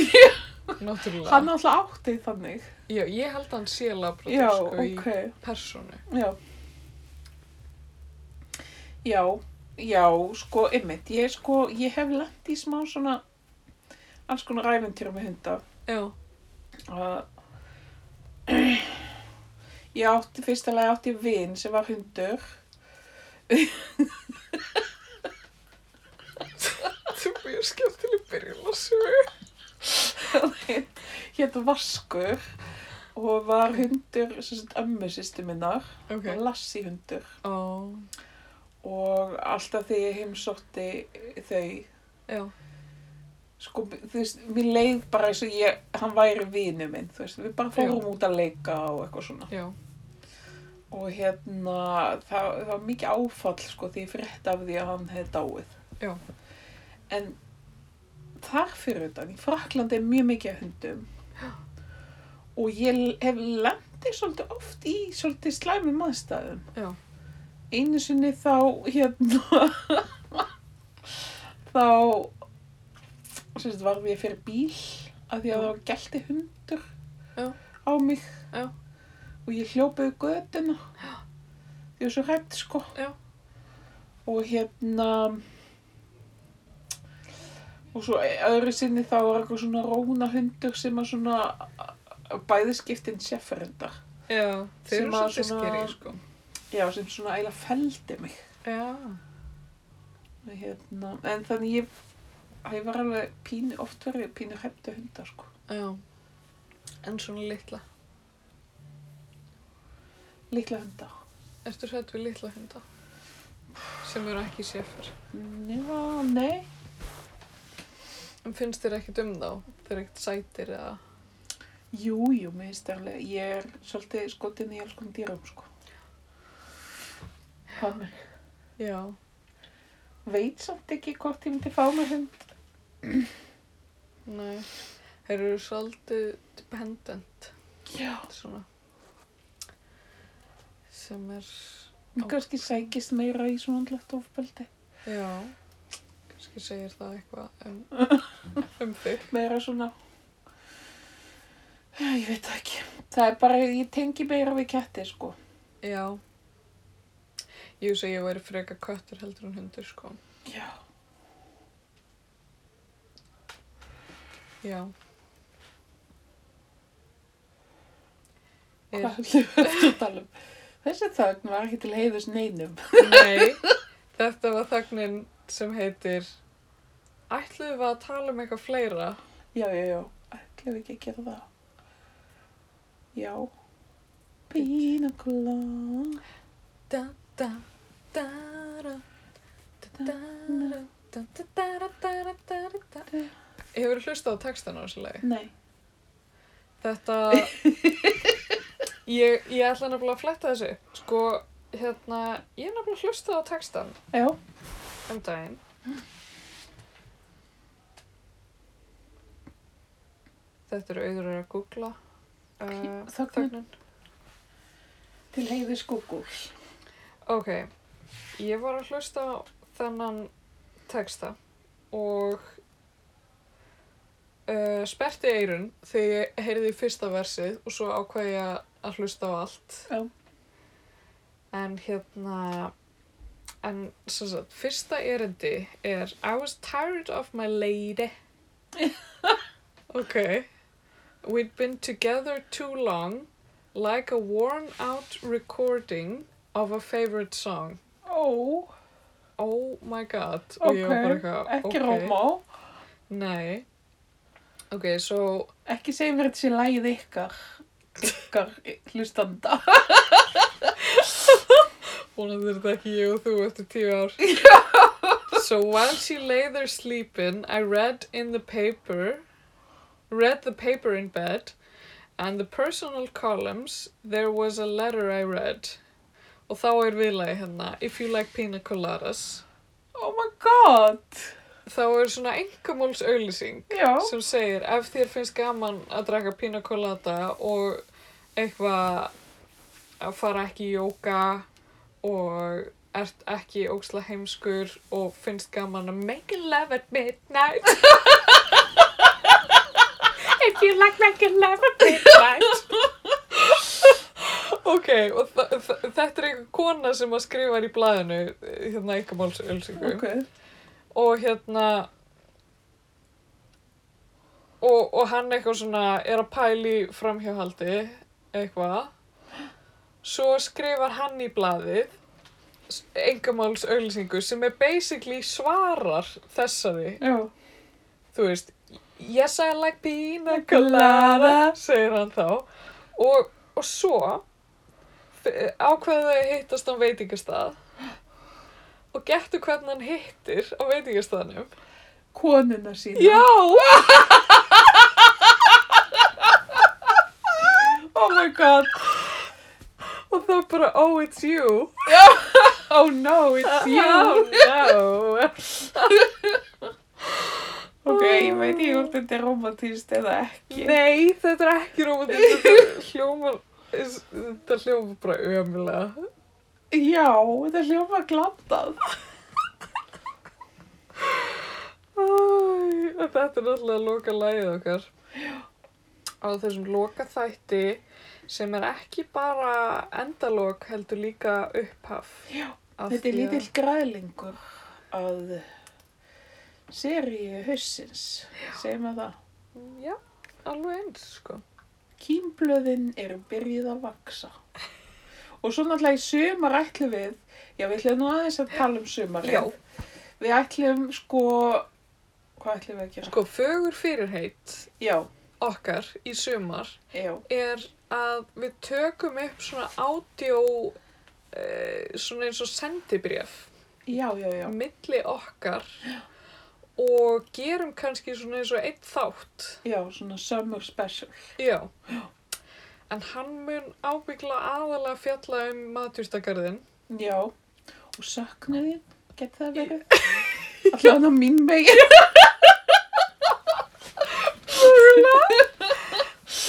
[SPEAKER 2] Náttúrulega
[SPEAKER 1] Hann alltaf átti þannig.
[SPEAKER 2] Já, ég held að hann sé labrador
[SPEAKER 1] Já,
[SPEAKER 2] sko
[SPEAKER 1] ok.
[SPEAKER 2] í persónu
[SPEAKER 1] Já. Já, já, sko, einmitt. Ég, sko, ég hef lent í smá svona alls konar æventýra með hunda.
[SPEAKER 2] Já,
[SPEAKER 1] að ég átti fyrsta lagi átti ég vin sem var hundur
[SPEAKER 2] þetta er mjög skemmtileg byrjun að sögu
[SPEAKER 1] hétt Vaskur og var hundur sem sagt ömmu sýstu minnar
[SPEAKER 2] Ok,
[SPEAKER 1] og lassi hundur
[SPEAKER 2] ó,
[SPEAKER 1] og alltaf þegar ég heimsótti þau
[SPEAKER 2] já,
[SPEAKER 1] sko, þú veist, mér leið bara eins og ég, hann væri vinu minn þú veist, við bara fórum út að leika og eitthvað svona
[SPEAKER 2] já,
[SPEAKER 1] og hérna það, það var mikið áfall sko því ég frétt af því að hann hefði dáið
[SPEAKER 2] Já.
[SPEAKER 1] en þar fyrir utan í Fraklandi er mjög mikið af hundum og ég hef lendið svolítið oft í svolítið slæmum aðstæðum
[SPEAKER 2] Já.
[SPEAKER 1] einu sinni þá hérna þá sem sagt varf ég fyrir bíl af því að
[SPEAKER 2] Já.
[SPEAKER 1] það var gælti hundur
[SPEAKER 2] Já.
[SPEAKER 1] á mig
[SPEAKER 2] Já.
[SPEAKER 1] og ég hljópaði göduna ég var svo hrætt sko
[SPEAKER 2] Já.
[SPEAKER 1] og hérna og svo öðru sinni þá var eitthvað svona róna hundur sem að svona bæði skiptin sérferendar
[SPEAKER 2] já Þeir
[SPEAKER 1] Sem
[SPEAKER 2] eru
[SPEAKER 1] að
[SPEAKER 2] svolítið
[SPEAKER 1] svona-
[SPEAKER 2] skeri, sko
[SPEAKER 1] já sem svona eiginlega feldi mig
[SPEAKER 2] Já,
[SPEAKER 1] Og hérna, en þannig ég ég var alveg pínu, oft verið pínu hrættu hundar sko
[SPEAKER 2] já En svona litla
[SPEAKER 1] líkla hunda
[SPEAKER 2] Ertu hrætt við litla hunda? sem eru ekki séfar.
[SPEAKER 1] Já, nei.
[SPEAKER 2] En finnst þér ekkert um þá? Þeir eru ekkert sætir eða...
[SPEAKER 1] Jú, jú, mér finnst það alveg. Ég er svolítið skotin í alls konar dýrum, sko. Fá mér.
[SPEAKER 2] Já.
[SPEAKER 1] Veit samt ekki hvort ég myndi fá mér hund.
[SPEAKER 2] Nei. Þeir eru svolítið dependent,
[SPEAKER 1] Já.
[SPEAKER 2] svona. Sem er...
[SPEAKER 1] Mér kannski sækist meira í svona andlegt ofbeldi.
[SPEAKER 2] Já. Kannski segir það eitthvað um, um þig.
[SPEAKER 1] Meira svona... Já, ég veit það ekki. Það er bara, ég tengi meira við ketti, sko.
[SPEAKER 2] Já. Ég segi ég væri frekar köttur heldur en hundur, sko.
[SPEAKER 1] Já.
[SPEAKER 2] Já. Er-
[SPEAKER 1] Hvað heldur við að tala um? Þessi þögn var ekki til heiðus neinum.
[SPEAKER 2] Nei, þetta var þögnin sem heitir Ætluðum við að tala um eitthvað fleira?
[SPEAKER 1] Já, já, já. Ætlum við ekki að gera það. Já. Pina colada.
[SPEAKER 2] Da, da, da, ra, da, da, ra, da, da, da, ra, da, ra, da, ra, da. Hefur hlustað á textan á þessu lagi?
[SPEAKER 1] Nei.
[SPEAKER 2] Þetta, ég, ég ætla nefnilega að fletta þessu. Sko, hérna, ég nefnilega hlustað á textan
[SPEAKER 1] Já.
[SPEAKER 2] um daginn. Þetta eru auður að googla. Uh,
[SPEAKER 1] Þögnin. Til heiðus Google.
[SPEAKER 2] Ok, ég var að hlusta á þennan texta og uh, sperti eirun þegar ég heyrði í fyrsta versið og svo ákvað ég að hlusta á allt.
[SPEAKER 1] Já.
[SPEAKER 2] En hérna, en sem sagt, fyrsta erindi er I was tired of my lady. ok, we'd been together too long, like a worn out recording of a favorite song.
[SPEAKER 1] Ó,
[SPEAKER 2] Oh my god. og ég var bara
[SPEAKER 1] ok.
[SPEAKER 2] eitthvað, ok.
[SPEAKER 1] Ekki rómá.
[SPEAKER 2] Nei. Ok, so,
[SPEAKER 1] Ekki segja mér þetta sé lægið ykkar. Ykkar hlustanda.
[SPEAKER 2] vonandi er þetta ekki ég og þú eftir tíu ár. so while she lay there sleeping, I read in the paper, read the paper in bed, and the personal columns, there was a letter I read. Og þá er viðlagi hérna, if you like pina coladas.
[SPEAKER 1] Oh my god.
[SPEAKER 2] Þá er svona engamóls auðlýsing.
[SPEAKER 1] Já.
[SPEAKER 2] sem segir ef þér finnst gaman að draka pina colada og eitthvað að fara ekki í jóka og ert ekki óksla heimskur og finnst gaman að make love at midnight if you like make love at midnight ok og þa- þa- þetta er einhver kona sem að skrifa í blaðinu hérna eitthvað málsölsingu
[SPEAKER 1] Ok.
[SPEAKER 2] og hérna og, og hann eitthvað svona er að pæli framhjáhaldi eitthvað svo skrifar hann í blaðið engamáls auðlýsingu sem er basically svarar þessari,
[SPEAKER 1] Já.
[SPEAKER 2] þú veist yes I like pina colada
[SPEAKER 1] Colada.
[SPEAKER 2] segir hann þá og, og svo ákveðu þau hittast á veitingastað og gettu hvernig hann hittir á veitingastaðnum
[SPEAKER 1] Konuna sína.
[SPEAKER 2] Já!
[SPEAKER 1] Oh my god.
[SPEAKER 2] Og það er bara, oh, it's you.
[SPEAKER 1] Oh no, it's you.
[SPEAKER 2] Oh, no.
[SPEAKER 1] Ok, ég veit ekki hvort þetta er romantist eða ekki.
[SPEAKER 2] Nei, þetta er ekki rómatískt. Þetta hljómar, þetta hljómar bara ömulega.
[SPEAKER 1] Já, þetta hljóma glatað.
[SPEAKER 2] Æ, en Þetta er náttúrulega loka lagið okkar. Á þessum loka þætti sem er ekki bara endalok, heldur líka upphaf.
[SPEAKER 1] Já,
[SPEAKER 2] Af
[SPEAKER 1] Þetta er
[SPEAKER 2] því að-
[SPEAKER 1] lítill græðlingur að seríu hausins, segjum að það.
[SPEAKER 2] Já, alveg eins, sko.
[SPEAKER 1] Kýmblöðin eru byrjuð að vaksa. Og svo náttúrulega í sumar ætlum við, já við ætlum nú aðeins að tala um sumarið. Við ætlum sko, hvað ætlum við að gera?
[SPEAKER 2] Sko, fögur fyrirheit
[SPEAKER 1] Já,
[SPEAKER 2] okkar í sumar
[SPEAKER 1] já,
[SPEAKER 2] er að við eh, tökum upp svona ádjó uh, svona eins og sendibréf
[SPEAKER 1] já, já, já.
[SPEAKER 2] milli okkar og gerum kannski svona eins og einn þátt.
[SPEAKER 1] Já, svona summer special.
[SPEAKER 2] Já. En hann mun ábyggla aðalega fjalla um matjúrstakarðin.
[SPEAKER 1] Já, og söknuðin, get það verið? Alltaf hann á mín megin.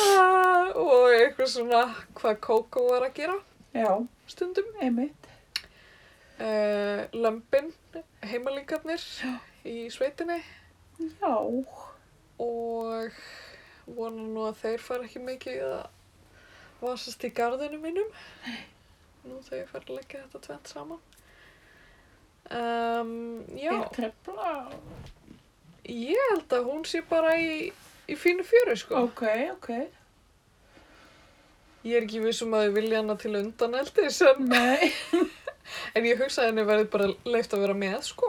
[SPEAKER 2] Ah, Og eitthvað svona hvað Kókó var að gera
[SPEAKER 1] Já,
[SPEAKER 2] stundum.
[SPEAKER 1] einmitt.
[SPEAKER 2] Uh, lömbin, heimalingarnir í sveitinni
[SPEAKER 1] Já,
[SPEAKER 2] og vona nú að þeir fara ekki mikið að vasast í garðinu mínum nú þegar ég fara að leggja þetta tvent saman um, Já,
[SPEAKER 1] ég trefla.
[SPEAKER 2] ég held að hún sé bara í, í fínu fjöru sko
[SPEAKER 1] Ok, ok.
[SPEAKER 2] Ég er ekki vissum að ég vilja hana til undan eldis en,
[SPEAKER 1] Nei.
[SPEAKER 2] en ég hugsaði henni verið bara leift að vera með sko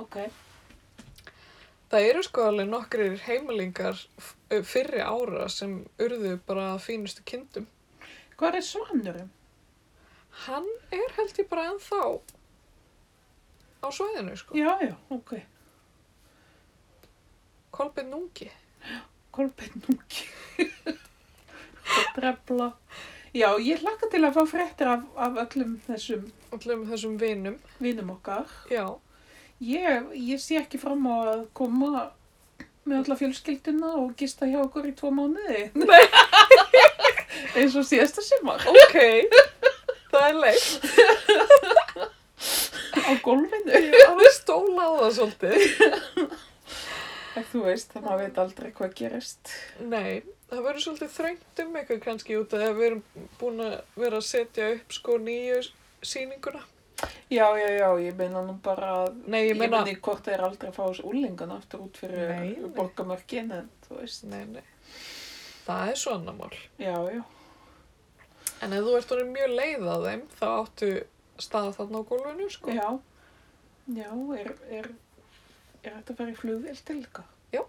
[SPEAKER 1] Ok,
[SPEAKER 2] Það eru sko alveg nokkrir heimilingar f- ö, fyrri ára sem urðu bara að fínustu kindum.
[SPEAKER 1] hvað er svanurum?
[SPEAKER 2] Hann er held ég bara ennþá á svæðinu sko.
[SPEAKER 1] Já, já, ok.
[SPEAKER 2] Kolbeinn Núngi.
[SPEAKER 1] Kolbeinn núki. Get trefla. Já, ég hlakka til að fá fréttir af, af öllum þessum
[SPEAKER 2] Allum þessum vinum.
[SPEAKER 1] vinum okkar.
[SPEAKER 2] Já.
[SPEAKER 1] Ég, ég sé ekki fram á að koma með alla fjölskylduna og gista hjá okkur í tvo mánuði. Nei. Eins og síðasta sumar
[SPEAKER 2] Ok. Það er leitt.
[SPEAKER 1] á gólfinu.
[SPEAKER 2] Ég er alveg stóla á það svolítið.
[SPEAKER 1] En Þú veist, það maður veit aldrei hvað gerist.
[SPEAKER 2] Nei, það verður svolítið þröngt um eitthvað kannski út af því að við erum búin að vera að setja upp sko nýju sýninguna.
[SPEAKER 1] Já, já, já, ég meina nú bara að
[SPEAKER 2] Nei, ég
[SPEAKER 1] ég
[SPEAKER 2] meina...
[SPEAKER 1] meina hvort það er aldrei að fá þessu úlingan aftur út fyrir
[SPEAKER 2] Nei, nei.
[SPEAKER 1] borgamörkin, en þú veist.
[SPEAKER 2] Nei, nei. Það er svo annar mál.
[SPEAKER 1] Já, já,
[SPEAKER 2] En ef þú ert orðin mjög leið á þeim, þá áttu stað þarna á gólfinu, sko.
[SPEAKER 1] já, já, er, er, er þetta að fara í flugvél til líka?
[SPEAKER 2] Já.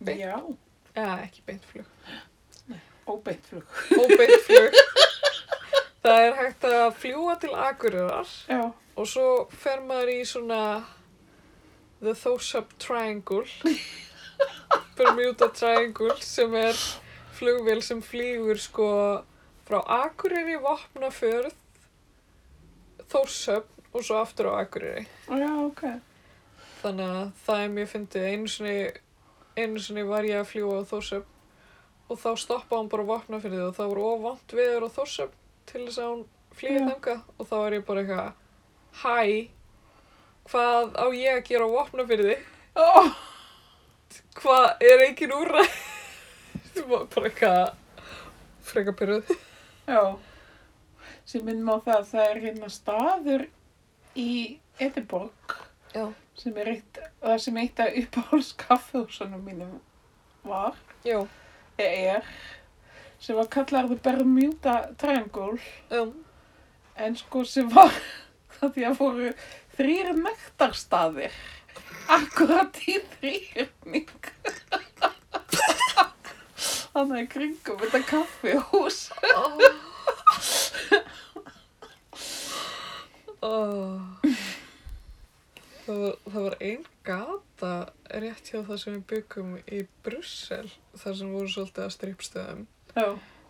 [SPEAKER 2] Beint.
[SPEAKER 1] Já,
[SPEAKER 2] Eða ekki beint flug.
[SPEAKER 1] óbeint flug.
[SPEAKER 2] Óbeint flug. það er hægt að fljúa til Akureyrar
[SPEAKER 1] Já,
[SPEAKER 2] og svo fer maður í svona The Thosup Triangle. Bermuda Triangle sem er flugvél sem flýgur sko frá Akureyri, Vopnafjörð, Thosup og svo aftur á Akureyri.
[SPEAKER 1] já, ok.
[SPEAKER 2] Þannig að það er mjög fyndið. Einu sinni, einu sinni var ég að fljúa á Þórsöfn og þá stoppaði hún bara að vopna fyrir því og það voru ofant viður á Þórsöfn til þess að hún flýja
[SPEAKER 1] Já.
[SPEAKER 2] þangað og þá er ég bara eitthvað Hæ, hvað á ég að gera á vopna fyrir því?
[SPEAKER 1] Oh.
[SPEAKER 2] Hvað er engin úrra? Þú var bara eitthvað freka pyrruð.
[SPEAKER 1] Já, sem minnum á það að það er hérna staður í Edinborg
[SPEAKER 2] Já.
[SPEAKER 1] sem er eitt, það sem eitt af uppáhalds kaffehúsunum mínum var,
[SPEAKER 2] Já,
[SPEAKER 1] eða er, sem var kallarðu Bermuda Triangle,
[SPEAKER 2] um,
[SPEAKER 1] en sko sem var, það því að voru þrýr nektarstaðir, akkurat í þrýrning. Þannig að kringum þetta kaffehús.
[SPEAKER 2] Oh. Oh. Það, var, það var ein gata rétt hjá það sem við byggum í Brussel, þar sem voru svolítið að strippstöðum.
[SPEAKER 1] Já,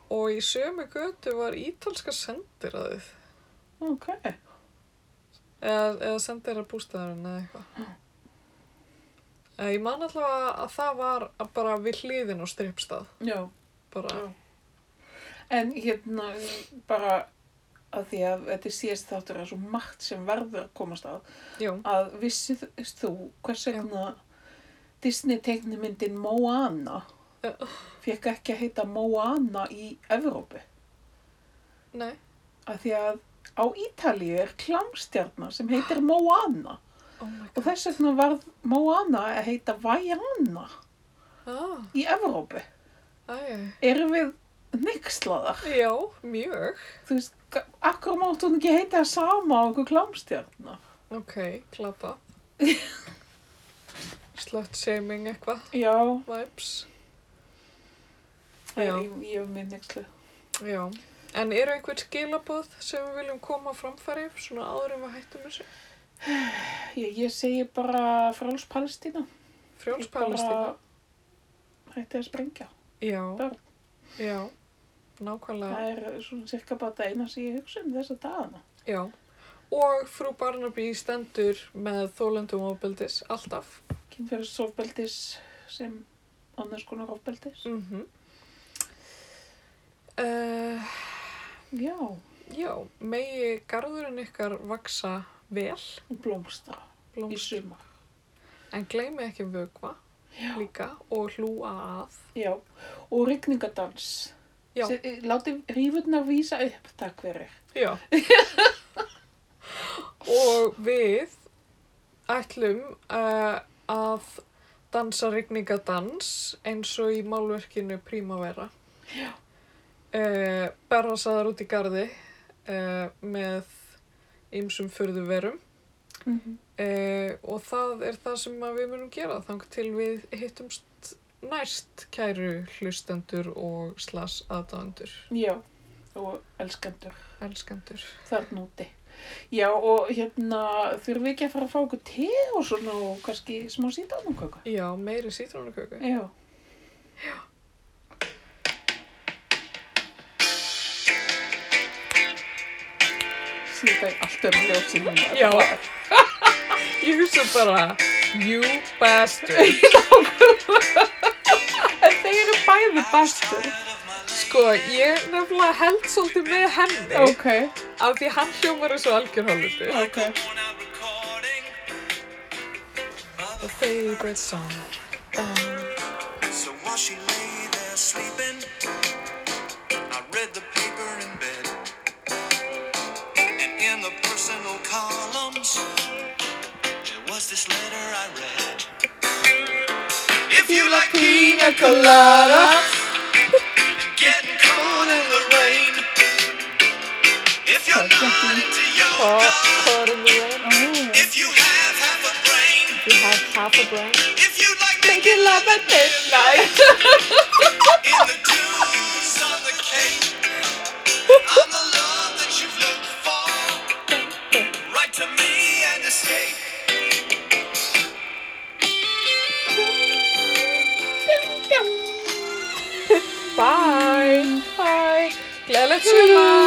[SPEAKER 2] Og í sömu götu var ítalska sendiræðið,
[SPEAKER 1] ok.
[SPEAKER 2] eða, eða sendiræð bústæðarinn eða eitthvað. Eh, Ég man allavega að það var að bara við hliðin á strippstað,
[SPEAKER 1] Já.
[SPEAKER 2] bara,
[SPEAKER 1] Já. En hérna bara að því að þetta er síðast þáttur að svo margt sem verður að komast að
[SPEAKER 2] já,
[SPEAKER 1] að vissið þú hvers vegna Disney teiknumyndin Moana
[SPEAKER 2] Já.
[SPEAKER 1] fekk ekki að heita Moana í Evrópu
[SPEAKER 2] nei,
[SPEAKER 1] að því að á Ítalíu er klámstjarnar sem heitir Moana
[SPEAKER 2] oh my
[SPEAKER 1] og þess vegna varð Moana að heita Vajana
[SPEAKER 2] god,
[SPEAKER 1] í Evrópu.
[SPEAKER 2] ah, æ,
[SPEAKER 1] Erum við neykslaðar?
[SPEAKER 2] já, mjög.
[SPEAKER 1] þú veist, ga- akkur mátt hún ekki heita það sama á okkur klámstjarna?
[SPEAKER 2] Ok, klappa. Slutshaming eitthvað,
[SPEAKER 1] Já,
[SPEAKER 2] vibes.
[SPEAKER 1] það
[SPEAKER 2] Já.
[SPEAKER 1] er í- ég er minnigslu.
[SPEAKER 2] Já. En eru einhver skilabóð sem við viljum koma á framfæri svona áður en við hættum þessu?
[SPEAKER 1] Ég, ég segi bara fráls Palestína.
[SPEAKER 2] Frjóls Palestína?
[SPEAKER 1] Hætti að sprengja.
[SPEAKER 2] Já,
[SPEAKER 1] Börn.
[SPEAKER 2] já, nákvæmlega,
[SPEAKER 1] Það er svona cirka bara það eina sem ég hugsa um þessa dagana.
[SPEAKER 2] já. Og frú Barnaby stendur með þólendum ábeldis alltaf.
[SPEAKER 1] Kynferðisofbeldis sem annars konar ofbeldis.
[SPEAKER 2] Mm -hmm. uh,
[SPEAKER 1] Já,
[SPEAKER 2] já, megi garðurinn ykkar vaksa vel,
[SPEAKER 1] og blómstra í
[SPEAKER 2] blómstur,
[SPEAKER 1] sumar.
[SPEAKER 2] en gleymi ekki vögva
[SPEAKER 1] Já.
[SPEAKER 2] líka og hlúa að.
[SPEAKER 1] Já, og rigningadans.
[SPEAKER 2] Já.
[SPEAKER 1] Se- eh, Látið rífurnar vísa upp, takk fyrir.
[SPEAKER 2] Já. og við ætlum uh, að dansa rigningadans eins og í málverkinu Prímavera. Já. Uh, Berrasaðar út í gardi uh, með ymsum furðuverum
[SPEAKER 1] Mm -hmm.
[SPEAKER 2] uh, og það er það sem að við munum gera þang til við hittumst næst kæru hlustendur og slas aðdáendur,
[SPEAKER 1] Já, og elskendur.
[SPEAKER 2] elskendur.
[SPEAKER 1] þarna úti. Já, og hérna, þurfum við ekki að fara að fá okkur te og svona og kannski smá sítrónuköku?
[SPEAKER 2] Já, meiri sítrónuköku.
[SPEAKER 1] Já. Sýta í allt um öll ljóð sem hún var.
[SPEAKER 2] Já. Ég hugsa bara, you bastard.
[SPEAKER 1] En þeir eru bæði bastur.
[SPEAKER 2] Sko, ég nefnilega held svolítið með henni
[SPEAKER 1] Ok,
[SPEAKER 2] af því hann hljómar eins og algjör hálfutu.
[SPEAKER 1] ok.
[SPEAKER 2] The favorite song.
[SPEAKER 4] So while she lay there sleeping, I read the paper in bed. And in the personal columns, there was this letter I read. If you like pina colada, getting cold in the rain. If you're not into
[SPEAKER 2] Caught,
[SPEAKER 4] yoga,
[SPEAKER 2] caught in the rain.
[SPEAKER 4] if you have half a brain,
[SPEAKER 2] You have half a brain.
[SPEAKER 4] if you like making
[SPEAKER 2] Making love at midnight.
[SPEAKER 4] In the dunes on the cape, I'm the love that you've looked for. Write to me and escape.
[SPEAKER 2] Bye. Bye. Gleðilegt sumar.